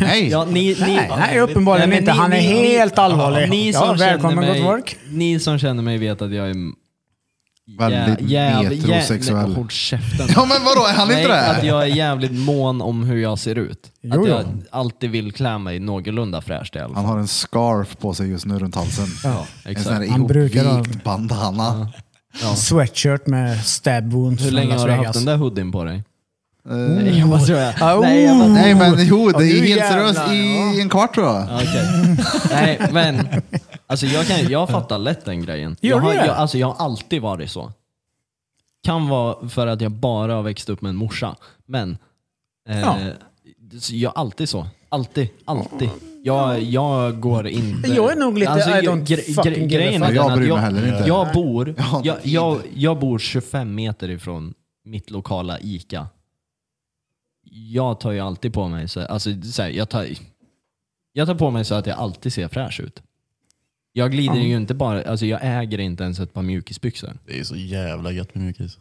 Speaker 2: Nej,
Speaker 4: Ja, ni, ni,
Speaker 3: [laughs] Nej, nej, uppenbarligen
Speaker 4: men
Speaker 3: inte. Han är helt allvarlig.
Speaker 4: Ni
Speaker 3: Ja,
Speaker 4: som
Speaker 3: välkommen,
Speaker 4: känner mig,
Speaker 3: gott work.
Speaker 4: Ni som känner mig vet att jag är... m-
Speaker 2: Väldigt
Speaker 4: jäv- jäv-
Speaker 2: metrosexuell.
Speaker 4: Nej, Håll käften.
Speaker 2: ja men vadå, är han
Speaker 4: Nej,
Speaker 2: inte det?
Speaker 4: att jag är jävligt mån om hur jag ser ut.
Speaker 3: Jo,
Speaker 4: att jag
Speaker 3: jo.
Speaker 4: alltid vill klä mig någorlunda fräscht i
Speaker 2: Han
Speaker 4: alla fall.
Speaker 2: har en scarf på sig just nu runt halsen. en
Speaker 4: exakt.
Speaker 2: sån här
Speaker 3: Han brukar ha-
Speaker 2: ihopvikt bandana.
Speaker 3: Sweatshirt med stab wounds
Speaker 4: Hur
Speaker 3: från
Speaker 4: länge
Speaker 3: Las
Speaker 4: har du haft
Speaker 3: Vegas. Ah,
Speaker 4: den där hoodien på dig? Nej, jag bara skojar. Nej, jag bara-
Speaker 2: Nej men jo, det
Speaker 3: oh! du
Speaker 2: är helt
Speaker 3: jävlar,
Speaker 2: seriöst i en kvart tror jag.
Speaker 4: Okej. Nej, men alltså jag, kan, jag fattar lätt den grejen.
Speaker 3: Gör
Speaker 4: Jag
Speaker 3: du
Speaker 4: har,
Speaker 3: det?
Speaker 4: jag, alltså jag har alltid varit så. Kan vara för att jag bara har växt upp med en morsa. Men eh,
Speaker 3: Ja.
Speaker 4: så jag är alltid så. Alltid, alltid. Jag, jag går inte... Alltså,
Speaker 3: Jag är nog lite, I don't fucking give a
Speaker 4: grejen är
Speaker 2: fuck. Jag
Speaker 4: den att
Speaker 2: bryr mig heller inte.
Speaker 4: Jag bor,
Speaker 2: Jag har inte
Speaker 4: jag,
Speaker 2: tid.
Speaker 4: jag, jag bor 25 meter ifrån mitt lokala ICA. Jag tar ju alltid på mig, så, alltså, så här, jag, tar, jag tar på mig så att jag alltid ser fräsch ut. Jag glider ju inte bara, alltså jag äger inte ens ett par mjukisbyxor.
Speaker 5: Det är så jävla gött med mjukis.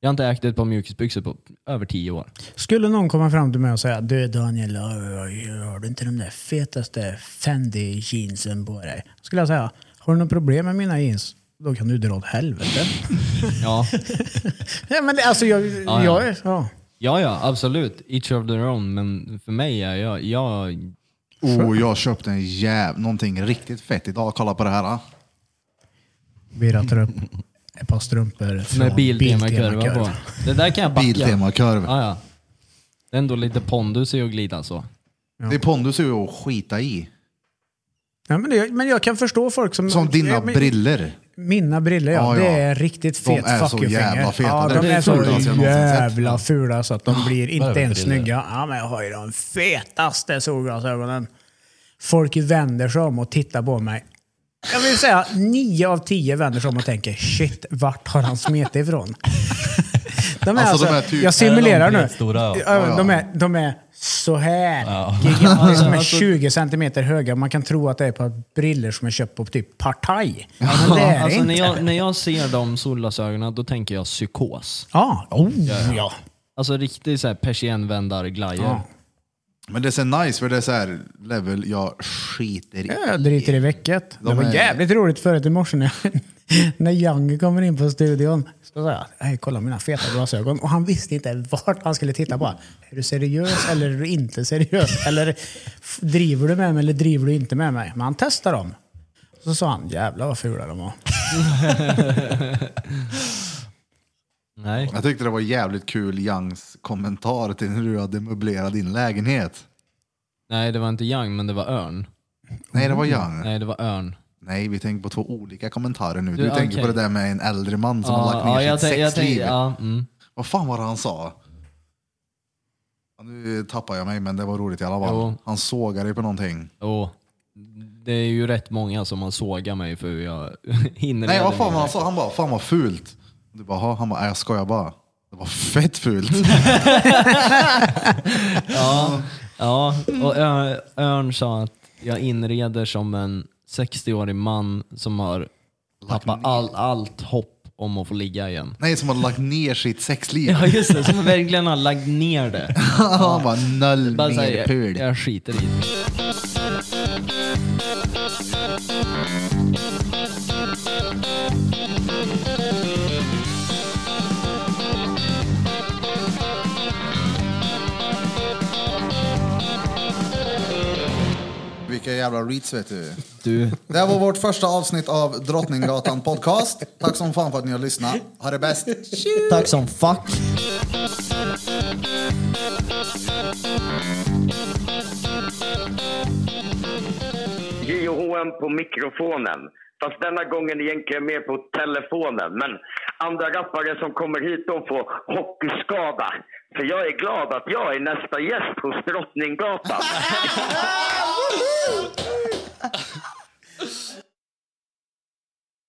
Speaker 4: Jag har inte ägt ett par mjukisbyxor på över tio år.
Speaker 3: Skulle någon komma fram till mig och säga Du Daniel, har du inte de där fetaste Fendi jeansen på dig? Skulle jag säga, har du något problem med mina jeans? Då kan du dra åt helvete. [laughs]
Speaker 2: [laughs]
Speaker 4: Ja,
Speaker 3: Nej men det- alltså jag...
Speaker 4: ja.
Speaker 3: jag är- ja.
Speaker 4: ja, ja absolut. Each of their own. Men för mig är jag, jag
Speaker 2: Oh, jag köpte en jäv... någonting riktigt fett idag. Kolla på det här. ah.
Speaker 3: Birra tar upp ett par strumpor
Speaker 4: med
Speaker 3: från
Speaker 4: Biltema-kurva
Speaker 3: Biltema-kurv.
Speaker 4: på. Det där kan jag backa.
Speaker 2: Biltema-kurv.
Speaker 4: Ah, Ja, ja. Det är ändå lite pondus i att glida så.
Speaker 2: Det är pondus ju att skita i.
Speaker 3: Ja, men, det, men jag kan förstå folk som...
Speaker 2: Som dina
Speaker 3: Ja, men-
Speaker 2: brillor.
Speaker 3: Mina brillor ja,
Speaker 2: Ja, ja.
Speaker 3: det är riktigt
Speaker 2: De
Speaker 3: fet
Speaker 2: är så
Speaker 3: fuck you
Speaker 2: jävla
Speaker 3: finger.
Speaker 2: feta.
Speaker 3: Ja,
Speaker 2: Det är
Speaker 3: de
Speaker 2: det
Speaker 3: är så
Speaker 2: fulaste jag någonsin sett.
Speaker 3: jävla fula så att de blir inte
Speaker 5: Värmebriller.
Speaker 3: ens snygga. Ja, men jag har ju de fetaste solglasögonen. Folk vänder sig om och tittar på mig. Jag vill säga nio av tio vänder sig om och tänker shit, vart har han smet ifrån? De är
Speaker 2: Alltså,
Speaker 3: alltså,
Speaker 2: de är typ-
Speaker 3: jag simulerar
Speaker 5: Är de
Speaker 3: nu.
Speaker 5: bretstora, ja.
Speaker 3: Ja, De, är, de är så här gigantiska. De är 20 centimeter höga. Man kan tro att det är på briller som är köpt på typ Partaj. Men det är det
Speaker 4: Alltså,
Speaker 3: inte.
Speaker 4: när, jag, när jag ser de solglasögonen då tänker jag psykos.
Speaker 3: Ja, oh, ja.
Speaker 4: Alltså riktig så här persiennvändar-glajjor.
Speaker 3: Ja.
Speaker 2: Men det är så nice för det är så här level jag skiter i.
Speaker 3: Jag driter i vecket. det
Speaker 2: De
Speaker 3: var
Speaker 2: är-
Speaker 3: jävligt roligt förut i morse när, [laughs] när Young kommer in på studion. Så sa jag, "Hej, kolla mina feta glasögon. Och han visste inte vart han skulle titta på. Är du seriös eller är du inte seriös? Eller f- driver du med mig eller driver du inte med mig? Men han testar dem. Så sa han, jävlar vad fula de var.
Speaker 4: Nej.
Speaker 2: Jag tyckte det var jävligt kul Youngs kommentar till hur du hade möblerat din lägenhet.
Speaker 4: Nej, det var inte Young, men det var Örn.
Speaker 2: Nej, det
Speaker 4: Oh.
Speaker 2: var Young.
Speaker 4: Nej, det var Örn.
Speaker 2: Nej, vi tänker på två olika kommentarer nu. Du,
Speaker 4: Du,
Speaker 2: tänker på
Speaker 4: okej.
Speaker 2: det där med en äldre man som har lagt
Speaker 4: ja,
Speaker 2: ner
Speaker 4: jag
Speaker 2: sitt
Speaker 4: tänk- jag tänk-
Speaker 2: sexliv.
Speaker 4: ja, mm.
Speaker 2: Vad fan var det han sa? Ja, Nu tappar jag mig, men det var roligt i alla fall.
Speaker 4: Jo.
Speaker 2: Han sågade dig på någonting.
Speaker 4: Och det är ju rätt många som har sågat mig för hur jag [laughs] inreder
Speaker 2: Nej, vad fan
Speaker 4: mig.
Speaker 2: var han sa? Han bara, fan vad fult. Du bara, "Ha?" han bara, "Nej, jag skojar bara. Det var fett fult.
Speaker 4: [laughs] Ja, och Ö- Örn sa att jag inreder som en 60-årig man som har tappat all, allt hopp om att få ligga igen.
Speaker 2: Nej, som hade lagt ner sitt sexliv.
Speaker 4: [laughs] Ja just det, som verkligen har lagt ner det.
Speaker 2: han bara, noll
Speaker 4: Bara
Speaker 2: mer
Speaker 4: säger, jag,
Speaker 2: pul.
Speaker 4: jag skiter i det.
Speaker 2: Vilka jävla reads vet du.
Speaker 4: Du,
Speaker 2: Det här var vårt första avsnitt av Drottninggatan podcast. Tack som fan för att ni har lyssnat. Ha det bäst.
Speaker 8: Tack som fuck.
Speaker 9: JOHM på mikrofonen. Fast denna gången egentligen mer på telefonen. Men andra rappare som kommer hit de får hockeyskada. För jag är glad att jag är nästa gäst hos Drottninggatan.